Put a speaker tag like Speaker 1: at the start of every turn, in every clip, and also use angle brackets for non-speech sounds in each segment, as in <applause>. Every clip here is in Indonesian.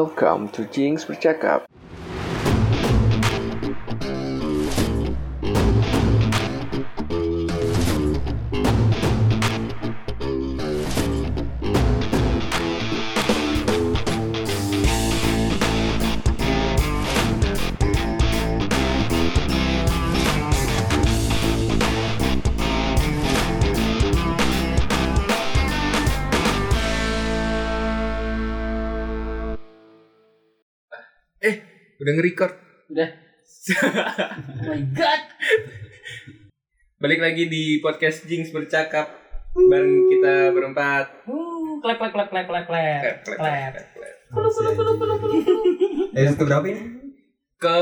Speaker 1: Welcome to Jinx Bercakap.
Speaker 2: Eh, udah nge-record.
Speaker 3: Udah. Oh my god.
Speaker 2: Balik lagi di podcast Jinx bercakap bareng kita berempat.
Speaker 3: Uh, klep klep klep klep klep klep.
Speaker 2: Klep, klep, klep,
Speaker 3: Klep.
Speaker 2: klep, klep.
Speaker 3: Pelu pelu pelu pelu pelu.
Speaker 4: Episode berapa ini?
Speaker 2: Ke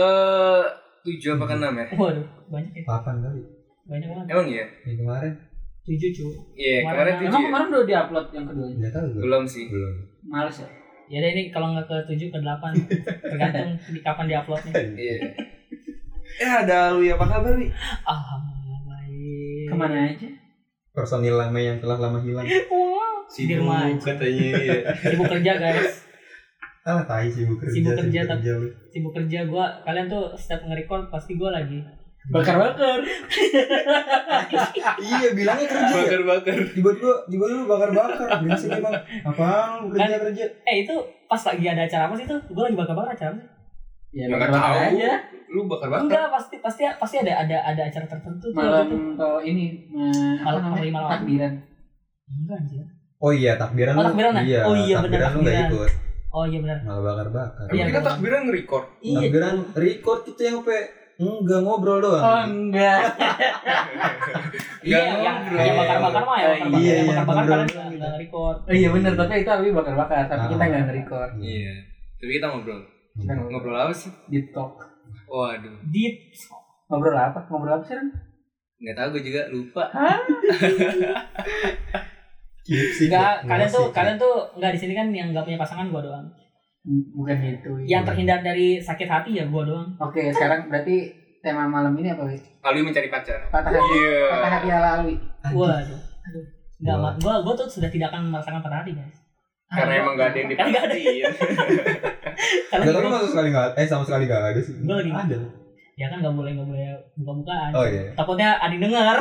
Speaker 2: tujuh apa ke enam ya?
Speaker 3: Waduh, banyak ya.
Speaker 4: 8 kali.
Speaker 3: Banyak banget.
Speaker 2: Emang iya?
Speaker 4: Yang kemarin
Speaker 3: Tujuh cu.
Speaker 2: Iya, kemarin tujuh.
Speaker 5: Emang
Speaker 2: ya?
Speaker 5: kemarin udah diupload yang kedua
Speaker 4: enggak tahu gue.
Speaker 2: Belum sih.
Speaker 4: Belum.
Speaker 5: Males
Speaker 2: Iya.
Speaker 5: ya.
Speaker 3: Ya deh, ini kalau nggak ke tujuh ke delapan, tergantung di kapan diuploadnya.
Speaker 2: Iya. Eh, ada Alwi apa kabar, Wi?
Speaker 3: Alhamdulillah baik.
Speaker 5: Kemana aja?
Speaker 4: Personil lama yang telah lama hilang.
Speaker 3: Wow. Di rumah aja.
Speaker 2: katanya iya.
Speaker 3: Sibuk kerja guys.
Speaker 4: Ah, tai sibuk kerja.
Speaker 3: Sibuk kerja, tapi-
Speaker 4: lu.
Speaker 3: Sibuk kerja gua. Kalian tuh setiap nge-record pasti gua lagi.
Speaker 5: Bakar-bakar.
Speaker 4: Iya, bilangnya kerja. ya?
Speaker 2: Bakar-bakar.
Speaker 4: Tiba-tiba tiba-tiba lu bakar-bakar. Biasa emang. Apaan lu kerja-kerja?
Speaker 3: Eh itu pas lagi ada acara apa sih tuh? Gua lagi bakar-bakar acara apa sih?
Speaker 5: Ya
Speaker 2: Nggak
Speaker 5: bakar-bakar
Speaker 2: tahu.
Speaker 5: aja.
Speaker 2: Lu bakar-bakar.
Speaker 3: Enggak, pasti pasti pasti ada ada ada acara tertentu tuh
Speaker 5: Malam
Speaker 2: Iya,
Speaker 3: waktu itu.
Speaker 5: atau ini eh, apa
Speaker 3: Malam
Speaker 5: namanya?
Speaker 3: hari malam.
Speaker 5: Takbiran.
Speaker 3: Enggak anjir.
Speaker 4: Oh iya, takbiran
Speaker 3: Oh,
Speaker 4: lu.
Speaker 3: takbiran ya?
Speaker 4: Iya,
Speaker 3: Oh iya, bener,
Speaker 4: takbiran lu enggak
Speaker 3: takbiran.
Speaker 4: ikut.
Speaker 3: Oh iya benar.
Speaker 4: Malah bakar-bakar.
Speaker 3: Iya.
Speaker 2: Emang kita takbiran
Speaker 3: <laughs>
Speaker 2: nge-record.
Speaker 3: Iya.
Speaker 4: Takbiran record kita yang pe enggak ngobrol
Speaker 5: Oh
Speaker 4: doang.
Speaker 5: enggak.
Speaker 3: Iya,
Speaker 2: Nggak
Speaker 3: yang
Speaker 2: ngobrol.
Speaker 3: yang bakar-bakar mah ya, bakar-bakar
Speaker 4: Iya,
Speaker 3: yang
Speaker 4: iya,
Speaker 3: bakar-bakar
Speaker 4: ngobrol.
Speaker 3: kalian nggak- nggak record.
Speaker 5: Oh iya benar, tapi itu Abi bakar-bakar, tapi
Speaker 4: Ah.
Speaker 5: kita nggak nge-record.
Speaker 2: Iya. Tapi kita ngobrol.
Speaker 5: Kita ngobrol
Speaker 2: Ngobrol apa sih?
Speaker 5: deep talk.
Speaker 2: Waduh,
Speaker 3: Deep.
Speaker 5: Ngobrol apa? Ngobrol apa sih? Ren?
Speaker 2: nggak tahu gue juga lupa.
Speaker 4: Gipsy,
Speaker 3: Enggak,
Speaker 4: ya.
Speaker 3: kalian tuh
Speaker 4: Ngasih,
Speaker 3: kalian tuh enggak di sini kan yang nggak punya pasangan gua doang.
Speaker 5: Bukan itu.
Speaker 2: Ya.
Speaker 3: Yang terhindar dari sakit hati ya gua doang.
Speaker 5: Oke, sekarang berarti tema malam ini apa, Wi?
Speaker 2: Alwi mencari pacar.
Speaker 5: Patah hati.
Speaker 2: Iya.
Speaker 5: Patah hati ala Alwi.
Speaker 3: Waduh. Aduh. Enggak,
Speaker 4: Wah.
Speaker 3: Ma. gua gua tuh sudah tidak akan merasakan patah hati, guys.
Speaker 2: Karena emang nggak ada yang
Speaker 3: Karena nggak ada.
Speaker 2: diperhatiin. <laughs>
Speaker 3: Karena
Speaker 4: Enggak tahu
Speaker 3: gua,
Speaker 4: masuk sekali enggak eh sama sekali enggak ada sih.
Speaker 3: Gua lagi-
Speaker 4: Ada.
Speaker 3: ya kan nggak boleh nggak boleh buka-bukaan.
Speaker 4: Oh iya.
Speaker 3: Takutnya ada yang dengar.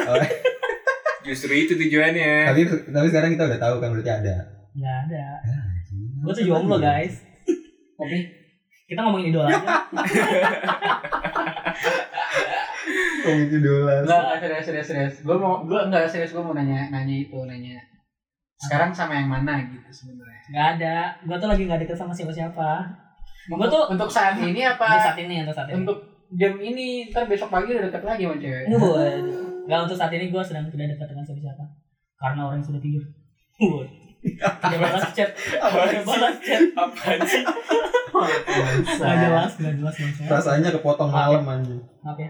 Speaker 2: Justru itu tujuannya.
Speaker 3: Eh.
Speaker 4: Tapi tapi sekarang kita udah tahu kan berarti ada. Iya.
Speaker 3: Enggak ada. Gua tuh jomblo, guys.
Speaker 5: Tapi
Speaker 3: Kita ngomongin idola. aja.
Speaker 4: Ngomongin idola.
Speaker 5: Enggak, enggak serius serius serius. Gua mau gua enggak serius gua mau nanya nanya itu nanya. Sekarang sama yang mana gitu sebenarnya?
Speaker 3: Enggak ada. Gua tuh lagi nggak deket sama siapa-siapa. Gua tuh-
Speaker 5: untuk saat ini
Speaker 3: Untuk
Speaker 5: apa
Speaker 3: saat ini, untuk saat ini.
Speaker 5: untuk jam ini ntar besok pagi udah deket lagi sama
Speaker 4: <laughs>
Speaker 5: cewek.
Speaker 3: Ini buat <laughs> Gak untuk saat ini gue sedang tidak dekat dengan siapa-siapa Karena orang yang sudah tidur Buat. Tidak balas chat Tidak balas chat
Speaker 2: Apaan sih?
Speaker 3: Gak jelas, gak jelas gak jelas.
Speaker 4: Rasanya kepotong malam anjing.
Speaker 3: Maaf ya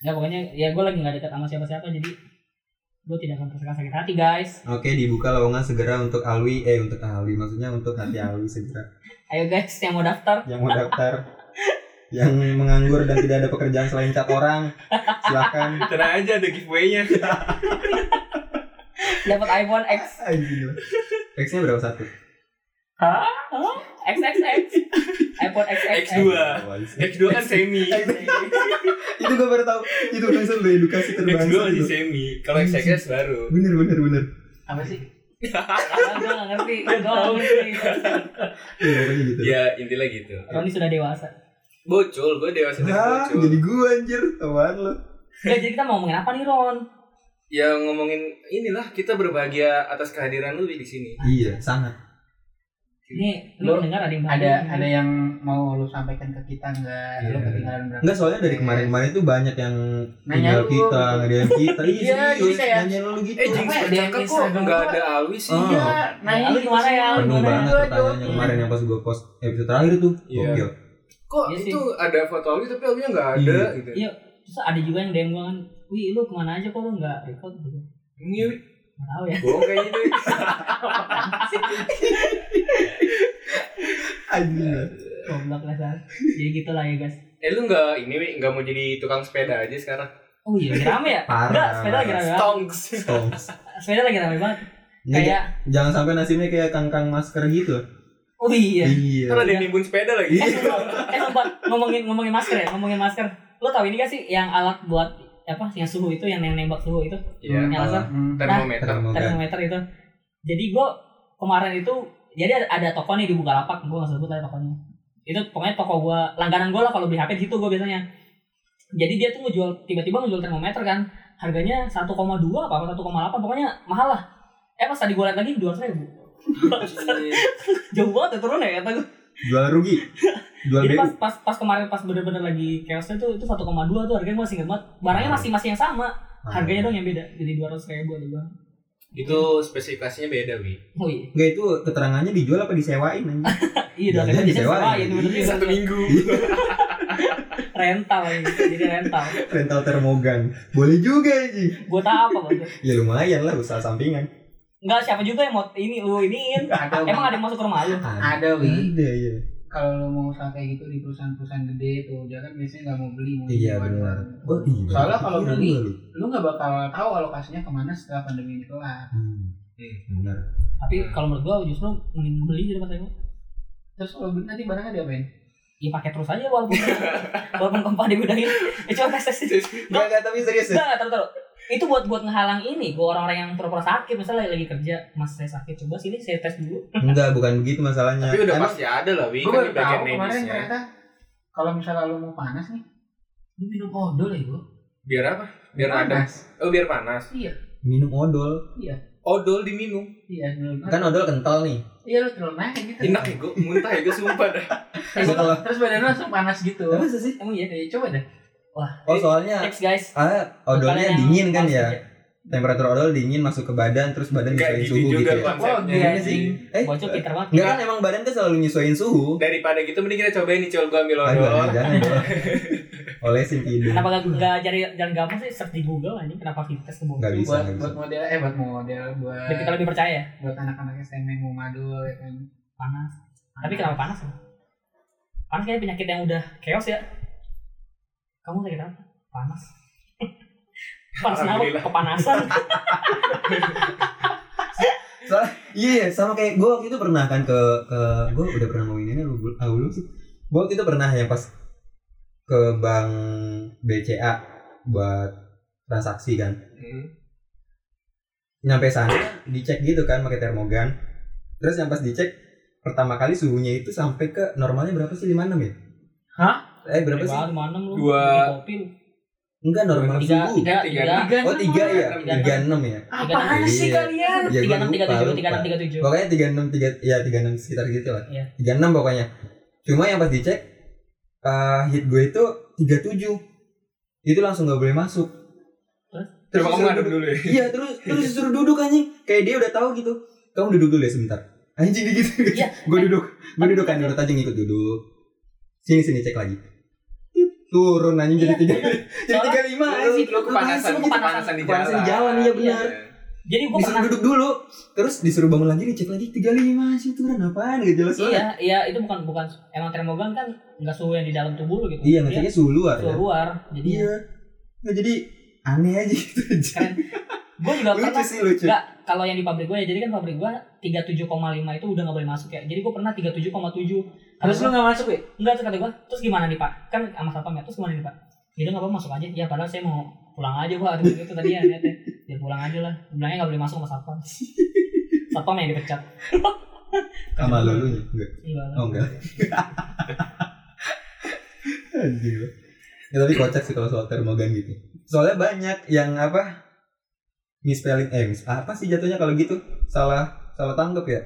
Speaker 3: Ya pokoknya ya gue lagi gak dekat sama siapa-siapa jadi Gue tidak akan merasakan sakit hati guys
Speaker 4: Oke, dibuka lowongan segera untuk Alwi eh untuk Alwi maksudnya untuk hati Alwi segera.
Speaker 3: Ayo guys yang mau daftar
Speaker 4: Yang mau daftar yang menganggur dan tidak ada pekerjaan selain cat orang, silakan.
Speaker 2: Tenang aja ada giveaway-nya.
Speaker 3: dapat iPhone X
Speaker 4: Anjing. X-nya berapa satu?
Speaker 5: Hah?
Speaker 3: X X X iPhone X X
Speaker 2: X2.
Speaker 4: Oh,
Speaker 2: X2 kan semi.
Speaker 4: <laughs> itu gue baru tahu. Itu langsung udah edukasi
Speaker 2: X2
Speaker 4: terbangsa.
Speaker 2: masih
Speaker 4: itu.
Speaker 2: semi. Kalau XXS baru.
Speaker 4: Bener bener bener.
Speaker 5: Apa sih?
Speaker 3: Gue gak ngerti Gue gak ngerti
Speaker 4: Iya pokoknya gitu.
Speaker 2: Ya intinya gitu.
Speaker 3: Roni sudah dewasa
Speaker 2: Bocul, gue dewasa dari
Speaker 4: Ah,
Speaker 2: bocul.
Speaker 4: jadi gue anjir, apaan lo?
Speaker 3: Gak jadi kita mau ngomongin apa nih Ron
Speaker 2: Ya ngomongin inilah kita berbahagia atas kehadiran lu di sini.
Speaker 4: Iya, sangat.
Speaker 3: Ini
Speaker 5: Lu
Speaker 3: lu dengar ada yang
Speaker 5: Ada
Speaker 3: bahagia?
Speaker 5: ada yang mau lu sampaikan ke kita enggak?
Speaker 4: Iya.
Speaker 5: Lu ketinggalan berapa?
Speaker 4: Enggak soalnya dari kemarin-kemarin tuh banyak yang
Speaker 5: Nanya
Speaker 4: tinggal
Speaker 5: lu.
Speaker 4: kita, ngedian kita.
Speaker 3: <laughs>
Speaker 5: Iya,
Speaker 4: Iya,
Speaker 5: jadi
Speaker 4: serius,
Speaker 5: kayak-
Speaker 4: nanya lu gitu.
Speaker 2: Eh, Jinx
Speaker 5: Apa ya,
Speaker 2: bercakap
Speaker 5: di
Speaker 2: kok
Speaker 5: Instagram
Speaker 2: nggak
Speaker 5: gua?
Speaker 2: ada Alwi sih.
Speaker 4: Oh.
Speaker 5: Iya, nanya
Speaker 3: Lu gimana ya? Lu
Speaker 4: penuh
Speaker 3: Gimana
Speaker 4: banget
Speaker 5: Gua
Speaker 4: pertanyaannya
Speaker 5: jawabin.
Speaker 4: kemarin yang pas gue post episode terakhir tuh
Speaker 2: Iya.
Speaker 4: gokil
Speaker 2: Kok
Speaker 3: Iya sih.
Speaker 2: itu ada foto Alwi tapi Alwi nggak ada
Speaker 4: Iya.
Speaker 2: gitu.
Speaker 3: Iya, terus ada juga yang DM gue kan, wih lu kemana aja kok lu nggak record gitu?
Speaker 2: Ini Wi.
Speaker 3: Nggak tahu ya.
Speaker 2: bohong gitu. kayaknya itu.
Speaker 4: anjir
Speaker 3: Goblok lah Sar. Jadi gitulah ya guys.
Speaker 2: Eh lu nggak ini Wi, nggak mau jadi tukang sepeda aja sekarang?
Speaker 3: Oh iya, lagi rame ya?
Speaker 4: Parah.
Speaker 3: Enggak, sepeda lagi rame banget.
Speaker 2: Stonks.
Speaker 4: Stonks.
Speaker 3: Sepeda lagi rame banget.
Speaker 4: Ini
Speaker 3: Kayak
Speaker 4: jangan sampai nasibnya kayak kangkang masker gitu
Speaker 3: Oh iya.
Speaker 4: Iya.
Speaker 6: Kan ada yang nimbun sepeda lagi.
Speaker 3: Eh, sumpah. eh sumpah, ngomongin ngomongin masker ya, ngomongin masker. Lo tau ini gak sih yang alat buat apa yang suhu itu yang nembak suhu itu
Speaker 6: Iya.
Speaker 3: yang alasan
Speaker 5: Hmm.
Speaker 4: <laughs>
Speaker 6: Termometer.
Speaker 4: Termogan.
Speaker 3: termometer itu jadi gue kemarin itu jadi ada, ada toko nih di Bukalapak gue gak sebut lah tokonya itu pokoknya toko gue langganan gue lah kalau beli HP di situ gue biasanya jadi dia tuh ngejual tiba-tiba ngejual termometer kan harganya 1,2 apa apa 1,8 pokoknya mahal lah eh pas tadi gue liat lagi 200 ribu <laughs> jauh banget ya turun ya kata gue
Speaker 4: Jual rugi. Jual
Speaker 3: jadi
Speaker 4: BU.
Speaker 3: pas pas pas kemarin pas bener-bener lagi chaosnya tuh itu 1,2 tuh harganya gue masih inget banget barangnya masih masih yang sama
Speaker 4: Ah.
Speaker 3: harganya dong yang beda jadi 200 ribu ada gue
Speaker 6: Itu spesifikasinya beda, Wi.
Speaker 3: oh iya
Speaker 4: Enggak itu keterangannya dijual apa disewain anjing?
Speaker 3: iya
Speaker 4: Iya,
Speaker 3: dong jadi
Speaker 4: disewain.
Speaker 3: sewa ya bener
Speaker 2: Iya,
Speaker 3: juga.
Speaker 6: Satu minggu.
Speaker 4: Iya.
Speaker 3: rental ini jadi rental
Speaker 4: Rental termogan. Boleh juga anjing.
Speaker 3: buat apa bang
Speaker 4: Ya lumayan lah usaha sampingan.
Speaker 3: nggak siapa juga yang mau ini lu iniin
Speaker 5: Ada Wi.
Speaker 3: emang ada yang masuk ke rumah lu
Speaker 5: Ada, Wi.
Speaker 4: Ada iya.
Speaker 5: Kalau lo mau usaha kayak gitu di perusahaan-perusahaan gede tuh, dia kan biasanya nggak mau beli. mau
Speaker 4: Iya
Speaker 5: dijual.
Speaker 4: benar. Oh, iya.
Speaker 5: Soalnya kalau
Speaker 4: Pikiran
Speaker 5: beli-
Speaker 4: gua lu.
Speaker 5: Lu nggak bakal tahu alokasinya kemana setelah pandemi ini kelar.
Speaker 4: Hmm. Benar.
Speaker 3: tapi kalau menurut gua justru mending beli daripada sewa
Speaker 5: Terus kalau beli nanti barangnya diapain?
Speaker 3: ya pakai terus aja <laughs> walaupun walaupun kompa dibedahin ya coba tes tes
Speaker 4: Enggak enggak tapi serius ya.
Speaker 3: nggak nggak taruh taruh itu buat buat ngehalang ini gua orang-orang yang pura-pura sakit misalnya lagi kerja mas saya sakit coba sini saya tes dulu
Speaker 4: Enggak bukan begitu masalahnya.
Speaker 6: Tapi udah
Speaker 4: Emang-
Speaker 6: pasti ada lah, Wi.
Speaker 5: Gue
Speaker 6: Kan
Speaker 5: baru
Speaker 6: di
Speaker 5: tahu
Speaker 6: bagian
Speaker 5: kemarin
Speaker 6: medisnya.
Speaker 5: ternyata kalau misalnya lu mau panas nih, lu minum odol ya gua.
Speaker 6: Biar apa? Biar ada.
Speaker 5: panas.
Speaker 6: Oh, biar panas.
Speaker 5: Iya,
Speaker 4: minum odol.
Speaker 6: Odol diminum.
Speaker 5: iya minum panas.
Speaker 4: Kan odol kental nih.
Speaker 5: Iya lu terlalu naik gitu.
Speaker 6: Enak ya gue, muntah ya gue sumpah dah.
Speaker 5: Eh, gua-
Speaker 4: Setelah-
Speaker 5: Terus badan lu langsung panas gitu.
Speaker 4: Tapi sih.
Speaker 3: emang iya
Speaker 5: Eh, coba deh.
Speaker 4: Oh soalnya
Speaker 3: thanks guys
Speaker 6: Iya.
Speaker 4: ah, odolnya
Speaker 3: Kalian yang
Speaker 4: dingin kan
Speaker 3: harus
Speaker 4: ya.
Speaker 3: kerja.
Speaker 4: Temperatur odol dingin masuk ke badan terus badan
Speaker 6: Nggak
Speaker 4: nyesuaiin
Speaker 6: gitu
Speaker 4: suhu
Speaker 6: juga,
Speaker 4: gitu. ya.
Speaker 6: Pak. Konsepnya
Speaker 5: gila
Speaker 4: ini sih.
Speaker 5: anjing.
Speaker 4: Eh,
Speaker 3: bocok pinter banget
Speaker 4: enggak kan emang badan kan selalu nyesuaiin suhu.
Speaker 6: Daripada gitu mending kita cobain nih col gue ambil
Speaker 4: Aduh,
Speaker 6: odol.
Speaker 4: aduh, jangan. Olesin hidung.
Speaker 3: Kenapa gak, gak cari jalan gampang sih search di Google anjing kenapa kita tes ke Google?
Speaker 4: Gak bisa,
Speaker 5: buat
Speaker 4: gak bisa.
Speaker 5: buat model eh buat model buat
Speaker 3: Biar kita lebih percaya.
Speaker 5: buat anak-anak SMA yang mau madul ya kan.
Speaker 3: Panas. Tapi kenapa panas? ya? Panas kayaknya penyakit yang udah chaos ya. Kamu sakit apa? Panas. <laughs> panas kenapa?
Speaker 6: Alhamdulillah.
Speaker 3: Kepanasan.
Speaker 4: Iya, sama kayak gue waktu itu pernah kan ke ke gue udah pernah ngomongin ini lu belum- ah, belum sih. Gue waktu itu pernah yang pas ke bank BCA buat transaksi kan.
Speaker 6: Hmm.
Speaker 4: Nyampe sana dicek gitu kan pakai termogan. Terus yang pas dicek pertama kali suhunya itu sampai ke normalnya berapa sih 56 ya?
Speaker 5: Hah?
Speaker 4: Eh berapa sih?
Speaker 3: Baru mana lu?
Speaker 6: Dua.
Speaker 3: Di kopi lu.
Speaker 4: Enggak normal
Speaker 3: Tiga,
Speaker 4: suhu.
Speaker 3: tiga,
Speaker 6: Tiga,
Speaker 3: tiga.
Speaker 4: Oh tiga ya,
Speaker 6: Tiga,
Speaker 4: tiga
Speaker 3: kan?
Speaker 4: enam ya.
Speaker 6: Ah,
Speaker 4: Iya.
Speaker 5: Apaan sih kalian?
Speaker 4: Ya,
Speaker 3: Tiga
Speaker 4: gua
Speaker 3: enam tiga
Speaker 4: lupa,
Speaker 3: tujuh,
Speaker 4: lupa.
Speaker 3: tiga enam tiga tujuh.
Speaker 4: Pokoknya 36 tiga ya 36 sekitar gitu lah.
Speaker 3: Iya.
Speaker 4: 36 pokoknya. Cuma yang pas dicek eh hit gue itu 37. Itu langsung gak boleh masuk.
Speaker 3: Terus?
Speaker 6: Coba kamu
Speaker 4: disuruh
Speaker 6: ngaduk
Speaker 4: duduk.
Speaker 6: dulu ya.
Speaker 4: Iya, terus terus disuruh duduk anjing. Kayak dia udah tahu gitu. Kamu duduk dulu ya sebentar. Anjing gitu. <laughs>
Speaker 3: Iya.
Speaker 4: gue duduk. Gue duduk kan nurut aja ngikut duduk. Sini sini cek lagi. Turun anjing jadi 3. <laughs> Jadi
Speaker 3: Iya. Soalnya-
Speaker 4: 35 anjing.
Speaker 6: Lu kepanasan, kepanasan
Speaker 4: Lu
Speaker 6: di jalan.
Speaker 4: Kepanasan di jalan, iya benar
Speaker 3: Jadi gua
Speaker 4: gitu. disuruh
Speaker 3: pernah
Speaker 4: duduk dulu terus disuruh bangun lagi dicek lagi 35 sih turun apaan gak jelas banget
Speaker 3: Iya, iya itu bukan bukan emang termogan kan enggak suhu yang di dalam tubuh lu gitu.
Speaker 4: iya ngeceknya suhu luar
Speaker 3: suhu
Speaker 4: ya
Speaker 3: luar. Jadi
Speaker 4: iya nggak jadi aneh aja gitu
Speaker 3: Keren. gua juga
Speaker 4: lucu
Speaker 3: pernah
Speaker 4: sih lucu
Speaker 3: Nggak, kalau yang di pabrik gue ya, jadi kan pabrik gue 37,5 itu udah gak boleh masuk ya. Jadi gue pernah 37,7. Terus
Speaker 5: Terus lu nggak masuk ya?
Speaker 3: enggak tuh kata gue, terus gimana nih Pak? Kan sama satpam ya, terus gimana nih Pak? Jadi nggak apa masuk aja. Ya padahal saya mau pulang aja Pak. Terus gitu tadi ya lihatnya. Ya pulang aja lah. Bilangnya nggak boleh masuk sama satpam. <laughs> satpam yang dipecat.
Speaker 4: <laughs> sama lu lu enggak
Speaker 3: Enggak lah.
Speaker 4: oh enggak anjir ya, tapi kocak sih kalau soal termogan gitu soalnya banyak yang apa misspelling eh mis- apa sih jatuhnya kalau gitu salah salah tanggap ya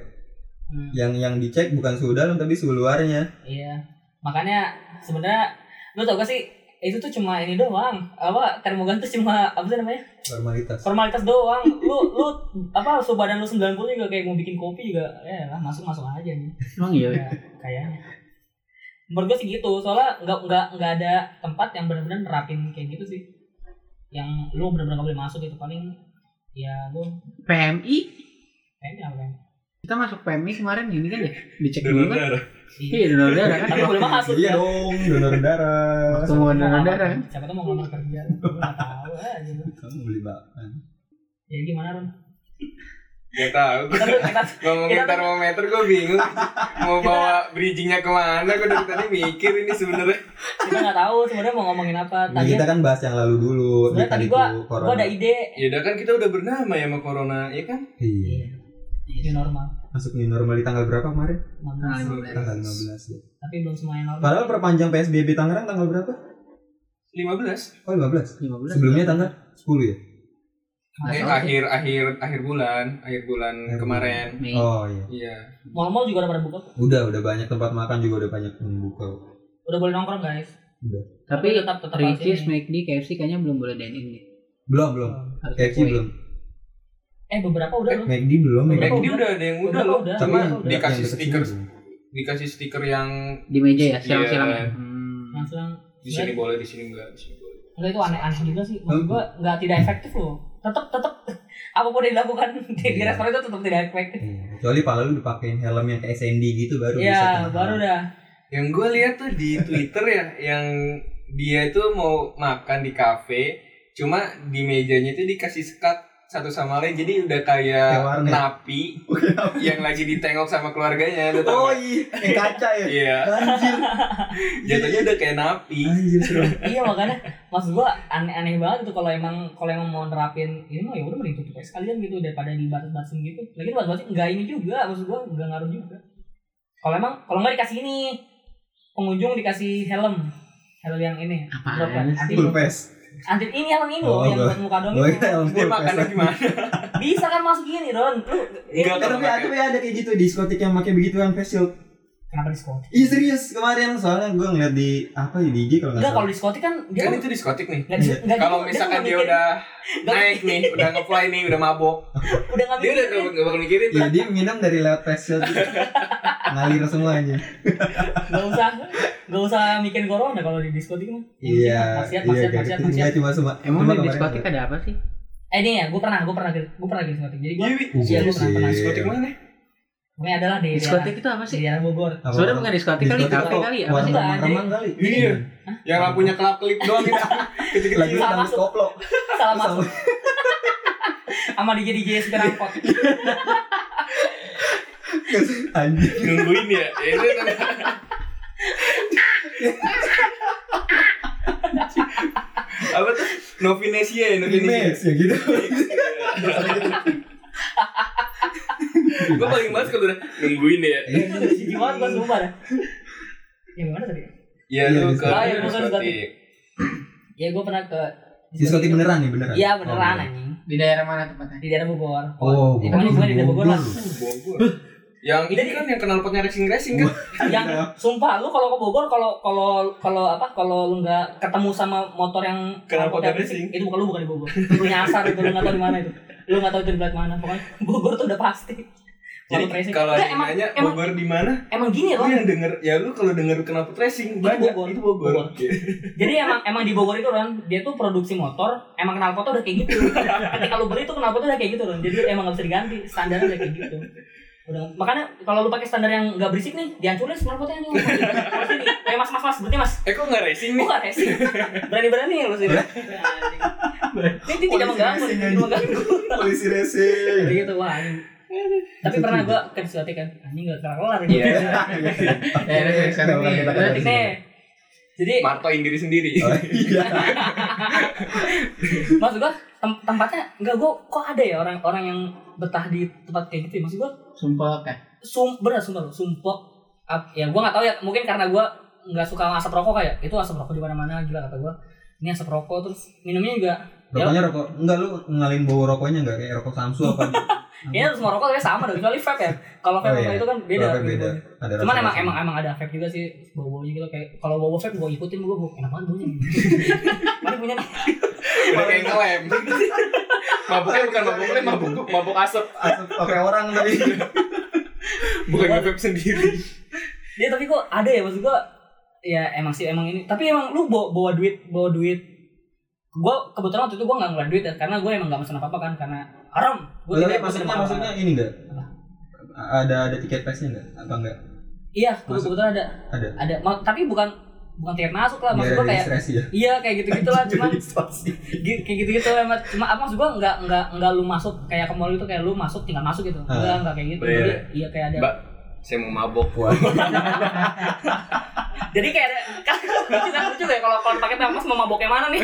Speaker 3: Hmm,
Speaker 4: yang yang dicek bukan suhu dalam tapi suhu luarnya
Speaker 3: iya. Makanya sebenarnya lu tau gak sih itu tuh cuma ini doang apa termogan tuh cuma apa sih namanya
Speaker 4: normalitas
Speaker 3: formalitas doang lu lu apa suhu badan lu 90 juga kayak mau bikin kopi juga ya lah masuk masuk aja nih
Speaker 5: Emang iya.
Speaker 3: Ya, kayaknya menurut gue sih gitu soalnya nggak nggak nggak ada tempat yang benar-benar nerapin kayak gitu sih yang lu benar-benar nggak boleh masuk gitu paling ya lu
Speaker 5: PMI
Speaker 3: kayaknya apa ya
Speaker 5: kita masuk PMI kemarin ini kan ya dicek
Speaker 6: Dulu
Speaker 5: dulu kan. Iya donor darah kan.
Speaker 3: tapi nggak boleh masuk
Speaker 4: iya dong donor darah
Speaker 5: Waktu mau donor darah kan.
Speaker 3: siapa tuh mau ngelamar kerja gue nggak tahu aja gitu.
Speaker 4: kamu beli bakwan
Speaker 3: jadi gimana Ron
Speaker 2: Gak tau
Speaker 6: <laughs>
Speaker 3: kita tuh kita
Speaker 2: Ngomongin
Speaker 3: Kita tuh-
Speaker 2: termometer gue bingung Mau bawa bridgingnya kemana Gue dari tadi mikir ini sebenarnya
Speaker 3: kita nggak tahu sebenarnya mau ngomongin apa
Speaker 4: Nah,
Speaker 3: tadi
Speaker 4: kita kan bahas yang lalu dulu.
Speaker 3: sebenarnya
Speaker 4: Dika
Speaker 3: tadi
Speaker 4: itu
Speaker 3: gua gua
Speaker 4: corona.
Speaker 3: ada ide
Speaker 2: Ya udah kan kita udah bernama ya sama corona Ya kan
Speaker 4: Iya.
Speaker 5: kan?
Speaker 3: new normal
Speaker 4: Masuk new normal di tanggal berapa kemarin?
Speaker 5: Nah,
Speaker 3: Mampus.
Speaker 5: 15.
Speaker 4: Tanggal 15 ya.
Speaker 3: tapi belum semuanya normal
Speaker 4: Padahal perpanjang PSBB Tangerang tanggal berapa?
Speaker 2: 15
Speaker 4: Oh, 15.
Speaker 5: 15.
Speaker 4: Sebelumnya tanggal 10 ya?
Speaker 2: Eh
Speaker 3: Nggak tahu sih.
Speaker 2: akhir akhir akhir bulan Akhir bulan
Speaker 4: Akhir
Speaker 2: kemarin
Speaker 5: Mei.
Speaker 4: Oh iya.
Speaker 2: Iya
Speaker 3: Mall-mall juga udah pada buka kok.
Speaker 4: Udah, udah banyak tempat makan juga udah banyak yang buka.
Speaker 3: udah boleh nongkrong guys
Speaker 5: Tapi
Speaker 3: tetap tetap harus
Speaker 5: Ricis,
Speaker 3: ini.
Speaker 5: McD, KFC kayaknya belum boleh dine in nih.
Speaker 4: Belum, belum.
Speaker 5: Harus
Speaker 4: KFC
Speaker 5: take away.
Speaker 4: belum.
Speaker 3: eh beberapa udah loh
Speaker 4: McD belum. ya?
Speaker 3: Beberapa
Speaker 2: McD udah ada yang udah
Speaker 3: Beberapa
Speaker 2: loh
Speaker 3: udah.
Speaker 4: Tapi
Speaker 2: Cuma
Speaker 4: yang-
Speaker 2: dikasih
Speaker 4: Iya, yang deket sini
Speaker 2: stiker
Speaker 4: belum.
Speaker 2: Dikasih stiker yang
Speaker 5: Di meja ya,
Speaker 2: Iya.
Speaker 5: silang-silangnya. Hmm.
Speaker 3: yang selang
Speaker 2: di sini boleh di sini enggak di sini boleh
Speaker 3: Enggak itu aneh-aneh juga sih. Maksud gua
Speaker 4: Hmm.
Speaker 3: enggak tidak efektif loh. Tetap tetap <laughs> apapun yang dilakukan di, di
Speaker 4: Iya.
Speaker 3: restoran itu tetap tidak efektif.
Speaker 4: Iya, kecuali pala lu dipakein helm yang kayak SND gitu baru bisa
Speaker 3: Iya,
Speaker 4: tenang.
Speaker 3: <laughs> baru dah.
Speaker 2: Yang gue lihat tuh di Twitter ya, yang dia itu mau makan di kafe, cuma di mejanya itu dikasih sekat satu sama lain, jadi udah kayak
Speaker 4: Kayak warnet.
Speaker 2: napi
Speaker 4: <laughs>
Speaker 2: yang lagi ditengok sama keluarganya. lu tau
Speaker 4: Oh
Speaker 2: gak?
Speaker 4: iya, yang kaca ya.
Speaker 2: Iya,
Speaker 4: Anjir.
Speaker 2: jatuhnya udah kayak napi.
Speaker 4: Anjir serem.
Speaker 3: iya makanya maksud gua aneh-aneh banget itu kalau emang kalau emang mau nerapin ini mah ya udah mending tutup aja sekalian gitu daripada dibatas-batasin gitu. Lagi batas-batasin enggak ini juga maksud gua enggak ngaruh juga. Kalau emang kalau enggak dikasih ini pengunjung dikasih helm helm yang ini
Speaker 5: Apaan
Speaker 3: anti
Speaker 4: Full face.
Speaker 3: anti ini helm ini loh
Speaker 4: Oh,
Speaker 3: yang
Speaker 4: gua-
Speaker 3: buat muka doang
Speaker 4: Gua
Speaker 3: itu.
Speaker 4: kira helm
Speaker 2: Dia
Speaker 4: full
Speaker 2: makannya
Speaker 4: face.
Speaker 2: gimana?
Speaker 3: bisa kan masuk gini Ron lu
Speaker 4: Eh,
Speaker 2: Enggak,
Speaker 3: ini-
Speaker 4: Iya. tapi ada ya ada kayak gitu diskotik yang pakai begituan face shield.
Speaker 3: kenapa diskotik
Speaker 4: Iya serius kemarin soalnya gue ngeliat di apa ya, di IG kalau nggak
Speaker 3: Enggak kalau
Speaker 4: salah.
Speaker 3: diskotik kan dia
Speaker 2: Kan itu diskotik nih.
Speaker 3: nggak
Speaker 4: Iya.
Speaker 3: dis- nggak
Speaker 2: Kalau
Speaker 3: gitu,
Speaker 2: misalkan
Speaker 3: nggak
Speaker 2: dia
Speaker 3: mikirin-
Speaker 2: udah
Speaker 3: nggak-
Speaker 2: naik nih, udah ngefly nih, udah mabok,
Speaker 3: udah nggak
Speaker 2: dia udah
Speaker 3: mikirin.
Speaker 2: gak bakal mikirin tuh.
Speaker 4: Iya dia minum dari lewat face shield gitu. ngalir semuanya.
Speaker 3: nggak usah nggak usah mikirin corona kalau di diskotik mah
Speaker 4: Iya.
Speaker 3: maksiat maksiat
Speaker 4: Iya kayak
Speaker 3: maksiat
Speaker 4: gitu.
Speaker 3: maksiat
Speaker 4: Nggak, cuma semua.
Speaker 5: Emang
Speaker 4: cuma
Speaker 5: di
Speaker 4: kemarin
Speaker 5: diskotik
Speaker 4: ada.
Speaker 5: ada apa sih?
Speaker 3: eh ini ya gue pernah gue pernah gue pernah di diskotik jadi gue
Speaker 2: Iya, Wi.
Speaker 4: Uh,
Speaker 3: Iya, gua
Speaker 4: sih.
Speaker 3: pernah pernah
Speaker 2: diskotik mana?
Speaker 3: ini adalah di
Speaker 5: Diskotik itu apa
Speaker 3: daerah, di
Speaker 5: sih?
Speaker 3: daerah Bogor <laughs>
Speaker 4: Apa-
Speaker 5: Sebenarnya bukan diskotik kali,
Speaker 4: diskotik
Speaker 5: kafe
Speaker 4: kok.
Speaker 5: kali. ya? Apa
Speaker 4: Warung
Speaker 5: sih?
Speaker 3: Bukan. Enggak,
Speaker 4: remang kali.
Speaker 2: Iya. Yang
Speaker 4: Hah?
Speaker 2: lampunya kelap-kelip doang itu.
Speaker 4: Lagi
Speaker 2: Kecil-kecil.
Speaker 3: Salah
Speaker 4: sama
Speaker 3: masuk.
Speaker 4: koplo.
Speaker 3: salah masuk sama di jadi JS angkot
Speaker 2: <laughs>
Speaker 4: Anjir.
Speaker 2: Nungguin ya. Ya, Itu kan apa tuh Novinesia ya Novinesia
Speaker 4: Limes ya gitu.
Speaker 2: gue
Speaker 4: Iya.
Speaker 2: paling males kalau udah nungguin ya
Speaker 3: Iya, jijik banget gue sumpah dah ya gimana tadi
Speaker 2: ya
Speaker 4: Iya,
Speaker 2: lu ke
Speaker 4: diskotik.
Speaker 3: Ah, iya, bukan diskotik. ya gue pernah ke
Speaker 4: Diskotik beneran Oh, iya. nih beneran.
Speaker 3: iya beneran anjing
Speaker 5: Di daerah mana tempatnya?
Speaker 3: di daerah Bogor
Speaker 4: Oh,
Speaker 3: Di mana juga di daerah Bogor lah
Speaker 2: Buang gua. yang ini kan yang kenal potnya racing racing kan
Speaker 3: yang sumpah lu kalau ke Bogor kalau kalau kalau apa kalau lu nggak ketemu sama motor yang
Speaker 2: Kenapa
Speaker 3: yang
Speaker 2: nggak racing?
Speaker 3: itu bukan lu bukan di Bogor lu nyasar itu lu nggak tahu di mana itu lu nggak tahu itu di belakang mana pokoknya Bogor tuh udah pasti
Speaker 2: jadi
Speaker 3: Kalau racing.
Speaker 2: kalau ada
Speaker 3: Nggak,
Speaker 2: yang
Speaker 3: emang-
Speaker 2: nanya
Speaker 3: emang-
Speaker 2: Bogor di mana
Speaker 3: emang gini
Speaker 2: lu
Speaker 3: loh
Speaker 2: yang denger ya lu kalau denger kenal pot racing banyak
Speaker 3: Bogor.
Speaker 2: itu Bogor
Speaker 3: jadi emang emang di Bogor itu Ron dia tuh produksi motor emang kenal foto udah kayak gitu ketika lu beli tuh kenal foto udah kayak gitu Ron jadi emang nggak bisa diganti standarnya udah kayak gitu udah makanya kalau lu pakai standar yang nggak berisik nih dihancurin kenal fotonya nih Pasti nih. kayak mas mas mas berarti mas
Speaker 2: eh kok nggak racing nih
Speaker 3: Bukan racing. Berani-berani ya lu sih. Ini dia tidak mengganggu,
Speaker 4: Polisi racing
Speaker 3: tidak
Speaker 4: aja.
Speaker 3: mengganggu.
Speaker 4: Polisi racing.
Speaker 3: Jadi gitu wah. anjing. Tapi pernah gua ke diskotik kan. Anjing enggak kelar-kelar ini.
Speaker 2: Iya.
Speaker 5: <laughs> Daerah dari sana
Speaker 4: Kenapa
Speaker 5: nih.
Speaker 4: kita
Speaker 5: Berarti
Speaker 4: kata-
Speaker 3: Nih. Jadi
Speaker 2: <laughs> martoin diri sendiri
Speaker 4: Oh, iya.
Speaker 3: maksud gua tem- tempatnya enggak gua kok ada ya orang-orang yang betah di tempat kayak gitu ya. Maksud gua
Speaker 5: Sumpah kan.
Speaker 3: sum bener sumpah lu sumpok. Ap- Ya gua enggak tahu ya, mungkin karena gua enggak suka asap rokok kayak itu asap rokok di mana-mana gila kata gua. Ini asap rokok terus minumnya juga
Speaker 4: Rokoknya rokok enggak lu ngalin bau rokoknya enggak kayak rokok Samsu
Speaker 3: <laughs>
Speaker 4: apa?
Speaker 3: Kayaknya semua ya, rokok kayaknya sama dong, kecuali vape ya. Kalau vape
Speaker 4: Oh, iya.
Speaker 3: itu kan beda.
Speaker 4: Rokoknya beda. Ada
Speaker 3: Cuman
Speaker 4: rasa-rasa.
Speaker 3: emang emang emang ada vape juga sih bau-baunya gitu kayak kalau bau vape gua ikutin gua gua enak banget
Speaker 4: <laughs>
Speaker 3: baunya. Mana punya nih?
Speaker 2: <laughs> udah kayak ngelem <laughs> mabuknya bukan mabuk lem mabuk mabuk asap
Speaker 4: Asap pakai orang tapi
Speaker 2: bukan
Speaker 3: Iya.
Speaker 2: vape
Speaker 3: <laughs>
Speaker 2: sendiri
Speaker 3: Ya tapi kok ada ya maksud gua ya emang sih emang ini tapi emang lu bawa, bawa duit bawa duit gua kebetulan waktu itu gua nggak ngeluarin duit ya karena gua emang nggak mesen apa apa kan karena haram gua
Speaker 4: Tapi
Speaker 3: mesen
Speaker 4: maksudnya
Speaker 3: apa-apa. kan.
Speaker 4: maksudnya ini enggak?
Speaker 3: Apa?
Speaker 4: Ada ada tiket pesnya enggak? Apa enggak?
Speaker 3: iya gua
Speaker 4: Maksud-
Speaker 3: kebetulan ada
Speaker 4: Ada.
Speaker 3: ada Ma- tapi bukan bukan tiket masuk lah maksud
Speaker 4: biar
Speaker 3: gua kayak
Speaker 4: registrasi ya
Speaker 3: iya kayak gitu
Speaker 4: <laughs>
Speaker 3: gitulah cuman
Speaker 4: Registrasi.
Speaker 3: Gi- kayak gitu-gitu emang cuma apa maksud gua nggak nggak nggak lu masuk kayak ke mall itu kayak lu masuk tinggal masuk gitu
Speaker 4: Ah.
Speaker 3: enggak enggak kayak gitu
Speaker 2: Iya.
Speaker 3: jadi iya kayak ada
Speaker 2: Mbak, saya mau mabok.
Speaker 3: <laughs>
Speaker 4: Wah,
Speaker 3: jadi kayak ada <laughs> kan lucu kan lucu ya kalau kalau pakai tamas mau mabok yang mana
Speaker 4: <laughs>
Speaker 3: nih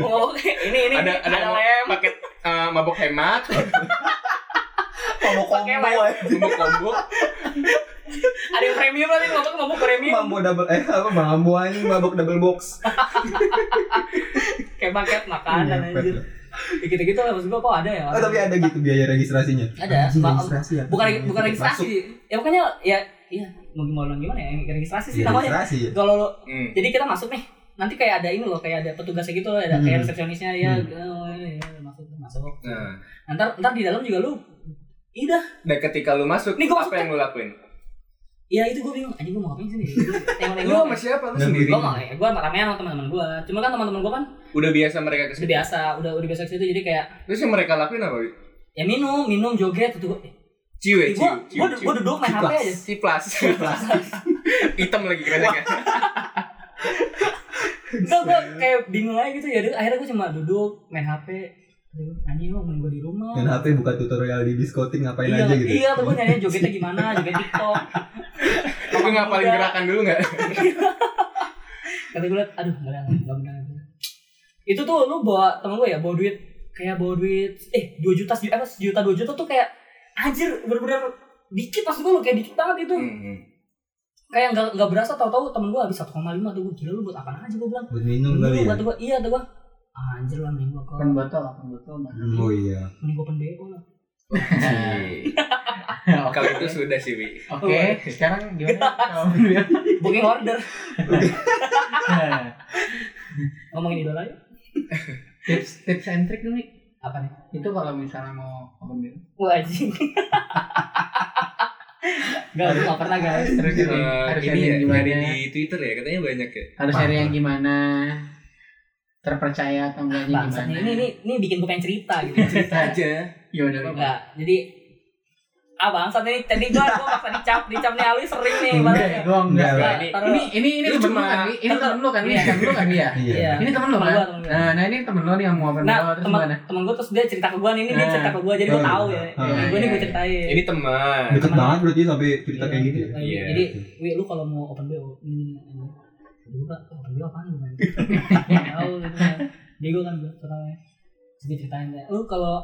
Speaker 3: mau mabok yang- ini ini
Speaker 2: Ada ada,
Speaker 3: lem
Speaker 2: paket eh, mabok
Speaker 3: <laughs>
Speaker 2: hemat,
Speaker 5: Mau
Speaker 3: Pakai
Speaker 5: kombo
Speaker 3: lem.
Speaker 2: <laughs>
Speaker 5: ya.
Speaker 2: mabok combo.
Speaker 3: ada yang premium nanti mabok mabok premium
Speaker 4: mambo double eh apa mambo anjing mabok double box.
Speaker 3: kayak paket makanan anjir Ya gitu-gitu lah maksud gua kok ada ya
Speaker 4: Iya, Oh, tapi ada gitu biaya registrasinya.
Speaker 3: Ada,
Speaker 4: Anjing,
Speaker 3: ma-
Speaker 4: registrasi ya.
Speaker 3: bukan bukan registrasi
Speaker 4: Masuk.
Speaker 3: ya makanya ya iya mau gimana gimana ya registrasi sih
Speaker 4: Iya,
Speaker 3: namanya
Speaker 4: registrasi ya.
Speaker 3: kalau lu-
Speaker 2: Hmm.
Speaker 3: jadi kita masuk nih nanti kayak ada ini loh kayak ada petugasnya gitu loh, ada kayak
Speaker 4: Hmm.
Speaker 3: resepsionisnya ya,
Speaker 4: Hmm.
Speaker 3: eh, ya masuk masuk
Speaker 2: Nah,
Speaker 3: Nah, ntar ntar di dalam juga lu iya dah
Speaker 2: dan ketika lu masuk,
Speaker 3: Nih, gua
Speaker 2: apa
Speaker 3: masuk.
Speaker 2: yang lu lakuin?
Speaker 3: ya itu gue bingung anjing gue mau ngapain
Speaker 4: <laughs>
Speaker 3: sini
Speaker 2: Lu sama siapa? Lu
Speaker 4: Dan
Speaker 2: sendiri.
Speaker 3: gue mau ya gue ramean sama teman-teman gue cuma kan teman-teman gue kan
Speaker 2: Udah biasa mereka
Speaker 3: udah
Speaker 2: kesini.
Speaker 3: biasa udah udah biasa ke situ jadi kayak
Speaker 2: Terus yang mereka lakuin apa?
Speaker 3: ya minum minum joget gitu. Eh, itu
Speaker 2: Ciu
Speaker 4: Eh,
Speaker 2: ya,
Speaker 3: gue
Speaker 2: ciu, ciu,
Speaker 3: gue
Speaker 2: ciu.
Speaker 3: gue duduk main hp
Speaker 4: Ciplas.
Speaker 3: aja <laughs>
Speaker 2: Ciplas. Hitam lagi kerennya.
Speaker 3: Enggak, gue kayak bingung aja gitu ya Jadi akhirnya gue cuma duduk main hp Aduh, anjing lu temen gue di rumah
Speaker 4: Dan HP buka tutorial di diskotik ngapain
Speaker 3: Oh. iya,
Speaker 4: aja gitu.
Speaker 3: Iya, terus gue nyari jogetnya gimana, joget TikTok.
Speaker 2: Lu ngapalin
Speaker 3: Enggak.
Speaker 2: gerakan dulu nggak?
Speaker 3: Kata gue liat, aduh nggak ada, nggak benar. Itu tuh lu bawa temen gue ya, bawa duit kayak bawa duit eh 2 juta sejuta apa sejuta 2 juta tuh kayak anjir bener-bener dikit pas gue lu kayak dikit banget itu
Speaker 2: Hmm.
Speaker 3: kayak nggak nggak berasa tau-tau temen gue habis 1,5 tuh gue gila lu buat apa aja gue bilang
Speaker 4: Buat minum
Speaker 3: Minum,
Speaker 4: kali ya.
Speaker 3: kata gue iya kata gue anjir lah mending gue ke
Speaker 5: Kan botol, kan botol. Bang.
Speaker 4: Hmm, Oh iya.
Speaker 3: mending gue pendeo lah
Speaker 5: Hmm. <laughs>
Speaker 2: Kalau itu sudah sih, Wi.
Speaker 5: Oke, sekarang <laughs> gimana? Kalau menurut-
Speaker 3: booking order ngomongin idola yuk
Speaker 5: tips tips and trick dulu nih.
Speaker 3: apa nih
Speaker 5: Itu kalau misalnya mau open bio.
Speaker 3: Wah anjing. Gak, gue gak pernah guys.
Speaker 5: Harus
Speaker 2: Eh,
Speaker 5: nyari, harus nyari
Speaker 2: ini ya,
Speaker 5: yang gimana?
Speaker 2: nyari di Twitter ya, katanya banyak ya.
Speaker 5: Harus nyari yang gimana? Terpercaya atau enggaknya
Speaker 3: Bangsat nih,
Speaker 5: gimana?
Speaker 3: ini, ini, ini bikin gue pengen cerita gitu.
Speaker 5: cerita
Speaker 2: Aja.
Speaker 5: Gimana? Bang?
Speaker 3: Enggak, jadi Ah bangsat nih, tadi gue gue paksa dicap, dicap nih Ali sering nih
Speaker 5: Enggak
Speaker 3: makanya.
Speaker 5: dong, enggak.
Speaker 4: Enggak,
Speaker 5: enggak.
Speaker 2: Wi.
Speaker 3: Taruh.
Speaker 5: Iya. Ini ini ini
Speaker 2: Ini
Speaker 5: temen lu
Speaker 2: cuma-
Speaker 5: kan? Wi? Ini
Speaker 3: Taruh.
Speaker 5: temen lu kan? Wi? Temen lu kan? Wi, ya?
Speaker 4: Iya.
Speaker 5: Ini temen lu
Speaker 3: Temen gua,
Speaker 5: kan?
Speaker 3: temen gua.
Speaker 5: Nah, nah ini temen lu nih yang mau open
Speaker 3: Nah,
Speaker 5: bio terus
Speaker 3: temen,
Speaker 5: gimana?
Speaker 3: temen gue terus dia cerita ke gue nih, ini dia cerita ke gue, jadi gue
Speaker 4: Nah.
Speaker 3: tahu ya. gue
Speaker 4: Ah.
Speaker 3: nih
Speaker 5: Iya,
Speaker 3: gue
Speaker 5: iya.
Speaker 3: ceritain.
Speaker 2: Ini teman.
Speaker 4: Deket
Speaker 3: Teman.
Speaker 4: banget berarti sampai cerita
Speaker 3: Iya,
Speaker 4: kayak gitu ya.
Speaker 3: eh,
Speaker 2: Iya.
Speaker 3: Jadi, wi lu kalau mau open BO, ini ini. Jadi gua Pak, open BO apaan
Speaker 4: <laughs>
Speaker 3: gimana? Tahu gitu kan. Bego kan gua soalnya. Jadi ceritain deh. Lu kalau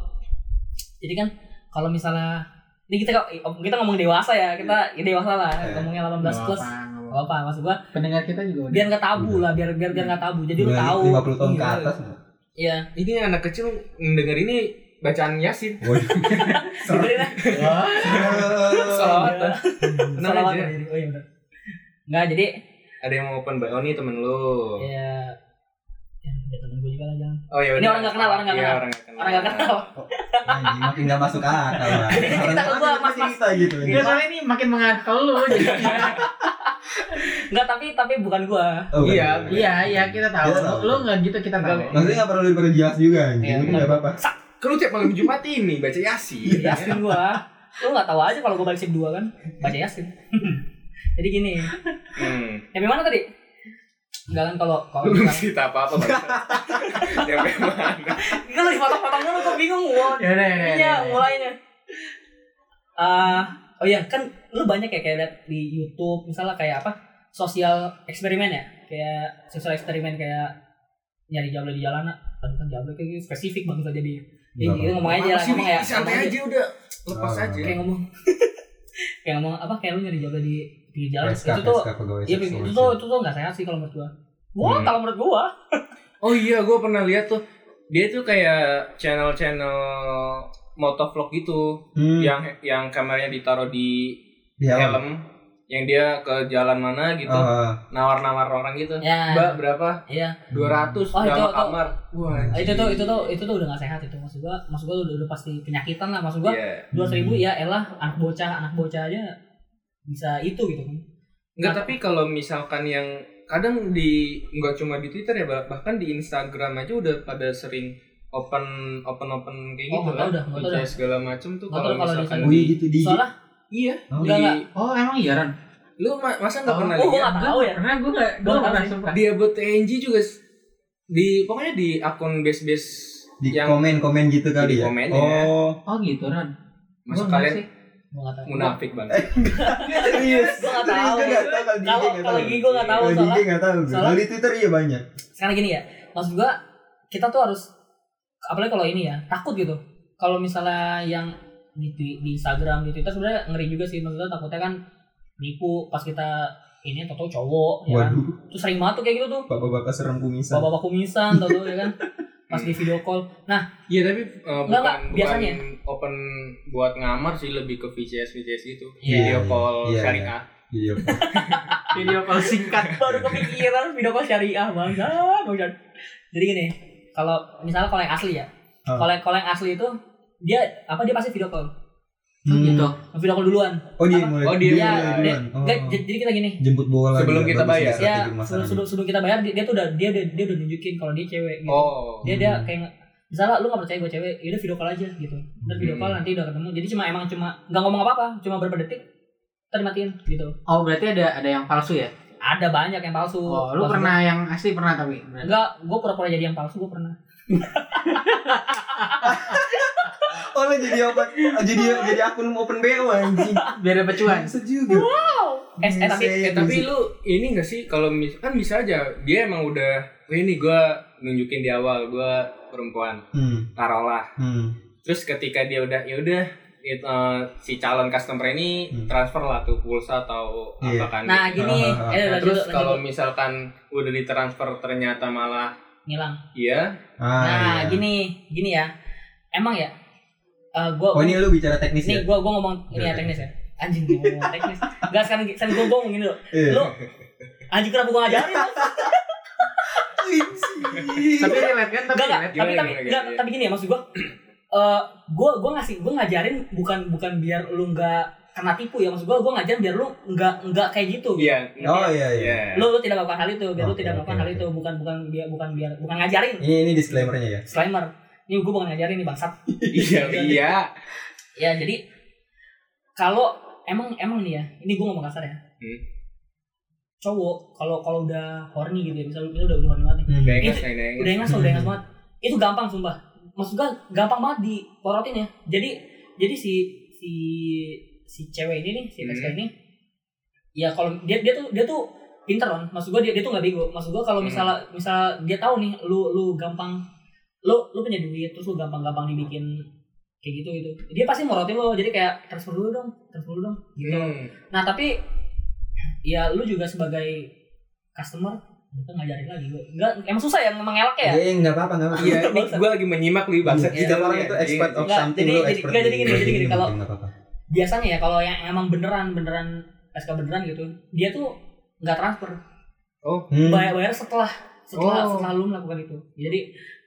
Speaker 3: jadi kan kalau misalnya ini kita kita ngomong dewasa ya, kita ya dewasa lah,
Speaker 4: Iya.
Speaker 3: ngomongnya 18
Speaker 5: Nggak
Speaker 3: plus.
Speaker 5: apa-apa, nggak
Speaker 3: Gak
Speaker 5: apa-apa.
Speaker 3: apa, maksud gua
Speaker 5: Pendengar kita juga udah.
Speaker 3: biar nggak tabu lah, biar biar biar
Speaker 4: Iya.
Speaker 3: nggak tabu. Jadi lu
Speaker 4: Udah
Speaker 3: tahu.
Speaker 4: 50 tahun ke
Speaker 2: Iya.
Speaker 4: atas.
Speaker 3: <laughs>
Speaker 4: <laughs>
Speaker 3: Iya.
Speaker 2: Ini anak kecil mendengar ini bacaan Yasin.
Speaker 4: Waduh.
Speaker 3: Jadi nah,
Speaker 5: Wah.
Speaker 3: Iya. <laughs>
Speaker 2: Salawatan. Tenang
Speaker 3: salah
Speaker 2: aja.
Speaker 3: jadi. Oh iya benar. Enggak, jadi
Speaker 2: Ada yang mau open bio nih temen lu.
Speaker 3: ya ya udah temen gue juga lah jangan.
Speaker 2: Oh ya
Speaker 3: Ini orang nggak kenal, orang nggak kenal.
Speaker 2: orang nggak kenal.
Speaker 3: Orang gak kenal.
Speaker 4: Iya. Anjing, makin gak masuk akal
Speaker 3: <laughs>
Speaker 4: lah.
Speaker 3: cerita ke gua, Iya. Mas, Mas.
Speaker 4: cerita gitu.
Speaker 5: Enggak, Iya, soalnya ini makin mengarah ke lu.
Speaker 3: <laughs>
Speaker 5: jadinya.
Speaker 3: Enggak, tapi tapi bukan gua.
Speaker 4: Oh, bukan.
Speaker 2: Iya,
Speaker 5: Iya, iya kita tahu.
Speaker 4: Kita
Speaker 5: Lu,
Speaker 4: tahu.
Speaker 5: lu enggak gitu kita tahu.
Speaker 4: Maksudnya gak perlu diperjelas juga
Speaker 3: Iya,
Speaker 4: anjing. Ini
Speaker 3: benar.
Speaker 4: gak apa-apa.
Speaker 2: Kan lu tiap malam Jumat ini baca Yasin. ya?
Speaker 3: Yasin gua. Lu nggak tahu aja kalau gua balik shift 2 kan. Baca Yasin. <laughs> Jadi gini,
Speaker 2: Hmm.
Speaker 3: yang mana tadi? Enggak kan kalau kalau
Speaker 2: Lu belum
Speaker 3: misalnya-
Speaker 2: cerita apa-apa. Ya, Bang. Sampai mana?
Speaker 3: <laughs> Kan lu dipotong-potong dulu gua bingung gua.
Speaker 5: Ya udah, ya udah, ya
Speaker 3: Iya,
Speaker 5: udah.
Speaker 3: mulainya. Ah, oh iya kan lu banyak ya kayak liat di YouTube misalnya kayak apa? Sosial eksperimen ya. Kayak sosial eksperimen kayak nyari jabla di jalanan. Aduh kan jabla kayak gitu, spesifik banget jadi. Ya,
Speaker 4: Nggak
Speaker 3: gitu, ngomong aja
Speaker 2: Apa
Speaker 3: lah,
Speaker 2: sih,
Speaker 3: ngomong
Speaker 2: Wi?
Speaker 3: ya.
Speaker 2: Santai
Speaker 3: ngomong
Speaker 2: aja udah. Lepas
Speaker 4: Ah.
Speaker 2: aja.
Speaker 3: kayak ngomong <laughs> kayak ngomong apa kayak lu nyari jaga di di jalan
Speaker 4: PSK,
Speaker 3: itu tuh
Speaker 4: PSK pegawai
Speaker 3: iya
Speaker 4: seksual.
Speaker 3: itu tuh itu tuh nggak sehat sih kalau menurut gua Wah,
Speaker 2: Hmm.
Speaker 3: kalau menurut gua
Speaker 2: Oh iya, gue pernah lihat tuh. Dia tuh kayak channel-channel motovlog gitu,
Speaker 4: Hmm,
Speaker 2: yang yang kameranya ditaruh di
Speaker 4: iya.
Speaker 2: helm, yang dia ke jalan mana gitu,
Speaker 4: Ah,
Speaker 2: nawar-nawar orang gitu.
Speaker 3: ya
Speaker 2: Mbak berapa?
Speaker 3: iya
Speaker 2: 200
Speaker 3: Oh, itu-
Speaker 2: nama
Speaker 3: itu-
Speaker 2: kamar. Wah.
Speaker 4: Ah,
Speaker 3: itu tuh itu tuh itu tuh udah nggak sehat itu maksud gua maksud gua udah, udah pasti penyakitan lah maksud gua
Speaker 2: Iya.
Speaker 3: dua ribu ya elah anak bocah anak bocah aja bisa itu gitu kan
Speaker 2: Enggak, tapi kalau misalkan yang kadang di enggak cuma di Twitter ya, bah- bahkan di Instagram aja udah pada sering open open open kayak
Speaker 3: Oh,
Speaker 2: gitu kan.
Speaker 3: nggak tahu dah, nggak tahu
Speaker 2: Udah
Speaker 3: dah.
Speaker 2: segala macam tuh
Speaker 3: Nggak
Speaker 2: kalau
Speaker 4: gitu.
Speaker 3: tahu kalau di
Speaker 2: misalkan
Speaker 4: Wih gitu Oh, iya, di
Speaker 3: soalnya
Speaker 2: Iya,
Speaker 4: Oh,
Speaker 2: di
Speaker 3: nggak.
Speaker 5: Oh, emang iya Ran?
Speaker 2: Lu ma- masa nggak
Speaker 5: Oh,
Speaker 2: pernah
Speaker 3: Oh, gue
Speaker 2: lihat?
Speaker 3: nggak tahu ya.
Speaker 5: Karena gue gak, gue
Speaker 3: Gua
Speaker 5: gak
Speaker 3: tahu
Speaker 5: pernah
Speaker 3: sih.
Speaker 5: sumpah.
Speaker 2: Dia buat TNG juga s- di pokoknya di akun base-base
Speaker 4: Di
Speaker 2: yang
Speaker 4: komen-komen gitu kali
Speaker 2: Di
Speaker 4: ya.
Speaker 2: komen, ya.
Speaker 3: <laughs>
Speaker 4: oh,
Speaker 5: Oh gitu Ron.
Speaker 2: Masa
Speaker 3: Oh,
Speaker 5: Gua
Speaker 2: kalian
Speaker 5: enggak sih.
Speaker 3: Gue nggak tahu.
Speaker 2: munafik
Speaker 4: Eh.
Speaker 2: banget.
Speaker 4: serius.
Speaker 3: Gua nggak
Speaker 4: Serius,
Speaker 3: tahu.
Speaker 4: gua nggak tahu kalau
Speaker 3: Kalau- Iya, kalau
Speaker 4: di IG nggak tahu. Iya,
Speaker 3: di IG gua nggak tahu,
Speaker 4: Kalau di IG
Speaker 3: soalnya-
Speaker 4: nggak tahu. gua.
Speaker 3: soalnya-
Speaker 4: Kalau di Twitter iya banyak.
Speaker 3: Sekarang gini ya, maksud gue kita tuh harus apalagi kalau ini ya takut gitu. Kalau misalnya yang di, Twi- di Instagram di Twitter sebenarnya ngeri juga sih maksudnya takutnya kan nipu pas kita ini atau cowok ya kan.
Speaker 4: Waduh,
Speaker 3: Tuh sering banget tuh kayak gitu tuh.
Speaker 4: bapak-bapak serem kumisan.
Speaker 3: Bapak-bapak kumisan tau ya <laughs> kan. Pas di video call. Nah,
Speaker 2: Iya tapi eh, bukan,
Speaker 3: nggak, biasanya.
Speaker 2: bukan open buat ngamar sih lebih ke VCS VCS gitu.
Speaker 4: Iya,
Speaker 2: Video call
Speaker 4: iya,
Speaker 2: syariah.
Speaker 4: Iya.
Speaker 5: Video call singkat.
Speaker 3: baru kepikiran video call syariah Ya, bangga, bangga. Jadi gini, kalau misalnya kalau yang asli ya,
Speaker 4: Ah.
Speaker 3: kalau kalau yang asli itu dia apa dia pasti video call, Hmm.
Speaker 5: Oh gitu.
Speaker 3: video call duluan.
Speaker 4: Hmm. Oh dia
Speaker 3: Apa?
Speaker 4: mulai.
Speaker 2: Oh, dia
Speaker 4: mulai
Speaker 2: mulai.
Speaker 4: duluan. Oh.
Speaker 3: Nggak, j- jadi kita gini,
Speaker 4: Jemput bola.
Speaker 2: Sebelum
Speaker 4: gitu.
Speaker 2: kita
Speaker 4: Bagus
Speaker 2: bayar.
Speaker 4: nih
Speaker 3: ya
Speaker 4: strategi pemasaran.
Speaker 3: sebelum, sebelum, sebelum kita bayar dia, dia tuh udah dia, dia dia udah nunjukin kalau dia cewek gitu.
Speaker 2: Oh.
Speaker 3: Dia dia
Speaker 4: Hmm.
Speaker 3: kayak nge- misalnya lu gak percaya gue cewek, yaudah video call aja gitu. Ntar video
Speaker 2: Hmm.
Speaker 3: call nanti udah ketemu. Jadi cuma emang cuma nggak ngomong apa-apa, cuma berapa detik ntar dimatiin gitu.
Speaker 5: Oh berarti ada ada yang palsu ya?
Speaker 3: Ada banyak yang palsu.
Speaker 5: Oh lu
Speaker 3: Maksudnya-
Speaker 5: pernah yang asli pernah tapi. berarti.
Speaker 3: Enggak, gue pura-pura jadi yang palsu, gue pernah.
Speaker 4: Oh lo jadi apa? Jadi jadi akun open BO anjing.
Speaker 5: Biar ada
Speaker 3: Iya.
Speaker 5: cuan.
Speaker 4: Bangsa juga.
Speaker 3: Eh, eh, tapi
Speaker 2: Eh, tapi lu ini gak sih kalau mis kan bisa aja dia emang udah "Oh, ini gua nunjukin di awal gua perempuan
Speaker 4: Hmm.
Speaker 2: taruhlah
Speaker 4: Hmm.
Speaker 2: terus ketika dia udah ya udah it- eh, si calon customer ini
Speaker 4: Hmm.
Speaker 2: transfer lah tuh pulsa atau
Speaker 4: Iya.
Speaker 2: apa kan
Speaker 3: Nah,
Speaker 2: gitu.
Speaker 3: gini,
Speaker 4: Ah, ah, ah.
Speaker 3: eh,
Speaker 2: Nah,
Speaker 3: lanjut,
Speaker 2: terus
Speaker 3: lanjut.
Speaker 2: kalau misalkan udah ditransfer ternyata malah
Speaker 3: ngilang.
Speaker 2: iya
Speaker 4: Ah,
Speaker 3: Nah,
Speaker 4: iya.
Speaker 3: gini, gini ya. Emang ya, eh gue
Speaker 4: Oh ini lu bicara teknis ya?
Speaker 3: nih gue gue ngomong ini ya teknis ya. Anjing gue ngomong teknis. Enggak sekarang sekarang gue ngomong gini loh.
Speaker 4: Iya.
Speaker 3: Lu anjing kenapa gue
Speaker 2: <laughs>
Speaker 3: ngajarin? lu?
Speaker 5: Tapi relate kan tapi
Speaker 3: Enggak
Speaker 2: Gimana,
Speaker 3: enggak. Tapi
Speaker 5: relate.
Speaker 3: tapi
Speaker 2: gimana,
Speaker 3: enggak,
Speaker 2: gimana?
Speaker 3: tapi gini ya maksud gue. <clears throat> Eh gue gue ngasih gue ngajarin bukan bukan biar lu enggak kena tipu ya maksud gue gue ngajarin biar lu enggak enggak kayak gitu.
Speaker 2: iya
Speaker 4: <laughs> Oh iya iya.
Speaker 2: iya
Speaker 3: Lu, lu tidak melakukan hal itu, biar lu
Speaker 4: Oke,
Speaker 3: tidak melakukan
Speaker 4: oke,
Speaker 3: hal
Speaker 4: oke.
Speaker 3: itu, bukan bukan biar bukan biar bukan ngajarin.
Speaker 4: Ini ini disclaimernya ya.
Speaker 3: disclaimer ini gue bukan ngajarin nih bangsat
Speaker 2: <laughs> iya iya
Speaker 3: ya jadi kalau emang emang nih ya ini gue ngomong kasar ya
Speaker 2: Hmm.
Speaker 3: cowok kalau kalau udah horny gitu ya misalnya udah udah horny banget nih
Speaker 4: Hmm.
Speaker 2: Dengas, dengas.
Speaker 3: udah ngas udah ngas
Speaker 2: Hmm.
Speaker 3: banget itu gampang sumpah maksud gue gampang banget diporotin ya jadi jadi si si si cewek ini nih si
Speaker 2: Hmm.
Speaker 3: hmm. ini ya kalau dia dia tuh dia tuh pinter kan maksud gue dia dia tuh nggak bego maksud gue kalau
Speaker 2: Hmm.
Speaker 3: misalnya misalnya dia tahu nih lu lu gampang lu lu punya duit terus lu gampang-gampang dibikin kayak gitu gitu dia pasti morotin lo jadi kayak transfer dulu dong transfer dulu dong gitu
Speaker 2: Hmm.
Speaker 3: Nah tapi ya lu juga sebagai customer itu ngajarin lagi gue. Enggak, emang susah ya mengelak ya.
Speaker 4: Iya nggak apa-apa nggak apa-apa.
Speaker 2: iya ini gue lagi menyimak nih Iya, bahasa
Speaker 4: Kita Iya, orang itu expert of
Speaker 3: ya. Nggak,
Speaker 4: something
Speaker 3: jadi-
Speaker 4: lu
Speaker 3: jadi-
Speaker 4: expert.
Speaker 3: nggak,
Speaker 4: di-
Speaker 3: jadi gini, jadi gini,
Speaker 4: mungkin
Speaker 3: kalau-
Speaker 4: nggak apa-apa.
Speaker 3: Biasanya ya kalau yang emang beneran beneran SK beneran gitu, dia tuh nggak transfer.
Speaker 4: Hmm.
Speaker 3: Bayar bayar setelah setelah
Speaker 2: Oh.
Speaker 3: setelah lu melakukan itu. Jadi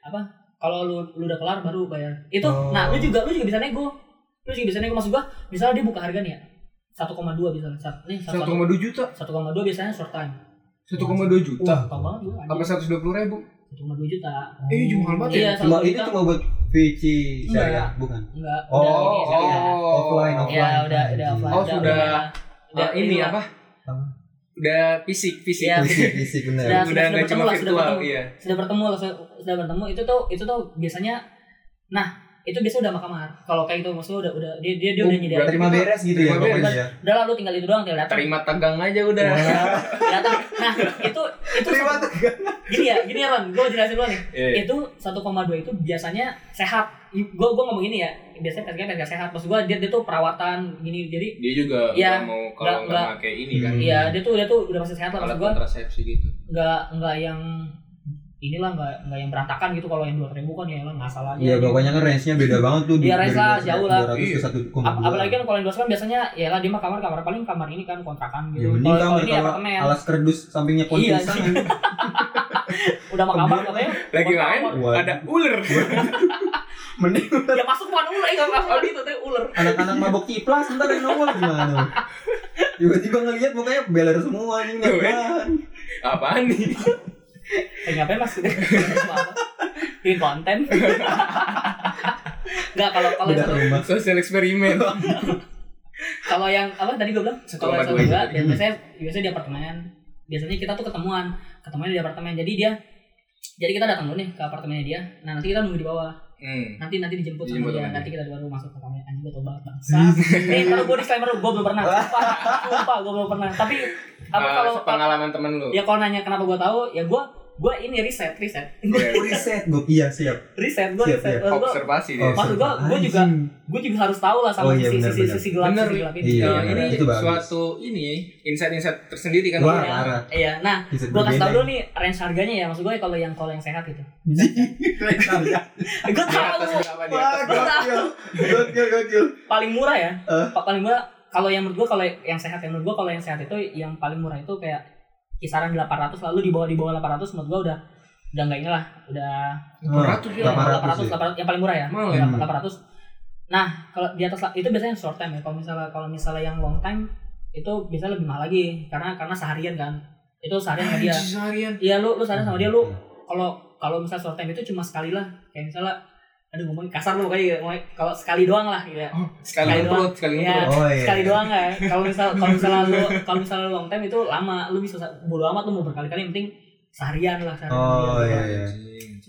Speaker 3: apa? Kalau lu lu udah kelar baru bayar. Itu.
Speaker 4: Oh.
Speaker 3: Nah, lu juga lu juga bisa nego. Lu juga bisa nego maksud gua. Misalnya dia buka harga nih ya. 1,2 misalnya. Sat- Nih 1,2
Speaker 2: 1,2 juta
Speaker 3: 1,2 biasanya short time.
Speaker 2: 1,2
Speaker 3: Wah,
Speaker 2: juta
Speaker 3: tau banget gua.
Speaker 2: apa
Speaker 3: anjing.
Speaker 2: 120 ribu
Speaker 3: 1,2 juta.
Speaker 2: Eh, cuma mahal banget ya.
Speaker 3: Iya,
Speaker 4: Cuma
Speaker 3: 1,2
Speaker 4: itu
Speaker 3: juta.
Speaker 4: cuma buat VC saya,
Speaker 3: Enggak.
Speaker 4: bukan?
Speaker 3: Enggak,
Speaker 4: Oh,
Speaker 3: udah ini saya udah.
Speaker 4: offline, offline.
Speaker 3: Ya udah udah
Speaker 4: Anjing.
Speaker 3: offline.
Speaker 2: Oh,
Speaker 3: udah,
Speaker 2: sudah.
Speaker 3: udah, udah,
Speaker 2: Ah, Oh. ini
Speaker 3: udah,
Speaker 2: apa?
Speaker 4: Apa?
Speaker 2: Udah fisik, fisik.
Speaker 3: Iya.
Speaker 4: Visi benar.
Speaker 3: Sudah-
Speaker 2: udah
Speaker 3: sudah
Speaker 2: nggak
Speaker 3: bertemu
Speaker 2: cuma
Speaker 3: lah, sudah
Speaker 2: virtual,
Speaker 3: bertemu.
Speaker 2: iya.
Speaker 3: Sudah bertemu lah, sudah, sudah bertemu itu tuh itu tuh biasanya nah, itu biasanya udah sama kamar. Kalau kayak itu maksudnya udah udah dia dia, dia
Speaker 2: Oh,
Speaker 3: udah nyediain.
Speaker 2: berarti-
Speaker 4: Terima beres gitu ya
Speaker 2: Terima
Speaker 4: pokoknya
Speaker 2: beres.
Speaker 4: ya.
Speaker 3: Udah lah lu tinggal itu doang tinggal datang.
Speaker 2: Terima tegang aja udah.
Speaker 4: Iya.
Speaker 3: Datang. Nah, itu itu
Speaker 4: Terima
Speaker 3: satu-
Speaker 4: tegang.
Speaker 3: gini ya, gini ya Ron, gua jelasin dulu nih.
Speaker 2: Iya.
Speaker 3: Itu 1,2 itu biasanya sehat. Gua gua ngomong ini ya, biasanya pekerja pekerja sehat. Maksud gua dia dia tuh perawatan gini. Jadi
Speaker 2: Dia juga
Speaker 3: Iya.
Speaker 2: nggak mau kalau
Speaker 3: Nggak-
Speaker 2: nggak
Speaker 3: nggak.
Speaker 2: pakai ini kan.
Speaker 4: Hmm.
Speaker 3: Iya, dia tuh dia tuh udah masih sehat lah
Speaker 2: Alat
Speaker 3: maksud gua.
Speaker 2: kontrasepsi gitu.
Speaker 3: nggak nggak yang inilah nggak nggak yang berantakan gitu kalau yang dua ribu kan ya lah nggak salah aja.
Speaker 4: Iya pokoknya kan range-nya beda banget tuh.
Speaker 3: Iya, range lah, jauh lah.
Speaker 4: 200 ke
Speaker 2: Iya.
Speaker 4: 1,2.
Speaker 3: Ap- apalagi kan kalau yang dua kan biasanya ya lah dia mah kamar kamar paling kamar ini kan kontrakan
Speaker 4: Ya
Speaker 3: gitu
Speaker 4: mending
Speaker 3: kalau
Speaker 4: kamu
Speaker 3: kalau ini
Speaker 4: kalau
Speaker 3: apartemen
Speaker 4: alas kerdus sampingnya kunci
Speaker 3: Iya, <laughs>
Speaker 4: sana.
Speaker 3: sih. udah mah kamar katanya
Speaker 2: Lagi
Speaker 3: Buat
Speaker 2: main
Speaker 4: Waduh.
Speaker 2: ada ular.
Speaker 4: Mending
Speaker 3: ya masuk bukan ular ya masuk tadi itu tuh ular
Speaker 4: anak-anak mabok kiplas ntar yang nongol gimana? Tiba-tiba ngelihat mukanya beler semua nih
Speaker 2: Tuh,
Speaker 4: nggak
Speaker 2: kan? <laughs> Apaan nih?
Speaker 3: eh ngapain
Speaker 4: <laughs>
Speaker 3: mas Apa? bikin konten <laughs> nggak kalau kalau
Speaker 4: Udah
Speaker 3: yang
Speaker 4: ke
Speaker 3: satu
Speaker 4: rumah.
Speaker 2: Sosial eksperimen.
Speaker 3: kalau yang apa tadi gue bilang kalau
Speaker 6: Sekolah
Speaker 3: yang
Speaker 6: dua
Speaker 3: dua
Speaker 6: itu
Speaker 3: dan biasanya biasanya di apartemen biasanya kita tuh ketemuan ketemuan di apartemen jadi dia jadi kita datang dulu nih ke apartemennya dia nah nanti kita nunggu di bawah
Speaker 2: Hmm.
Speaker 3: nanti nanti dijemput sama
Speaker 2: Dijemput
Speaker 3: dia
Speaker 2: sama dia.
Speaker 3: nanti kita baru masuk ke kamar anjing gue tobat bangsa eh taruh gue disclaimer gue belum pernah sumpah sumpah gue belum pernah tapi apa
Speaker 2: Eh,
Speaker 3: kalau
Speaker 2: pengalaman temen lu?
Speaker 3: ya kalau nanya kenapa gue tahu ya gue gue ini riset riset
Speaker 2: Iya.
Speaker 3: <laughs>
Speaker 4: Riset gue iya siap.
Speaker 3: riset gue
Speaker 4: Siap,
Speaker 3: riset
Speaker 4: siap.
Speaker 3: Eh, gua-
Speaker 2: Observasi dia.
Speaker 3: Maksud gua- gua juga-
Speaker 4: Anjing.
Speaker 3: gue juga harus tahu lah sama
Speaker 4: Oh, iya,
Speaker 3: sisi,
Speaker 4: benar,
Speaker 3: sisi,
Speaker 4: benar.
Speaker 3: sisi gelap
Speaker 2: Bener,
Speaker 3: sisi
Speaker 2: Wi.
Speaker 3: gelap ini.
Speaker 4: Iya,
Speaker 2: Ya,
Speaker 4: benar.
Speaker 2: ini
Speaker 4: itu bagus.
Speaker 2: suatu ini insight-insight tersendiri kan.
Speaker 4: Wah,
Speaker 2: Iya.
Speaker 4: parah.
Speaker 3: Iya, nah
Speaker 4: Riset
Speaker 3: gue kasih tau
Speaker 4: berbeda.
Speaker 3: dulu nih range harganya ya maksud gue kalau yang kalau yang sehat gitu. gue
Speaker 4: Iya,
Speaker 2: Di atas
Speaker 3: tahu
Speaker 2: berapa di
Speaker 4: Wah,
Speaker 2: atas berapa?
Speaker 4: gokil. Gokil, gokil.
Speaker 3: paling murah ya.
Speaker 4: Eh.
Speaker 3: Pa- Paling murah kalau yang menurut gue kalau yang sehat yang menurut gue kalau yang sehat itu yang paling murah itu kayak kisaran 800 lalu di bawah di bawah 800 menurut gue udah udah enggak inilah udah
Speaker 4: Wah,
Speaker 2: 800 ya.
Speaker 4: 800 ya.
Speaker 3: 800 yang paling murah ya.
Speaker 2: Mahal
Speaker 4: ya?
Speaker 3: 800. Nah, kalau di atas la- itu biasanya short time ya. Kalau misalnya kalau misalnya yang long time itu biasanya lebih mahal lagi karena karena seharian kan. Itu seharian sama dia.
Speaker 2: Anjing, seharian.
Speaker 3: Iya lu lu seharian sama dia lu kalau kalau misalnya short time itu cuma sekali lah kayak misalnya aduh ngomong kasar lu kayak ngomong- kalau sekali doang lah gitu ya.
Speaker 2: Oh, sekali
Speaker 3: Sekali
Speaker 2: ngumpul, sekali
Speaker 3: Iya.
Speaker 2: ngumpul.
Speaker 4: Oh iya.
Speaker 3: sekali doang ya kalau misal kalau misalnya lu kalau misalnya lu long time itu lama lu bisa bodo amat lu mau berkali-kali yang penting seharian lah seharian sama
Speaker 4: Oh
Speaker 3: dia. gitu.
Speaker 4: iya iya.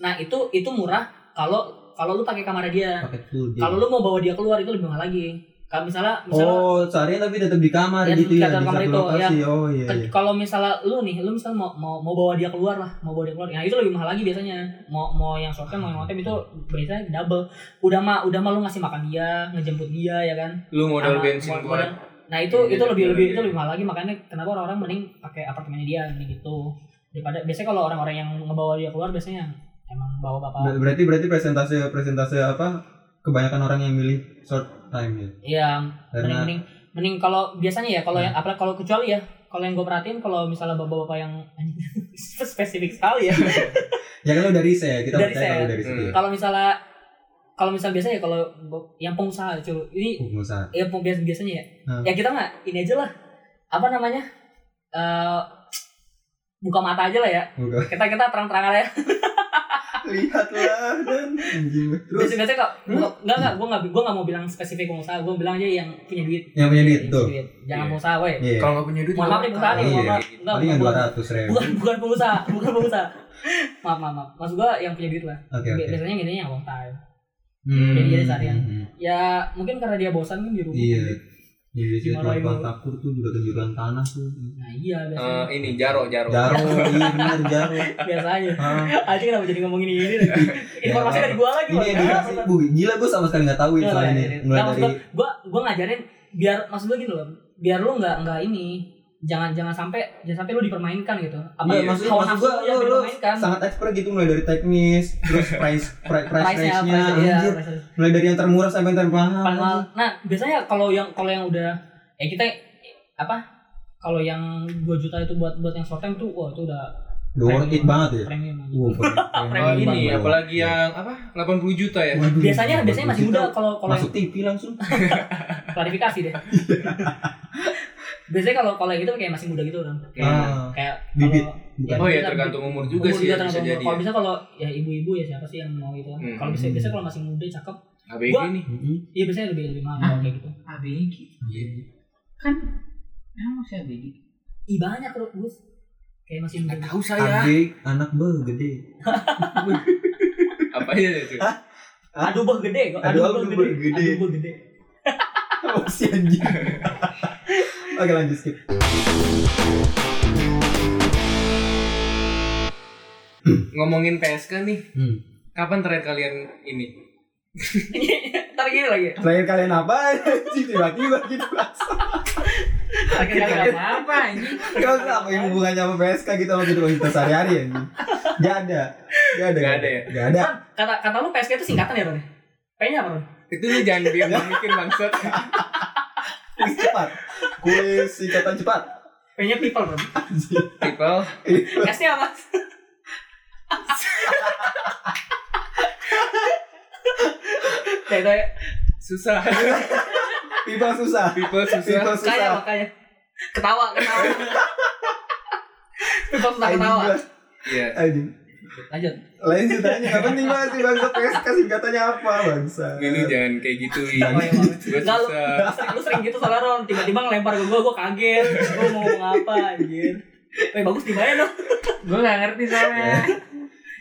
Speaker 3: nah itu itu murah kalau kalau lu pakai kamar dia
Speaker 4: Pakai full
Speaker 3: kalau lu mau bawa dia keluar itu lebih mahal lagi kalau misalnya misalnya
Speaker 4: Oh, seharian tapi tetap di kamar
Speaker 3: Ya,
Speaker 4: gitu ya,
Speaker 3: tetap
Speaker 4: di
Speaker 3: di kamar
Speaker 4: satu
Speaker 3: itu,
Speaker 4: lokasi. Oh iya
Speaker 3: Ke-
Speaker 4: iya.
Speaker 3: kalau misalnya lu nih lu misalnya mau, mau mau bawa dia keluar lah mau bawa dia keluar nah itu lebih mahal lagi biasanya mau mau yang short term mau yang long term itu biasanya double udah mah udah mah lu ngasih makan dia ngejemput dia ya kan
Speaker 2: Lu modal
Speaker 3: Sama-
Speaker 2: bensin
Speaker 3: modal-
Speaker 2: buat
Speaker 3: nah itu
Speaker 2: Iya,
Speaker 3: itu
Speaker 2: iya,
Speaker 3: lebih
Speaker 2: iya,
Speaker 3: lebih
Speaker 2: iya.
Speaker 3: itu lebih mahal lagi makanya kenapa orang-orang mending pakai apartemennya dia ini gitu daripada biasanya kalau orang-orang yang ngebawa dia keluar biasanya emang bawa bapak
Speaker 4: Ber- Berarti berarti presentase presentase apa? Kebanyakan orang yang milih short time ya.
Speaker 3: iya mending
Speaker 4: Karena
Speaker 3: mending mending kalau biasanya ya kalau yang apalagi kalau kecuali ya kalau yang gue perhatiin kalau misalnya bapak-bapak yang <laughs> spesifik sekali ya
Speaker 4: ya kan udah riset, kita
Speaker 3: Dari
Speaker 4: percaya kalau
Speaker 3: riset.
Speaker 4: dari riset.
Speaker 2: Hmm.
Speaker 4: ya.
Speaker 3: kalau misalnya kalau misalnya biasanya ya kalau yang pengusaha cuy ini
Speaker 4: Pengusaha.
Speaker 3: ya peng- bias- biasanya ya
Speaker 4: Hmm.
Speaker 3: ya kita nggak ini aja lah apa namanya Eh buka mata aja lah ya <laughs>
Speaker 4: Buka.
Speaker 3: kita kita terang-terangan aja
Speaker 4: Lihatlah dan anjing. Terus Hmm?
Speaker 3: biasanya biasanya kok nggak nggak nggak gue nggak gue nggak mau bilang spesifik pengusaha gue bilang aja yang punya duit
Speaker 4: yang punya duit
Speaker 3: Yang
Speaker 4: tuh.
Speaker 3: punya duit. jangan
Speaker 2: Iya.
Speaker 3: pengusaha weh
Speaker 4: Iya.
Speaker 2: kalau nggak punya duit Eh,
Speaker 3: mohon maaf nih pengusaha nih
Speaker 4: Iya.
Speaker 3: mohon maaf Nggak,
Speaker 4: Paling yang
Speaker 3: bukan-
Speaker 4: 200 ribu.
Speaker 3: bukan bukan pengusaha bukan pengusaha maaf maaf maaf maksud gue yang punya duit lah
Speaker 4: Oke
Speaker 3: Bi-
Speaker 4: Iya, oke.
Speaker 3: biasanya gini yang long time
Speaker 4: Hmm.
Speaker 3: Jadi jadi seharian.
Speaker 4: Hmm.
Speaker 3: ya mungkin karena dia bosan kan di rumah
Speaker 4: Iya. Iya, biasanya
Speaker 3: Gimana
Speaker 4: tukang
Speaker 3: ini?
Speaker 4: takur tuh juga tunjukan tanah tuh.
Speaker 3: nah iya biasanya
Speaker 2: Eh, ini jaro jaro.
Speaker 4: Jaro, iya benar jaro. <laughs>
Speaker 3: biasanya
Speaker 4: Ah.
Speaker 3: aja kenapa jadi ngomongin ini ini informasi
Speaker 4: Ya,
Speaker 3: dari gua lagi
Speaker 4: Ini yang dikasih,
Speaker 3: Iya,
Speaker 4: Bu. Gila gue sama sekali nggak tahu ini soal ini. Mulai
Speaker 3: Nah, maksud
Speaker 4: dari
Speaker 3: gua, gua, gua ngajarin biar maksud gua gini loh, biar lu nggak nggak ini, jangan jangan sampai jangan sampai lu dipermainkan gitu. Apa
Speaker 4: Iya,
Speaker 3: hawa
Speaker 4: maksud,
Speaker 3: nafsu
Speaker 4: maksud gua
Speaker 3: lu jangan
Speaker 4: lu, lu
Speaker 3: dipermainkan.
Speaker 4: sangat expert gitu mulai dari teknis, terus price
Speaker 3: Iya.
Speaker 4: price price
Speaker 3: Price-nya,
Speaker 4: range-nya,
Speaker 3: price-nya, iya,
Speaker 4: anjir.
Speaker 3: price-nya.
Speaker 4: mulai dari yang termurah sampai yang termahal.
Speaker 3: Paling mahal. Nah, biasanya kalau yang kalau yang udah eh kita apa? Kalau yang 2 juta itu buat buat yang short term tuh wah itu udah
Speaker 4: Udah worth it
Speaker 3: premium-
Speaker 4: banget ya.
Speaker 3: Premium. aja.
Speaker 4: Wow,
Speaker 2: Oh,
Speaker 3: Premium ya.
Speaker 4: banget,
Speaker 2: ini
Speaker 4: bro.
Speaker 2: apalagi yang apa 80 juta ya.
Speaker 4: Waduh,
Speaker 3: Biasanya biasanya
Speaker 4: 20
Speaker 3: masih
Speaker 4: juta.
Speaker 3: muda kalau kalau yang
Speaker 4: masuk TV langsung.
Speaker 3: klarifikasi
Speaker 4: <laughs>
Speaker 3: deh. biasanya kalau kalau yang gitu kayak masih muda gitu orang. Kayak
Speaker 4: Ah,
Speaker 3: kayak
Speaker 4: bibit.
Speaker 3: kalau-
Speaker 4: Bukan.
Speaker 2: Oh ya tergantung umur juga
Speaker 3: Umur
Speaker 2: sih ya,
Speaker 3: tergantung
Speaker 2: bisa
Speaker 3: umur.
Speaker 2: jadi.
Speaker 3: Kalau bisa kalau ya ibu-ibu ya siapa sih yang mau gitu.
Speaker 2: Hmm.
Speaker 3: Kalau bisa biasanya kalau masih muda cakep,
Speaker 2: ABG
Speaker 3: Gua-
Speaker 2: nih.
Speaker 4: Mm-mm.
Speaker 3: iya biasanya lebih lebih mahal
Speaker 5: Hah?
Speaker 3: kayak gitu.
Speaker 5: ABG Gitu kan emang masih <laughs> ABG
Speaker 3: Ih banyak loh Gus. Kayak masih muda. gitu.
Speaker 2: Nggak tahu
Speaker 3: iya.
Speaker 2: saya.
Speaker 4: Adik, anak be, gede.
Speaker 2: Apa ya itu?
Speaker 3: Aduh bah gede kok.
Speaker 4: Aduh,
Speaker 3: bah
Speaker 4: aduh,
Speaker 3: gede.
Speaker 4: bah gede.
Speaker 3: Aduh bah gede.
Speaker 4: Masih Oh, anjing. <laughs> Oke lanjut skip.
Speaker 2: Ngomongin PSK nih.
Speaker 4: Hmm.
Speaker 2: Kapan terakhir kalian ini?
Speaker 3: <laughs> Ntar gini lagi.
Speaker 4: Terakhir kalian apa? <laughs> Anjing, Tiba-tiba gitu langsung.
Speaker 3: Sakit kali
Speaker 5: kan.
Speaker 3: apa?
Speaker 5: apa ini
Speaker 4: Kau tahu apa yang hubungannya sama PSK gitu sama kita sehari-hari ya? Gak ada. Gak ada.
Speaker 2: Nggak ada ya?
Speaker 4: Gak ada.
Speaker 3: Kan, Kata kata lu PSK itu singkatan ya, Ron? P-nya apa, Ron?
Speaker 2: Itu lu jangan biar mikir bangsat.
Speaker 4: Kuis cepat. Kuis singkatan cepat.
Speaker 3: P-nya people,
Speaker 2: <laughs>
Speaker 3: Ron.
Speaker 2: People
Speaker 3: S-nya
Speaker 2: <laughs>
Speaker 3: apa? Ya, itu ya.
Speaker 2: susah.
Speaker 4: Pipa susah.
Speaker 2: People susah.
Speaker 4: Pipa
Speaker 3: Kaya
Speaker 4: susah.
Speaker 3: ya, makanya.
Speaker 2: <laughs>
Speaker 3: Ketawa, ketawa. People sudah
Speaker 4: Anjing
Speaker 3: ketawa.
Speaker 4: gua.
Speaker 2: Iya.
Speaker 4: Anjing.
Speaker 3: lanjut
Speaker 4: Lain ceritanya nggak penting banget sih bangsa PSK singkatannya apa bangsa?
Speaker 2: Melu jangan kayak gitu
Speaker 3: Oh, iya, maaf.
Speaker 2: Gue
Speaker 3: Nggak, lu-
Speaker 2: susah
Speaker 3: pasti lu sering gitu soalnya Ron tiba-tiba ngelempar ke gue gue kaget gue mau ngomong apa anjir Weh bagus gimana dong
Speaker 5: Gue gak ngerti soalnya.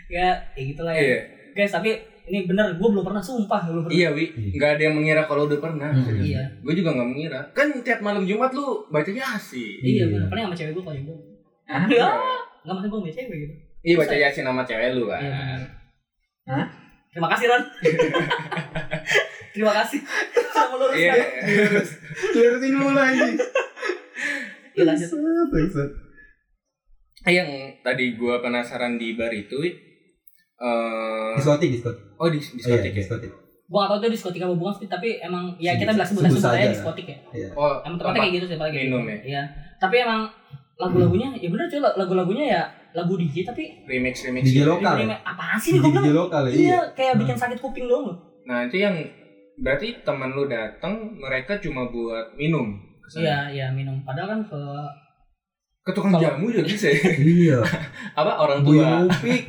Speaker 3: ya ya gitulah ya
Speaker 2: Iya
Speaker 3: guys tapi ini bener gue belum pernah sumpah belum pernah
Speaker 2: Iya Wi Gak ada yang mengira kalau udah pernah
Speaker 4: Hmm.
Speaker 3: iya
Speaker 2: Gue juga gak mengira Kan tiap malam Jumat lu bacanya Yasin
Speaker 3: iya
Speaker 4: Iya.
Speaker 3: bener pernah sama cewek gue kalau gue
Speaker 5: Hah?
Speaker 3: enggak enggak maksud gue sama cewek gitu
Speaker 2: Iya baca Yasin sama cewek lu
Speaker 3: Iya, bener.
Speaker 2: kan
Speaker 5: Hah?
Speaker 3: terima kasih Ron terima kasih sudah
Speaker 2: Iya
Speaker 3: meluruskan
Speaker 4: Clearin dulu lagi.
Speaker 3: Iya, lanjut.
Speaker 4: Bangsat.
Speaker 2: Iya, Yang tadi gue penasaran di bar itu Wi Eh,
Speaker 4: Diskotik, diskotik. Iya,
Speaker 2: Oh di diskotik ya
Speaker 4: diskotik.
Speaker 3: gue gak tau itu diskotik apa bukan sih, tapi emang ya kita bilang sebutan
Speaker 4: Sebut
Speaker 3: sebut
Speaker 4: saja.
Speaker 3: aja diskotik ya
Speaker 2: Oh
Speaker 3: emang tempatnya
Speaker 2: tempat
Speaker 3: kayak gitu sih paling kayak gitu.
Speaker 2: minum ya
Speaker 3: Iya. Tapi emang lagu-lagunya ya bener cuy lagu-lagunya ya lagu DJ tapi
Speaker 2: Remix remix gitu.
Speaker 4: DJ lokal.
Speaker 3: ini
Speaker 4: ya?
Speaker 3: apaan sih nih gue
Speaker 4: DJ
Speaker 3: bilang?
Speaker 4: lokal ya, iya.
Speaker 3: Iya, kayak bikin sakit kuping doang loh.
Speaker 2: Nah itu yang berarti teman lu datang mereka cuma buat minum. kesana.
Speaker 3: Iya, iya minum. Padahal kan ke
Speaker 2: Ke tukang
Speaker 3: Kalau-
Speaker 2: jamu juga bisa. ya.
Speaker 4: Iya.
Speaker 2: <laughs> Apa orang
Speaker 4: Buyu
Speaker 2: tua?
Speaker 4: ngupik.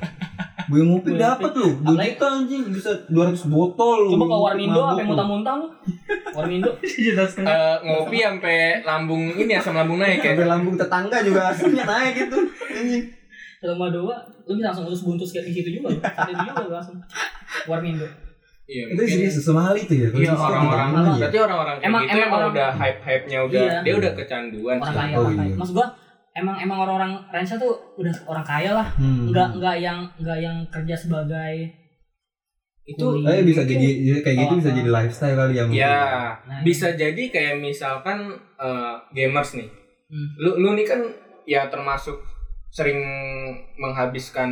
Speaker 4: Buyu ngupik
Speaker 3: Buyu
Speaker 4: dapat lu. 2
Speaker 3: Apalagi-
Speaker 4: juta anjing bisa 200 botol lu.
Speaker 3: coba ke
Speaker 4: Buyu
Speaker 3: Warmindo
Speaker 4: mabuk
Speaker 3: apa yang
Speaker 4: lu.
Speaker 3: <laughs> muntah-muntah lu? Warmindo.
Speaker 5: Juta setengah.
Speaker 2: Eh, ngopi sampai lambung ini asam lambung naik ya.
Speaker 4: Sampai lambung tetangga juga aslinya naik gitu. Anjing.
Speaker 3: Satu sama dua, lu bisa langsung usus buntus kayak di situ juga. Tadi juga lu langsung Warmindo.
Speaker 2: <laughs> Iya.
Speaker 4: Itu
Speaker 2: mungkin.
Speaker 4: serius Somali tuh ya. kalau
Speaker 2: Iya
Speaker 4: diskotik
Speaker 2: orang-orang
Speaker 4: Somali ya.
Speaker 2: berarti orang-orang kayak
Speaker 3: Emang-
Speaker 2: gitu
Speaker 3: emang
Speaker 2: emang,
Speaker 3: orang-
Speaker 2: udah hype-hype-nya udah
Speaker 3: Iya.
Speaker 2: dia udah kecanduan
Speaker 3: Orang
Speaker 2: sih.
Speaker 3: kaya,
Speaker 4: Oh,
Speaker 3: orang kaya.
Speaker 4: iya.
Speaker 3: Maksud gua emang emang orang-orang Rensa tuh udah orang kaya lah.
Speaker 4: Hmm.
Speaker 3: Enggak enggak yang enggak yang kerja sebagai
Speaker 2: Itu
Speaker 3: kuli.
Speaker 4: Eh bisa jadi kayak gitu
Speaker 3: Oh,
Speaker 4: bisa
Speaker 3: apa.
Speaker 4: jadi lifestyle kali ya. mungkin.
Speaker 2: Ya,
Speaker 3: Nah,
Speaker 2: bisa jadi kayak misalkan eh, gamers nih.
Speaker 3: Hmm.
Speaker 2: Lu lu nih kan ya termasuk sering menghabiskan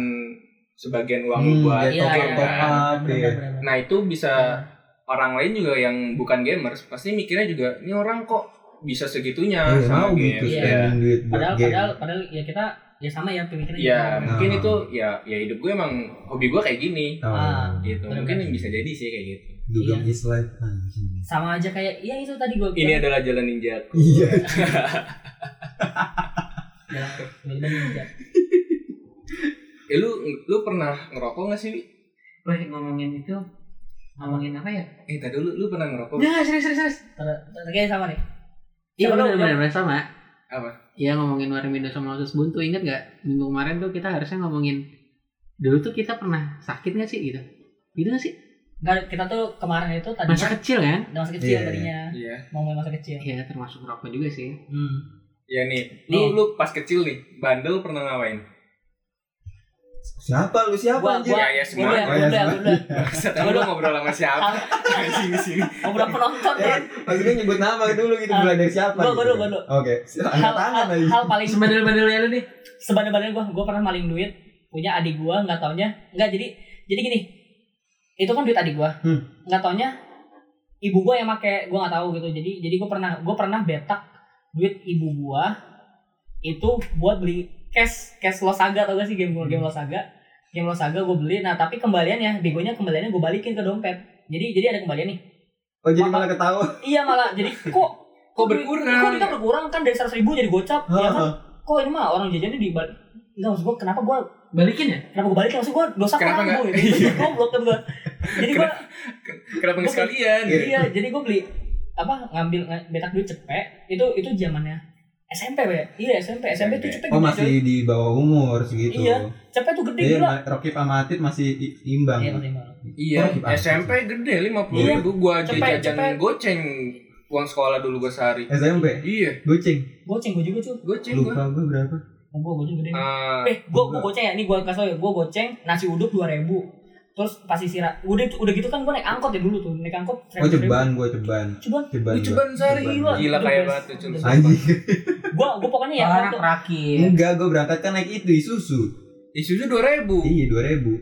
Speaker 2: sebagian uang lu
Speaker 4: Hmm,
Speaker 2: buat game
Speaker 4: iya,
Speaker 2: kan.
Speaker 4: iya, iya. up,
Speaker 3: bener,
Speaker 4: ya.
Speaker 3: bener, bener.
Speaker 2: Nah itu bisa orang lain juga yang bukan gamers pasti mikirnya juga ini orang kok bisa segitunya
Speaker 4: Iya,
Speaker 2: sama
Speaker 4: mau
Speaker 2: game.
Speaker 3: Iya.
Speaker 4: gitu
Speaker 2: Ya,
Speaker 4: spending duit buat
Speaker 3: padahal
Speaker 4: game.
Speaker 3: padahal padahal ya kita ya sama ya pemikirannya
Speaker 2: Ya,
Speaker 3: Kita-
Speaker 2: mungkin
Speaker 4: Nah.
Speaker 2: itu ya ya hidup gue emang hobi gue kayak gini
Speaker 4: Oh,
Speaker 3: Ah,
Speaker 2: gitu.
Speaker 3: benar-benar.
Speaker 2: Mungkin bisa jadi sih kayak gitu.
Speaker 4: dugem
Speaker 3: Iya.
Speaker 4: is life anjing.
Speaker 3: sama aja kayak iya itu tadi gua
Speaker 2: Ini adalah jalan ninja.
Speaker 4: Iya.
Speaker 3: Ya, beda aja.
Speaker 2: Eh, lu lu pernah ngerokok gak sih? Wi?
Speaker 5: Weh ngomongin itu ngomongin apa ya?
Speaker 2: Eh tadi dulu lu pernah ngerokok?
Speaker 5: Nggak, Nah, serius serius serius.
Speaker 3: Ter- ter- kayak sama nih
Speaker 5: Iya
Speaker 3: Siapa
Speaker 5: benar
Speaker 3: dulu?
Speaker 5: benar benar sama.
Speaker 2: Apa?
Speaker 5: Iya ngomongin Warmindo sama Usus Buntu inget gak minggu kemarin tuh kita harusnya ngomongin dulu tuh kita pernah sakit gak sih gitu? Gitu gak sih?
Speaker 3: Nggak, kita tuh kemarin itu tadinya
Speaker 5: Masa kecil kan?
Speaker 3: udah masa kecil
Speaker 4: Iya.
Speaker 3: tadinya
Speaker 2: Iya.
Speaker 3: mau main masa kecil
Speaker 5: Iya termasuk rokok juga sih.
Speaker 3: hmm.
Speaker 2: Ya nih, lu lu pas kecil nih, bandel pernah ngapain?
Speaker 4: Siapa lu siapa
Speaker 3: Gua- iya,
Speaker 4: anjing?
Speaker 3: gua-
Speaker 2: ya ya
Speaker 3: Gua
Speaker 4: Oh,
Speaker 2: semua.
Speaker 3: udah,
Speaker 4: iya,
Speaker 3: gua udah, gua udah.
Speaker 2: Bangsat, emang lu ngobrol sama
Speaker 3: <laughs>
Speaker 2: siapa?
Speaker 3: Sama-
Speaker 2: Sini sini.
Speaker 3: Oh, udah penonton
Speaker 4: Eh,
Speaker 3: kan?
Speaker 4: Maksudnya nyebut nama dulu gitu
Speaker 3: Ah,
Speaker 4: mulai dari siapa?
Speaker 3: gua- gua
Speaker 4: gitu.
Speaker 3: dulu, gua dulu.
Speaker 4: Oke. <laughs> Angkat
Speaker 3: Hal,
Speaker 4: tangan
Speaker 3: hal,
Speaker 4: lagi.
Speaker 3: hal paling
Speaker 5: Eh, Sebandel-bandelnya lu nih.
Speaker 3: sebenarnya gue gue pernah maling duit punya adik gue nggak taunya nggak jadi jadi gini itu kan duit adik gue
Speaker 4: Hmm.
Speaker 3: nggak taunya ibu gue yang make gue nggak tahu gitu jadi jadi gue pernah gue pernah betak duit ibu gue itu buat beli cash cash losaga tau gak sih game
Speaker 4: Hmm.
Speaker 3: game losaga game losaga gue beli nah tapi kembaliannya begonya kembaliannya gue balikin ke dompet jadi jadi ada kembalian nih
Speaker 4: Oh jadi
Speaker 3: Mama-
Speaker 4: malah ketawa.
Speaker 3: iya malah jadi kok
Speaker 2: Kok
Speaker 3: duit- kok
Speaker 2: berkurang?
Speaker 3: kita berkurang kan dari seratus ribu jadi gocap ya kan
Speaker 4: Hah,
Speaker 3: kok ini mah orang jajannya di Enggak maksud gue kenapa gue
Speaker 5: Balikin ya?
Speaker 3: kenapa gue balik maksud gue dosa
Speaker 2: Kenapa
Speaker 3: kenapa
Speaker 2: nggak?
Speaker 3: gue
Speaker 2: Iya.
Speaker 3: goblok kan gue jadi gue
Speaker 2: Kenapa nggak sekalian?
Speaker 3: iya jadi gue beli apa ngambil nge- betak duit cepet itu itu zamannya SMP be iya SMP SMP tuh cepet
Speaker 4: <laughs> Oh
Speaker 3: gede,
Speaker 4: masih
Speaker 3: coy.
Speaker 4: di bawah umur segitu.
Speaker 3: Iya, cepet tuh gede
Speaker 4: Iya,
Speaker 3: gila
Speaker 4: Ma- Rokif sama Atit masih i- imbang.
Speaker 3: iya masih baru.
Speaker 2: Iya,
Speaker 4: Rokif Atit.
Speaker 2: SMP gede lima puluh
Speaker 3: Iya.
Speaker 2: ribu gua aja
Speaker 3: Cepet, cepet.
Speaker 2: jajan goceng uang sekolah dulu gua sehari.
Speaker 4: SMP.
Speaker 2: Iya,
Speaker 4: Eh, Goceng.
Speaker 3: goceng gue juga cuy
Speaker 2: goceng gua.
Speaker 4: Lupa gue berapa?
Speaker 3: oh, gue goceng gede
Speaker 2: Ah,
Speaker 3: eh gue gue goceng ya ini gue kasih tau ya gue goceng nasi uduk dua ribu terus pasti sirat udah udah gitu kan gue naik angkot ya dulu tuh naik angkot
Speaker 4: Oh
Speaker 3: 100.000.
Speaker 4: ceban, gue ceban.
Speaker 3: Cuman,
Speaker 4: Ceban.
Speaker 2: Lu ceban sehari,
Speaker 4: Ceban.
Speaker 3: gila.
Speaker 2: gila
Speaker 3: The
Speaker 2: kayak
Speaker 3: best.
Speaker 2: banget tuh Cun.
Speaker 3: The
Speaker 2: Sumpah.
Speaker 4: Anjing.
Speaker 3: gue gue pokoknya ya
Speaker 5: Orang
Speaker 3: waktu-
Speaker 5: terakhir.
Speaker 4: <laughs> Enggak, gue berangkat kan naik itu isusu.
Speaker 2: Isunya dua ribu,
Speaker 4: Iya dua ribu.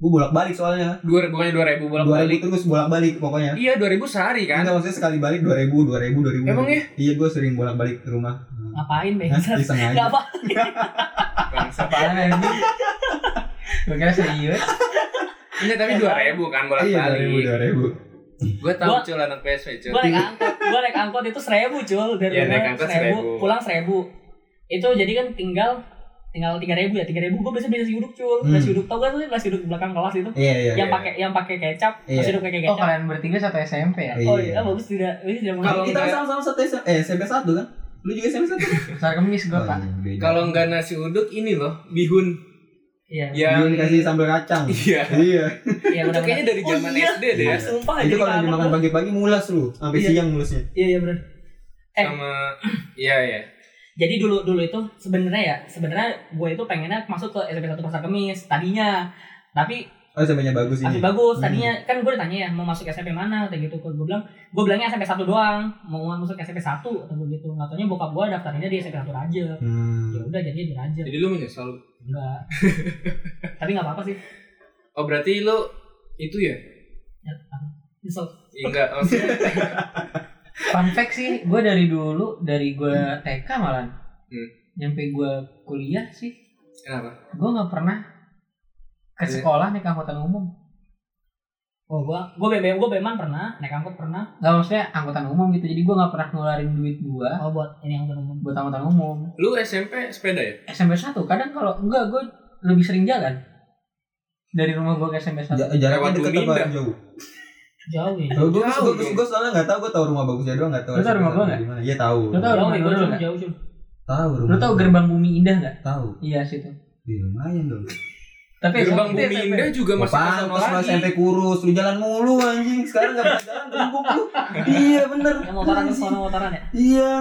Speaker 4: Gue bolak balik soalnya.
Speaker 2: dua ribu bukannya dua ribu bolak
Speaker 4: Dua
Speaker 2: balik.
Speaker 4: ribu terus bolak balik pokoknya.
Speaker 2: Iya dua ribu sehari kan?
Speaker 4: Enggak maksudnya sekali balik 2000, 2000, 2000.
Speaker 2: Emang ya?
Speaker 4: Iya, gue sering bolak-balik ke rumah.
Speaker 3: ngapain be
Speaker 4: Hah, Iseng
Speaker 3: Ah, iya. nggak
Speaker 4: aja.
Speaker 3: apa
Speaker 2: Bangsa.
Speaker 5: Apaan anjing? Gue kira serius.
Speaker 2: Iya tapi dua ribu kan bolak
Speaker 4: Iya,
Speaker 2: balik.
Speaker 4: 2000, 2000.
Speaker 2: Gua tahu
Speaker 3: Gua-
Speaker 2: cul anak PSV cul.
Speaker 3: gue naik angkot gue naik angkot itu seribu cul dari
Speaker 2: Iya,
Speaker 3: rumah
Speaker 2: naik angkot seribu.
Speaker 3: pulang seribu itu jadi kan tinggal tinggal tiga ribu ya tiga ribu gue biasa beli nasi uduk cul
Speaker 4: Hmm.
Speaker 3: nasi uduk tau gak tuh nasi uduk di belakang kelas itu
Speaker 4: Iya iya.
Speaker 3: yang
Speaker 4: iya.
Speaker 3: pakai yang pakai kecap
Speaker 4: Iya.
Speaker 3: nasi uduk pakai
Speaker 5: Oh
Speaker 3: kecap
Speaker 5: kalian bertiga satu SMP ya?
Speaker 4: Iya.
Speaker 3: oh iya bagus tidak ini tidak
Speaker 4: Kalau
Speaker 3: mengerti
Speaker 4: kita sama-sama satu SM, eh SMP satu kan? Lu juga SMP satu. Oh, iya,
Speaker 5: Besar kemis gue pak.
Speaker 2: Kalau nggak nasi uduk ini loh, bihun
Speaker 3: iya
Speaker 4: yang
Speaker 2: yang
Speaker 4: dikasih sambal kacang.
Speaker 2: Iya.
Speaker 4: Iya.
Speaker 3: iya
Speaker 2: Itu
Speaker 3: benar
Speaker 2: kayaknya dari
Speaker 3: Oh,
Speaker 2: zaman
Speaker 3: iya.
Speaker 2: SD deh ya.
Speaker 3: sumpah
Speaker 4: Itu
Speaker 3: jadi
Speaker 4: kalau
Speaker 3: kangen
Speaker 4: dimakan
Speaker 3: gua.
Speaker 4: pagi-pagi mulas lu, sampai
Speaker 3: Iya.
Speaker 4: siang mulasnya.
Speaker 3: iya iya benar Eh.
Speaker 2: Sama iya ya.
Speaker 3: jadi dulu dulu itu sebenarnya ya sebenarnya gue itu pengennya masuk ke SMP satu pasar kemis tadinya tapi
Speaker 4: Oh, SMP-nya bagus
Speaker 3: Masih
Speaker 4: ini.
Speaker 3: Ah, bagus. Tadinya kan gue ditanya ya mau masuk SMP mana kayak gitu. Gue bilang gue bilangnya SMP 1 doang. Mau masuk SMP 1 atau begitu. Nggak taunya bokap gue daftarinnya di SMP 1 Raja. Ya
Speaker 4: Hmm.
Speaker 3: udah jadinya di Raja.
Speaker 2: Jadi lu menyesal.
Speaker 3: Enggak. Tapi nggak apa-apa sih.
Speaker 2: Oh berarti lu itu ya?
Speaker 3: Ya, apa. Nyesel.
Speaker 2: Ya, Enggak. maksudnya-
Speaker 5: Fun fact sih, gue dari dulu dari gue TK malan,
Speaker 2: Hmm.
Speaker 5: nyampe gue kuliah sih,
Speaker 2: Kenapa?
Speaker 5: gue nggak pernah ke
Speaker 2: Iya.
Speaker 5: sekolah naik angkutan umum.
Speaker 3: Oh gue gue BBM gue BBM pernah naik angkot pernah.
Speaker 5: Gak maksudnya angkutan umum gitu, jadi gue nggak pernah ngeluarin duit gue
Speaker 3: Oh buat ini angkutan umum.
Speaker 5: buat angkutan umum.
Speaker 2: Lu SMP sepeda ya?
Speaker 5: SMP 1 kadang kalau enggak gue lebih sering jalan dari rumah gue ke SMP 1
Speaker 4: Ja- jaraknya
Speaker 2: Lewat
Speaker 4: dekat
Speaker 2: Luminda.
Speaker 4: apa jauh?
Speaker 3: Jauh ya.
Speaker 4: Gue gue
Speaker 2: Jauh
Speaker 4: gue
Speaker 2: dong.
Speaker 4: gue soalnya nggak tahu, gue tahu rumah bagusnya doang nggak tahu.
Speaker 5: Lu tahu
Speaker 4: SMP
Speaker 5: rumah gua
Speaker 4: satu
Speaker 5: nggak?
Speaker 4: di mana. Iya tahu.
Speaker 5: Lu tahu?
Speaker 3: Jauh
Speaker 5: rumah
Speaker 3: ya
Speaker 5: lu
Speaker 3: gue
Speaker 5: nggak?
Speaker 3: jauh jauh.
Speaker 4: Tahu rumah.
Speaker 5: lu tau
Speaker 4: gua.
Speaker 5: gerbang bumi indah nggak
Speaker 4: Tahu.
Speaker 5: iya situ
Speaker 4: Iya, lumayan dong.
Speaker 5: tapi
Speaker 2: Gerbang
Speaker 5: itu
Speaker 2: Bumi
Speaker 5: SMP.
Speaker 2: Indah juga
Speaker 4: Gua
Speaker 2: masih
Speaker 4: pantas
Speaker 2: sama
Speaker 4: lu
Speaker 2: lagi.
Speaker 4: SMP kurus, lu jalan mulu anjing. Sekarang nggak pernah jalan bungkuk lu. Iya bener.
Speaker 3: Yang motoran ke
Speaker 4: Anjing.
Speaker 3: sana motoran ya.
Speaker 4: Iya.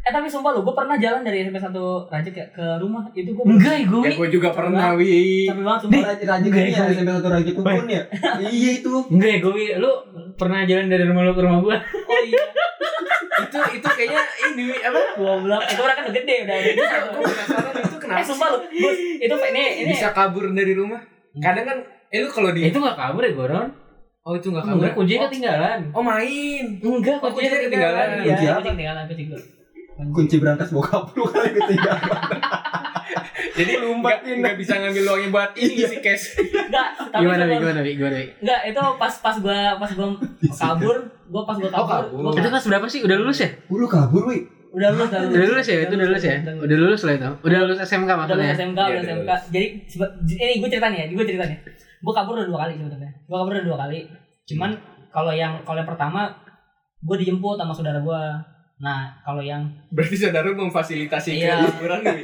Speaker 3: Eh tapi sumpah lu gue pernah jalan dari SMP 1 Raja ke, ke rumah itu gue <laughs>
Speaker 5: enggak ya gue
Speaker 2: Ya gue juga pernah wi.
Speaker 3: Tapi banget sumpah.
Speaker 4: Raja Raja
Speaker 5: Nggak,
Speaker 4: ini ya,
Speaker 5: gua-
Speaker 4: SMP satu Raja Kumpul ya. Iya itu.
Speaker 5: enggak ya gue lu pernah jalan dari rumah lu ke rumah gue
Speaker 3: Oh iya.
Speaker 2: itu itu kayaknya ini Wi, apa?
Speaker 3: Goblok, itu orang kan udah gede udah.
Speaker 2: Itu gue penasaran itu
Speaker 3: Eh
Speaker 2: kenapa sih ya?
Speaker 3: sumpah lu, Gus, itu ini ini
Speaker 2: bisa kabur dari rumah? Kadang kan eh lu kalau di
Speaker 5: Hmm. itu nggak kabur ya goron
Speaker 2: oh itu nggak kabur.
Speaker 5: enggak kuncinya
Speaker 2: Oh,
Speaker 5: ketinggalan
Speaker 2: Oh main.
Speaker 5: enggak
Speaker 2: Oh, kuncinya ketinggalan.
Speaker 5: iya.
Speaker 4: Kunci apa?
Speaker 3: kucing ya, tinggalan kucing gua.
Speaker 4: Kunci berangkas bokap lu kali gitu ya. ketiga.
Speaker 2: Jadi
Speaker 4: Lompat
Speaker 2: nggak nggak bisa ngambil uangnya buat
Speaker 5: Iya.
Speaker 2: ini si cash. <laughs>
Speaker 3: Enggak, tapi
Speaker 5: gimana Wi?
Speaker 3: sumpah lu.
Speaker 5: gimana Wi? gimana Wi?
Speaker 3: Enggak, itu pas pas gua pas gua kabur, gua pas gua
Speaker 2: Oh,
Speaker 3: kabur,
Speaker 2: kabur.
Speaker 3: gua
Speaker 5: itu kelas berapa sih udah lulus ya
Speaker 4: Lu kabur, wi.
Speaker 3: udah lulus
Speaker 5: udah lulus ya itu udah lulus ya udah ya? lulus lah itu udah lulus SMK
Speaker 3: udah lulus
Speaker 5: maksudnya
Speaker 3: SMK,
Speaker 2: Iya,
Speaker 3: udah
Speaker 2: udah
Speaker 3: SMK.
Speaker 2: lulus.
Speaker 3: Jadi sebe- j- ini ya, gue ceritanya, gue ceritanya. Gue kabur udah dua kali sebenarnya. Gue kabur udah dua kali. Cuman kalau yang kalau yang pertama gue dijemput sama saudara gue. Nah, kalau yang
Speaker 2: Berarti saudara memfasilitasi
Speaker 3: Iya.
Speaker 2: keliburan
Speaker 5: <laughs>
Speaker 2: Wi.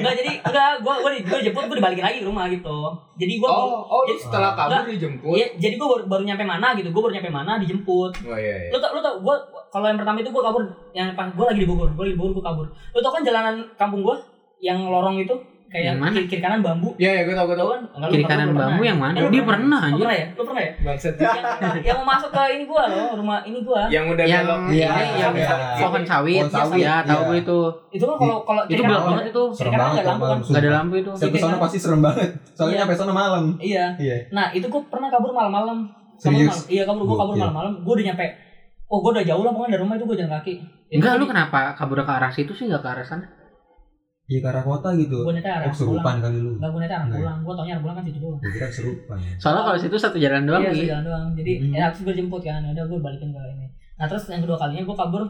Speaker 3: enggak jadi enggak gue gue gue dijemput gue dibalikin lagi ke rumah gitu. Jadi gue
Speaker 2: Oh oh
Speaker 5: Iya.
Speaker 2: lu setelah kabur dijemput.
Speaker 3: Iya, jadi gue baru, baru nyampe mana gitu, gue baru nyampe mana dijemput.
Speaker 2: Oh iya iya.
Speaker 3: Lu tau, lu tau, gue kalau yang pertama itu gue kabur, yang pas gue lagi di Bogor, gue lagi di Bogor gue kabur. Lu tau kan jalanan kampung gue yang lorong itu kayak
Speaker 5: Yang mana?
Speaker 3: kiri, kiri kanan bambu.
Speaker 2: Iya iya gue tau gue
Speaker 3: Tau
Speaker 2: tau.
Speaker 3: kan? Enggak, lu
Speaker 5: kiri
Speaker 3: pernah-
Speaker 5: kanan
Speaker 3: lu pernah
Speaker 5: bambu
Speaker 3: ya?
Speaker 5: yang
Speaker 3: Eh,
Speaker 5: mana
Speaker 3: lu
Speaker 5: dia
Speaker 3: pernah.
Speaker 5: pernah
Speaker 3: Lu
Speaker 5: anjir
Speaker 3: pernah ya? Lu pernah ya?
Speaker 2: Bangset.
Speaker 3: yang, yang mau masuk ke ini gue loh, rumah ini gue.
Speaker 2: Yang udah
Speaker 5: yang
Speaker 2: belok.
Speaker 5: ini
Speaker 4: Iya,
Speaker 5: yang
Speaker 4: iya.
Speaker 5: pohon sawit,
Speaker 4: Pohon sawit,
Speaker 5: ya tahu
Speaker 4: iya.
Speaker 5: gue itu
Speaker 3: Itu kan kalau kalau
Speaker 5: itu
Speaker 3: kiri kanan
Speaker 5: gelap
Speaker 3: nggak
Speaker 5: banget
Speaker 3: ada-
Speaker 5: itu
Speaker 3: Kiri
Speaker 4: Serem
Speaker 3: kanan nggak
Speaker 4: banget
Speaker 3: ada lampu kan?
Speaker 4: malam.
Speaker 5: nggak ada lampu itu
Speaker 4: Sampai sana pasti serem banget.
Speaker 3: Iya.
Speaker 4: Soalnya sampai sana malam.
Speaker 3: Iya.
Speaker 4: Iya.
Speaker 3: Nah itu gue pernah kabur malam-malam. Kabur
Speaker 4: Serius?
Speaker 3: malam. Iya kabur gue kabur
Speaker 4: Gokil.
Speaker 3: malam-malam. Gue udah nyampe. Oh gue udah jauh lah pokoknya dari rumah itu gue jalan kaki.
Speaker 5: Enggak, lu kenapa kabur ke arah situ sih enggak ke arah sana?
Speaker 4: Iya ke arah kota gitu.
Speaker 3: Gue neta arah
Speaker 4: Oh,
Speaker 3: pulang.
Speaker 4: kesurupan kali lu.
Speaker 3: Enggak gue neta arah
Speaker 4: Enggak ya?
Speaker 3: pulang. Gue taunya arah pulang kan situ doang.
Speaker 4: Gue kira ya." kesurupan.
Speaker 5: Soalnya kalau situ satu jalan doang
Speaker 3: Iya
Speaker 5: Wi.
Speaker 3: sejalan doang. Jadi
Speaker 4: Hmm.
Speaker 3: ya habis gue jemput kan. Udah gue balikin ke ini. Nah terus yang kedua kalinya gue kabur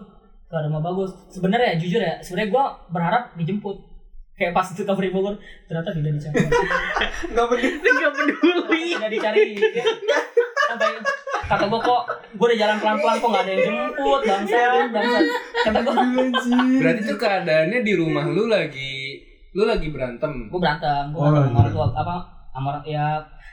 Speaker 3: ke rumah bagus. Sebenarnya ya, jujur ya. Sebenarnya gue berharap dijemput. Kayak pas itu kabur di Bogor ternyata tidak
Speaker 4: <laughs>
Speaker 3: dicari.
Speaker 4: Oh, Enggak peduli.
Speaker 5: Dia enggak peduli.
Speaker 4: iya.
Speaker 3: tidak dicari. Sampai kata gue kok gue udah jalan pelan-pelan kok nggak ada yang jemput
Speaker 4: Iya.
Speaker 3: bangsat bangsat. Kata gue
Speaker 2: Berarti tuh keadaannya di rumah lu lagi lu lagi berantem.
Speaker 3: gue berantem gue
Speaker 4: Oh,
Speaker 3: berantem sama orang
Speaker 4: berantem.
Speaker 3: tua apa sama orang ya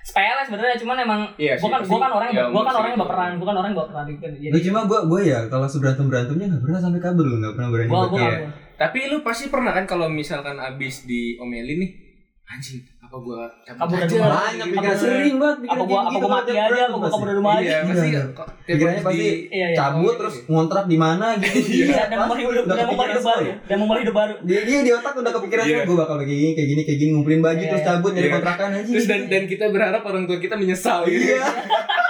Speaker 3: sepele sebenarnya cuman emang
Speaker 2: Iya
Speaker 3: gue kan
Speaker 2: sih,
Speaker 3: gue kan
Speaker 2: pasti.
Speaker 3: orang
Speaker 2: Ya,
Speaker 3: gue kan
Speaker 2: pasti
Speaker 3: orang yang
Speaker 2: gitu.
Speaker 3: baperan gue kan orang yang baperan gitu jadi
Speaker 4: Gue cuma gue gue ya kalau seberantem berantemnya nggak pernah sampai kabur lu gitu nggak pernah berani
Speaker 3: gue
Speaker 4: buat
Speaker 3: gue
Speaker 4: kabur.
Speaker 3: kabur
Speaker 2: Tapi lu pasti pernah kan kalau misalkan abis diomelin nih anjing apa gua
Speaker 3: Kabur dari rumah.
Speaker 4: Banyak pikiran
Speaker 3: Kabur.
Speaker 4: sering banget
Speaker 3: apa gue apa gue mati aja apa gue kabur dari rumah aja
Speaker 2: Iya, pasti
Speaker 4: gitu kan, Iya.
Speaker 2: kok
Speaker 4: Pikirannya pasti
Speaker 3: iya iya
Speaker 4: cabut terus ngontrak di
Speaker 3: <laughs>
Speaker 4: mana gitu.
Speaker 3: Iya, dan memulai hidup dan memulai
Speaker 4: Udah kepikiran
Speaker 3: hidup baru
Speaker 4: semua.
Speaker 3: ya. dan memulai hidup baru
Speaker 4: Dia dia di otak udah kepikiran
Speaker 2: Iya.
Speaker 4: gue bakal kayak gini kayak gini kayak gini ngumpulin baju
Speaker 3: Iya.
Speaker 4: terus cabut nyari
Speaker 2: Iya.
Speaker 4: kontrakan aja.
Speaker 2: terus dan dan kita berharap orang tua kita menyesal gitu.
Speaker 4: Iya.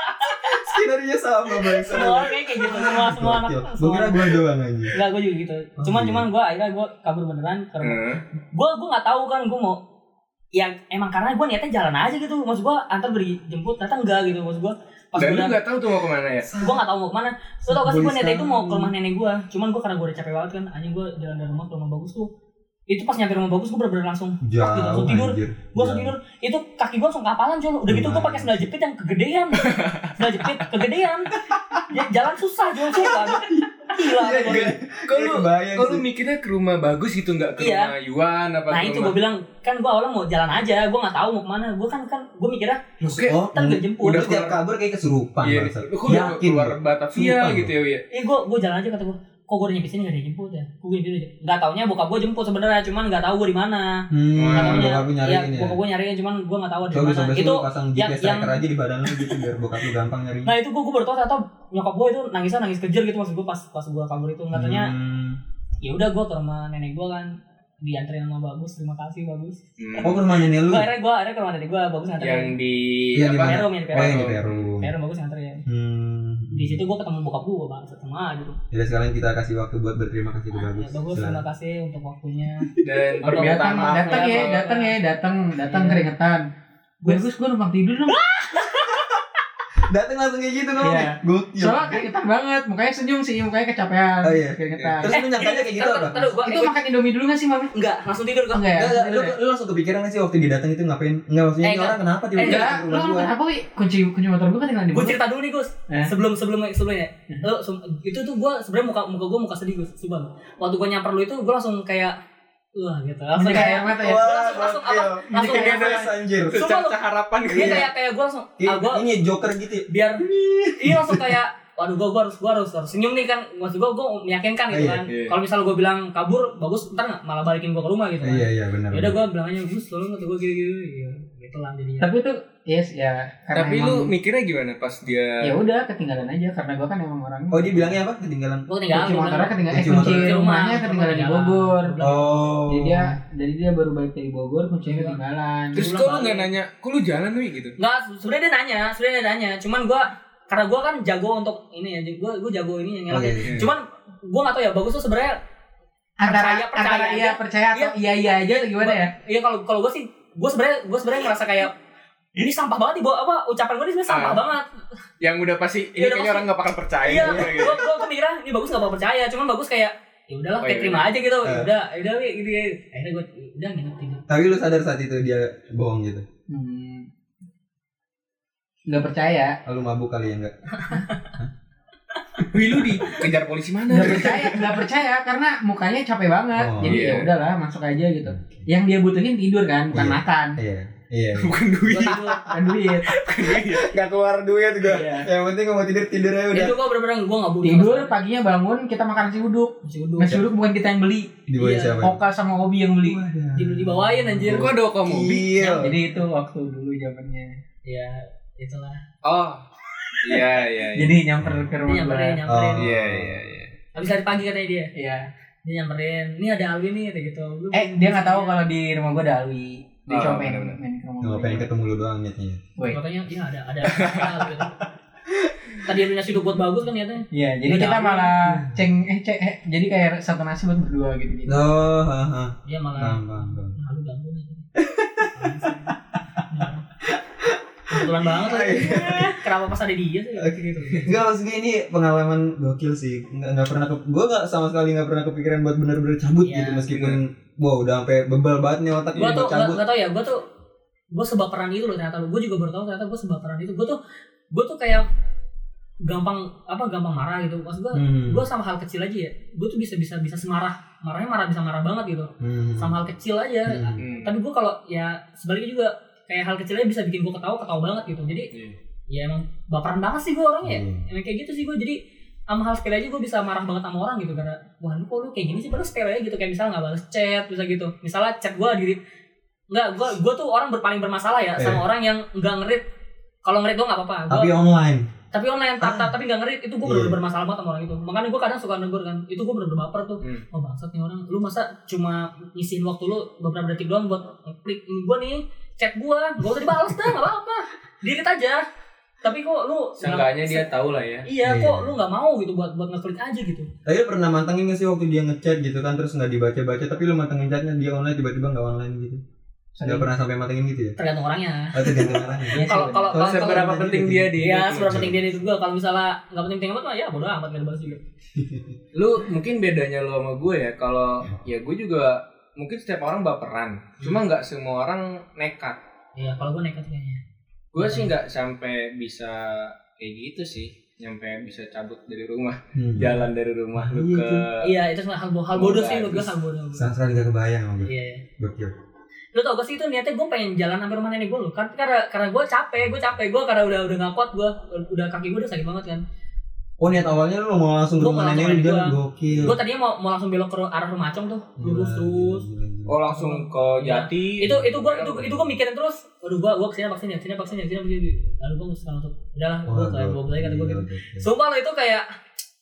Speaker 4: <laughs> Skenario sama bang.
Speaker 3: semua orang kayak kayak gitu semua semua anak
Speaker 4: Gue
Speaker 3: semua
Speaker 4: kira
Speaker 3: anak.
Speaker 4: gue doang aja.
Speaker 3: Enggak, gue juga gitu. Cuman
Speaker 4: iya.
Speaker 3: cuman gue akhirnya gue kabur beneran ke rumah.
Speaker 2: Heeh.
Speaker 3: Gue gue nggak tahu kan gue mau yang emang karena gue niatnya jalan aja gitu. Maksud gue antar beri jemput ternyata enggak gitu. Maksud gue pas
Speaker 2: Dan
Speaker 3: gue
Speaker 2: lu nggak tahu tuh mau kemana
Speaker 4: Iya,
Speaker 2: ya?
Speaker 3: gue gak tau mau kemana Lo tau gak sih
Speaker 4: Boleh
Speaker 3: gue niatnya itu mau
Speaker 4: sekali.
Speaker 3: ke rumah nenek gue Cuman gue karena gue udah capek banget kan Anjing gue jalan dari rumah ke rumah bagus tuh itu pas nyampe rumah bagus gue bener-bener langsung
Speaker 4: Jauh
Speaker 3: langsung tidur.
Speaker 4: anjir.
Speaker 3: gue langsung tidur itu kaki gue langsung kapalan cuy udah gitu gue pakai sandal jepit yang kegedean sandal jepit kegedean ya, jalan susah jalan susah gila
Speaker 4: Iya,
Speaker 3: gua.
Speaker 4: iya.
Speaker 2: Kok
Speaker 4: Iya,
Speaker 2: lu-
Speaker 4: kebayang
Speaker 2: Kok lu
Speaker 4: sih.
Speaker 2: mikirnya ke rumah bagus gitu nggak ke
Speaker 3: Iya.
Speaker 2: rumah Yuan apa
Speaker 3: nah
Speaker 2: ke
Speaker 3: itu
Speaker 2: rumah-
Speaker 3: gue bilang kan gue awalnya mau jalan aja gue nggak tahu mau kemana gue kan kan gue mikirnya
Speaker 2: Loh, kayak-
Speaker 4: Oh,
Speaker 3: ntar gue jemput
Speaker 4: udah
Speaker 2: udah
Speaker 4: tiap
Speaker 2: keluar.
Speaker 4: kabur kayak kesurupan
Speaker 2: Iya,
Speaker 4: bangsat.
Speaker 2: kok udah
Speaker 4: Yakin.
Speaker 2: keluar Batavia
Speaker 4: Sumpah,
Speaker 2: gitu ya, Wi?
Speaker 3: eh gue gue jalan aja kata gue kok gue udah nyampe sini gak ada yang jemput ya gue gitu aja nggak taunya bokap gue jemput sebenarnya cuman nggak tahu gue di mana
Speaker 2: Nah,
Speaker 4: Hmm, bokap
Speaker 3: Katanya,
Speaker 4: lu
Speaker 3: ya,
Speaker 4: nyariin ya.
Speaker 3: bokap gue nyariin cuman gue nggak tahu ada di
Speaker 4: Coba
Speaker 3: mana
Speaker 4: besok
Speaker 3: itu
Speaker 4: besok pasang
Speaker 3: yang-
Speaker 4: GPS
Speaker 3: yang-
Speaker 4: tracker aja di badan lu gitu biar bokap lu gampang nyari.
Speaker 3: nah itu gue gue baru tau ternyata nyokap gue itu nangisnya nangis kejer gitu maksud gue pas pas gue kabur itu katanya
Speaker 4: Hmm.
Speaker 3: ya udah gue ke rumah nenek gue kan dianterin sama bagus terima kasih bagus
Speaker 4: Oh, ke rumah nenek lu.
Speaker 3: gue akhirnya gue akhirnya ke rumah nenek gue bagus
Speaker 2: Hmm. Yang
Speaker 3: nganterin
Speaker 2: di
Speaker 4: Iya, di
Speaker 2: apa?
Speaker 4: mana?
Speaker 3: Perum ya di
Speaker 4: Oh,
Speaker 3: Perum
Speaker 4: yang di Peru.
Speaker 3: Perum bagus nganterin
Speaker 4: Hmm.
Speaker 3: di situ gue ketemu bokap gue bang sama aja tuh
Speaker 4: Jadi sekarang kita kasih waktu buat berterima kasih ke
Speaker 3: Ah,
Speaker 4: bagus.
Speaker 3: ya, bagus terima
Speaker 4: Silakan.
Speaker 3: kasih untuk waktunya
Speaker 2: Dan
Speaker 3: Atau
Speaker 2: permintaan
Speaker 5: datang,
Speaker 2: maaf
Speaker 5: datang ya, datang ya, datang, datang
Speaker 3: Iya.
Speaker 5: keringetan. Bagus gue numpang tidur dong.
Speaker 4: Dateng langsung kayak gitu ngomong.
Speaker 5: Iya.
Speaker 4: Gokil.
Speaker 5: Soalnya keringetan banget, mukanya senyum sih, mukanya kecapean,
Speaker 4: Oh, iya.
Speaker 5: keringetan.
Speaker 4: Terus lu nyangkanya kayak gitu apa?
Speaker 3: Taduh,
Speaker 5: Itu makan Indomie dulu gak sih, Mami?
Speaker 3: enggak langsung tidur gue
Speaker 5: Enggak ya?
Speaker 4: Enggak, enggak, lu,
Speaker 5: Tidur ya?
Speaker 4: lu langsung kepikiran gak sih waktu didatang itu ngapain? Enggak maksudnya
Speaker 3: Eh,
Speaker 4: ini
Speaker 3: enggak.
Speaker 4: orang kenapa
Speaker 5: Eh,
Speaker 4: tiba-tiba
Speaker 5: enggak,
Speaker 4: datang ke
Speaker 5: lu
Speaker 4: rumah gua?
Speaker 5: kenapa, Wi? Kunci, kunci motor kan gue ketinggalan di
Speaker 3: gue
Speaker 5: bawah.
Speaker 3: cerita dulu nih Gus
Speaker 5: Eh?
Speaker 3: sebelum sebelum sebelumnya lo sem- itu tuh gue sebenarnya muka muka gue muka sedih Gus sumpah waktu gue nyamper lu itu gue langsung kayak wah gitu langsung
Speaker 5: Menyeka air
Speaker 3: kayak
Speaker 5: mata ya?
Speaker 4: Wah,
Speaker 3: Langsung- langsung apa?
Speaker 4: gokil.
Speaker 3: Langsung
Speaker 4: Ini kayak
Speaker 3: apa?
Speaker 4: Flash, anjir.
Speaker 3: Sumpah lu-
Speaker 2: Secerca harapan
Speaker 3: dia
Speaker 2: gitu.
Speaker 3: kayak kayak gue langsung ah gue
Speaker 4: Iya, Ini- Ini joker gitu ya.
Speaker 3: biar iya langsung kayak waduh gue harus gue harus harus senyum nih kan maksud gue gue meyakinkan gitu
Speaker 4: Iya,
Speaker 3: kan
Speaker 2: iya.
Speaker 3: kalau misal gue bilang kabur bagus ntar nggak malah balikin gue ke rumah gitu kan
Speaker 4: Iya, iya benar.
Speaker 3: ya udah gue bilang aja Gus tolong kata gue gitu gitu gitu lah jadinya
Speaker 5: Tapi itu, yes, ya. karena
Speaker 2: Tapi
Speaker 5: emang-
Speaker 2: lu mikirnya gimana pas dia
Speaker 5: ya udah ketinggalan aja karena gua kan emang orangnya
Speaker 4: Oh, dia bilangnya apa? Ketinggalan.
Speaker 3: gue
Speaker 5: kunci
Speaker 3: tinggal
Speaker 5: motornya ketinggalan eh,
Speaker 4: Kunci
Speaker 5: kunci
Speaker 3: motor.
Speaker 5: rumahnya
Speaker 3: Rumah,
Speaker 5: ketinggalan di
Speaker 3: rumah
Speaker 5: Bogor
Speaker 3: ketinggalan.
Speaker 4: Oh.
Speaker 5: jadi dia dari dia baru balik dari Bogor kuncinya
Speaker 3: Iya.
Speaker 5: ketinggalan
Speaker 2: Terus
Speaker 3: Ulang
Speaker 2: kok lu
Speaker 3: balik.
Speaker 2: nggak nanya, kok lu jalan Wi gitu?
Speaker 3: Enggak, se- sebenarnya dia nanya, sebenarnya dia nanya. Cuman gua karena gua kan jago untuk ini ya, gua gua jago ini yang ngelak.
Speaker 4: Oke.
Speaker 2: Iya.
Speaker 3: Cuman gua enggak tahu ya, bagus tuh sebenarnya
Speaker 5: antara
Speaker 3: Percaya, percaya
Speaker 5: antara iya
Speaker 3: aja.
Speaker 5: percaya atau iya iya aja atau gimana ya
Speaker 3: iya kalau kalau gua sih gua sebenarnya gua sebenarnya ngerasa kayak ini sampah banget nih, bawa apa ucapan gua ini sebenarnya sampah
Speaker 2: Ah.
Speaker 3: banget.
Speaker 2: Yang udah pasti ini
Speaker 3: Iya, udah
Speaker 2: kayaknya
Speaker 3: pasti.
Speaker 2: orang nggak bakal percaya.
Speaker 3: Iya,
Speaker 2: gue gitu.
Speaker 3: gua gua gua mikirnya ini bagus enggak bakal percaya, cuman bagus kayak ya udahlah
Speaker 2: Oh,
Speaker 3: kayak
Speaker 2: iya,
Speaker 3: terima aja gitu. Ya
Speaker 4: Eh.
Speaker 3: udah, ya udah Wi, gitu. ya. Akhirnya gua udah nginep tidur.
Speaker 4: Tapi lu sadar saat itu dia bohong gitu.
Speaker 5: Hmm. nggak percaya
Speaker 4: Lu mabuk kali ya enggak?
Speaker 2: Wi lu dikejar polisi mana?
Speaker 5: nggak percaya nggak percaya karena mukanya capek banget
Speaker 4: Oh,
Speaker 5: jadi
Speaker 2: iya.
Speaker 5: ya udahlah masuk aja gitu yang dia butuhin tidur kan bukan
Speaker 4: Iya.
Speaker 5: makan
Speaker 4: Iya. Iya.
Speaker 2: Bukan duit.
Speaker 3: Gua tidur.
Speaker 5: bukan duit
Speaker 4: Enggak keluar duit gua.
Speaker 5: Iya.
Speaker 4: Yang penting gua mau tidur tidur aja udah.
Speaker 3: Itu gua bener-bener gua enggak butuh.
Speaker 5: tidur paginya bangun kita makan nasi uduk
Speaker 3: Masih udah.
Speaker 5: nasi uduk bukan kita yang beli
Speaker 4: Di bawah
Speaker 3: Iya.
Speaker 4: siapa?
Speaker 5: Oka sama Obi yang beli
Speaker 3: dibawain anjir.
Speaker 2: Kok ada kamu?
Speaker 4: Iya.
Speaker 5: jadi itu waktu dulu zamannya
Speaker 3: Ya, itulah.
Speaker 2: Oh. Iya, iya, iya.
Speaker 5: jadi nyamper ke
Speaker 3: Dia
Speaker 5: rumah gua.
Speaker 3: nyamperin, nyamperin.
Speaker 2: Iya, iya, iya.
Speaker 3: Habis dari pagi katanya dia.
Speaker 5: Iya.
Speaker 3: dia nyamperin ini ada Alwi nih kayak gitu Lu- ya?"
Speaker 5: Eh dia nggak tahu kalau di rumah gua ada Alwi. Dia
Speaker 2: Oh,
Speaker 5: cuma pengen
Speaker 2: bener-bener.
Speaker 5: main ke rumah
Speaker 4: Nggak pengen
Speaker 5: gua.
Speaker 4: ketemu lu doang niatnya.
Speaker 5: Woi.
Speaker 3: katanya iya ada ada, <laughs> ada Alwi gitu. tadi yang nasi uduk buat bagus kan niatnya
Speaker 5: Iya, jadi
Speaker 3: Ada
Speaker 5: kita
Speaker 3: Alwi.
Speaker 5: malah ceng eh, ceng eh, jadi kayak satu nasi buat berdua gitu. gitu.
Speaker 4: Oh, ha ha.
Speaker 3: dia Iya, malah
Speaker 4: Bang, bang, bang.
Speaker 3: nah, lu ganggu nih kebetulan banget lagi kenapa pas ada dia sih
Speaker 4: Iya. Oke. gitu. Enggak maksud gue ini pengalaman gokil sih. Enggak enggak pernah ke gue enggak sama sekali enggak pernah kepikiran buat bener-bener cabut
Speaker 3: Iya,
Speaker 4: gitu meskipun wow udah sampai bebal banget nih otak
Speaker 3: gue
Speaker 4: buat
Speaker 3: tuh
Speaker 4: Iya, cabut.
Speaker 3: nggak tau ya gue tuh gue sebaperan itu loh ternyata gue juga baru tahu ternyata gue sebaperan itu gue tuh gue tuh kayak gampang apa gampang marah gitu maksud gue
Speaker 4: Hmm.
Speaker 3: gue sama hal kecil aja ya gue tuh bisa bisa bisa semarah marahnya marah bisa marah banget gitu
Speaker 4: Hmm.
Speaker 3: sama hal kecil aja
Speaker 4: Hmm.
Speaker 2: Hmm.
Speaker 3: tapi gue kalau ya sebaliknya juga kayak hal kecilnya bisa bikin gue ketawa ketawa banget gitu jadi
Speaker 2: Iya.
Speaker 3: ya emang baperan banget sih gue orangnya
Speaker 4: Hmm.
Speaker 3: emang kayak gitu sih gue jadi sama hal sepele aja gue bisa marah banget sama orang gitu karena wah lu kok lu kayak gini sih padahal sepele aja gitu kayak misalnya nggak balas chat bisa gitu misalnya chat gue di nggak gue gue tuh orang berpaling bermasalah ya sama orang yang nggak ngerit kalau ngerit gue nggak apa-apa Gua-
Speaker 4: Iya. Tapi online.
Speaker 3: tapi online tap tap tapi nggak ngerit itu gue
Speaker 4: Iya.
Speaker 3: bener-bener bermasalah banget sama orang itu makanya gue kadang suka negur kan itu gue bener-bener baper tuh
Speaker 2: Hmm.
Speaker 3: oh bangsat nih orang lu masa cuma ngisiin waktu lu beberapa detik doang buat klik gue nih chat gue gak usah dibales dah nggak apa-apa dirit aja tapi kok lu
Speaker 2: Seenggaknya dia tahu lah ya.
Speaker 3: iya
Speaker 4: Iya.
Speaker 3: kok lu nggak mau gitu buat buat ngeklik aja gitu
Speaker 4: Tapi lu pernah mantengin gak sih waktu dia ngechat gitu kan terus nggak dibaca-baca tapi lu mantengin chatnya dia online tiba-tiba nggak online gitu. Nggak pernah sampai mantengin gitu ya?
Speaker 3: tergantung orangnya
Speaker 4: Atau
Speaker 3: <laughs>
Speaker 4: ya? ganti arahnya.
Speaker 5: Iya sih,
Speaker 3: kalau
Speaker 5: bener.
Speaker 3: kalau kalau kalau-
Speaker 2: Seberapa
Speaker 4: kalau-
Speaker 2: Iya, penting dia di gitu.
Speaker 3: ya seberapa penting dia di hidup gue kalau misalnya nggak penting penting amat mah ya bodo amat nggak dibahas juga
Speaker 2: lu mungkin bedanya lu sama gue ya kalau ya gue juga mungkin setiap orang baperan cuma nggak semua orang nekat
Speaker 3: Iya, kalau gue nekat kayaknya.
Speaker 2: gue sih nggak sampai bisa kayak gitu sih nyampe bisa cabut dari rumah
Speaker 4: Hmm.
Speaker 2: <laughs> jalan dari rumah lu
Speaker 4: Iya,
Speaker 2: ke
Speaker 3: Iya, itu hal, hal bodoh sih menurut gue
Speaker 2: Bagus.
Speaker 3: hal bodoh.
Speaker 4: Sama sekali gak kebayang sama gue.
Speaker 3: Iya, iya.
Speaker 4: Gokil.
Speaker 3: lu tau gak sih itu niatnya gue pengen jalan sampai rumah nenek gue loh kan karena karena gue capek gue capek gue karena udah udah gak kuat gue udah kaki gue udah sakit banget kan
Speaker 4: Oh niat awalnya lu mau langsung ke
Speaker 3: Gua
Speaker 4: rumah
Speaker 3: mau langsung
Speaker 4: nenek lu
Speaker 3: ke
Speaker 4: jalan
Speaker 3: nenek
Speaker 4: gokil.
Speaker 3: gue tadinya mau mau langsung belok ke arah rumah acong tuh
Speaker 4: Iya.
Speaker 3: lurus
Speaker 4: Gila,
Speaker 3: terus
Speaker 4: gila, gila.
Speaker 2: oh langsung ke jati
Speaker 3: itu itu gue itu itu gue mikirin terus waduh gue gue kesini kesini kesini kesini kesini kesini lalu gue mutusin untuk udahlah gue
Speaker 4: Wah,
Speaker 3: kayak gue lagi kata gue gitu
Speaker 4: gokil, gokil.
Speaker 3: sumpah lo itu kayak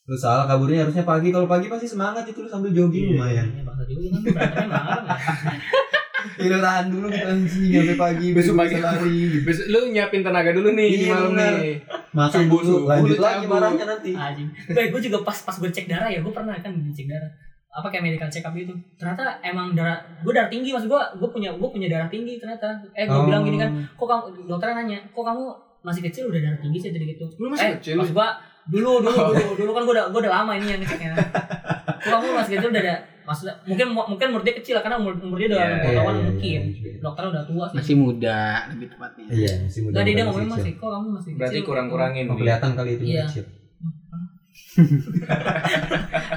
Speaker 4: Lu salah kaburnya harusnya pagi. Kalau pagi pasti semangat itu lu sambil jogging lumayan.
Speaker 3: ya bangsa juga kan berantemnya malam ya.
Speaker 4: Ya lu tahan dulu kita anjing sampai pagi.
Speaker 2: Besok
Speaker 4: baru
Speaker 2: pagi.
Speaker 4: bisa lari.
Speaker 2: Bes- lu nyiapin tenaga dulu nih di
Speaker 4: Iya,
Speaker 2: malam
Speaker 4: benar.
Speaker 2: nih
Speaker 4: Makan
Speaker 2: Subuh,
Speaker 4: dulu,
Speaker 2: subuh,
Speaker 4: lanjut
Speaker 2: lu
Speaker 4: lagi
Speaker 2: cabut.
Speaker 4: marahnya nanti.
Speaker 3: anjing gue gue juga pas pas gue cek darah ya gue pernah kan dicek darah apa kayak medical check up itu ternyata emang darah gue darah tinggi maksud gue gue punya gue punya darah tinggi ternyata eh
Speaker 4: Oh.
Speaker 3: gue bilang gini kan kok kamu dokter nanya kok kamu masih kecil udah darah tinggi sih jadi gitu
Speaker 2: Lu masih
Speaker 3: eh,
Speaker 2: kecil?
Speaker 3: maksud gua dulu dulu
Speaker 4: Oh.
Speaker 3: dulu dulu kan gua udah gua udah lama ini yang ngeceknya kok kamu masih kecil udah ada maksudnya mungkin mungkin umur dia kecil lah, karena umur, umur dia udah
Speaker 2: Iya,
Speaker 3: yeah,
Speaker 4: Iya, iya, iya,
Speaker 3: mungkin
Speaker 4: iya.
Speaker 3: dokternya udah tua sih
Speaker 5: masih muda lebih tepatnya
Speaker 4: Iya, masih muda.
Speaker 3: Tadi dia
Speaker 4: masih
Speaker 3: ngomongnya
Speaker 4: kecil.
Speaker 3: masih kok kamu masih
Speaker 2: berarti
Speaker 3: kecil
Speaker 2: kurang-kurangin
Speaker 4: Oh, kelihatan kali itu
Speaker 3: Iya.
Speaker 4: kecil.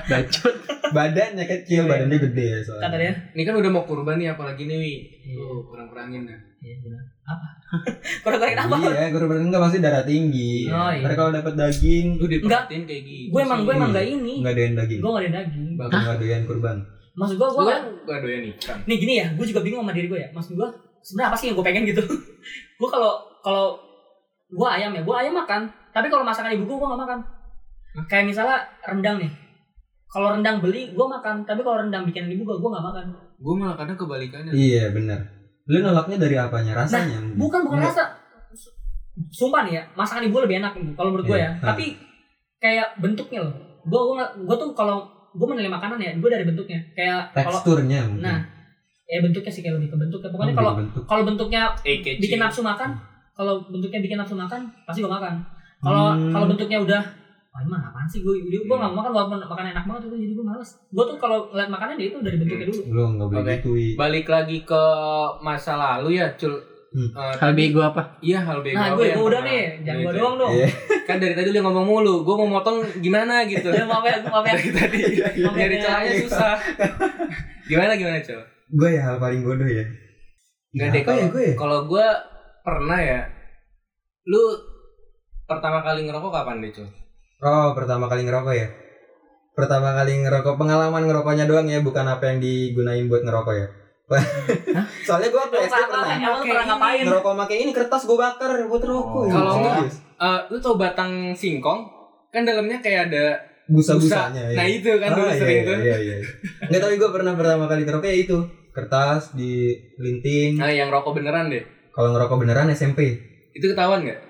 Speaker 5: bacot
Speaker 4: Badannya kecil, badannya gede ya soalnya.
Speaker 3: Iya, kata dia
Speaker 2: ini kan udah mau kurban nih apalagi nih wi
Speaker 3: Iya.
Speaker 2: Tuh, kurang-kurangin dah
Speaker 3: iya benar <laughs> apa kurang-kurangin apa
Speaker 4: Iya, guru berarti enggak pasti darah tinggi.
Speaker 3: Oh, iya.
Speaker 4: Ntar kalau dapat daging,
Speaker 2: lu diperhatiin kayak gitu
Speaker 3: gue emang gue emang
Speaker 4: Iya.
Speaker 3: gak ini
Speaker 4: enggak doyan daging.
Speaker 3: gue gak ada daging
Speaker 2: Bagus.
Speaker 4: Enggak doyan kurban.
Speaker 3: maksud gua
Speaker 2: gue
Speaker 3: gua
Speaker 2: gak doyan Kan. ikan
Speaker 3: nih gini ya gue juga bingung sama diri gue ya maksud gue sebenarnya apa sih yang gue pengen gitu <laughs> gue kalau kalau gue ayam ya gue ayam makan tapi kalau masakan ibu gue gue gak makan kayak misalnya rendang nih kalau rendang beli gue makan tapi kalau rendang bikinan ibu gue gue gak makan
Speaker 2: gue malah kadang kebalikannya
Speaker 4: Iya, benar. Lu nolaknya dari apanya? Rasanya.
Speaker 3: Nah,
Speaker 4: Iya.
Speaker 3: bukan bukan
Speaker 4: Enggak.
Speaker 3: rasa sumpah nih ya masakan ibu lebih enak kalau menurut gue ya
Speaker 4: Iya.
Speaker 3: tapi kayak bentuknya loh gue gue gue tuh kalau gue menilai makanan ya gue dari bentuknya kayak kalau
Speaker 4: teksturnya mungkin.
Speaker 3: nah ya bentuknya sih kayak lebih ke bentuknya
Speaker 4: Mungkin
Speaker 3: pokoknya kalau
Speaker 4: bentuk.
Speaker 3: kalau bentuknya
Speaker 2: eh kecil
Speaker 3: bikin nafsu makan kalau bentuknya bikin nafsu makan pasti gue makan kalau
Speaker 4: Hmm.
Speaker 3: kalau bentuknya udah wah ini mah apaan sih gue gue gue nggak mau makan walaupun makanan enak banget itu jadi gue males gue tuh kalau ngeliat makanan dia itu dari bentuknya dulu
Speaker 4: lu enggak boleh
Speaker 2: Oke.
Speaker 4: gitu. Wi.
Speaker 2: balik lagi ke masa lalu ya cul
Speaker 4: Hmm.
Speaker 2: Eh,
Speaker 5: hal bego apa
Speaker 2: iya hal bego
Speaker 3: nah
Speaker 2: apa
Speaker 3: gue
Speaker 2: yang
Speaker 3: gue udah
Speaker 2: pernah
Speaker 3: nih jangan
Speaker 2: lu
Speaker 3: gue
Speaker 2: itu?
Speaker 3: doang dong
Speaker 4: ya. Iya.
Speaker 2: kan dari tadi lu yang ngomong mulu gue mau motong gimana gitu
Speaker 3: ya maaf ya maaf ya
Speaker 2: dari tadi nyari celahnya susah gimana gimana cul
Speaker 4: Gue ya hal paling bodoh ya.
Speaker 2: Nggak
Speaker 4: Ya,
Speaker 2: deh,
Speaker 4: apa ya gue. ya?
Speaker 2: kalau gue pernah ya lu pertama kali ngerokok kapan deh cul
Speaker 4: Oh, pertama kali ngerokok ya. Pertama kali ngerokok, pengalaman ngerokoknya doang ya, bukan apa yang digunain buat ngerokok ya. <laughs> Soalnya gue waktu
Speaker 3: Emang
Speaker 4: SD
Speaker 3: pernah-
Speaker 4: pernah ya.
Speaker 3: emang pernah ngapain
Speaker 4: ngerokok pakai ini kertas gue bakar buat rokok.
Speaker 1: Oh.
Speaker 2: Kalau
Speaker 4: Serius.
Speaker 2: enggak, Eh, lu tau batang singkong kan dalamnya kayak ada
Speaker 4: busa-busanya ya.
Speaker 2: nah itu kan dulu
Speaker 4: Ah, iya,
Speaker 2: sering
Speaker 4: iya,
Speaker 2: tuh
Speaker 4: Iya, iya. Enggak tapi gue pernah pertama kali ngerokok ya itu. Kertas di linting.
Speaker 2: nah yang rokok beneran deh
Speaker 4: Kalau ngerokok beneran SMP.
Speaker 2: itu ketahuan nggak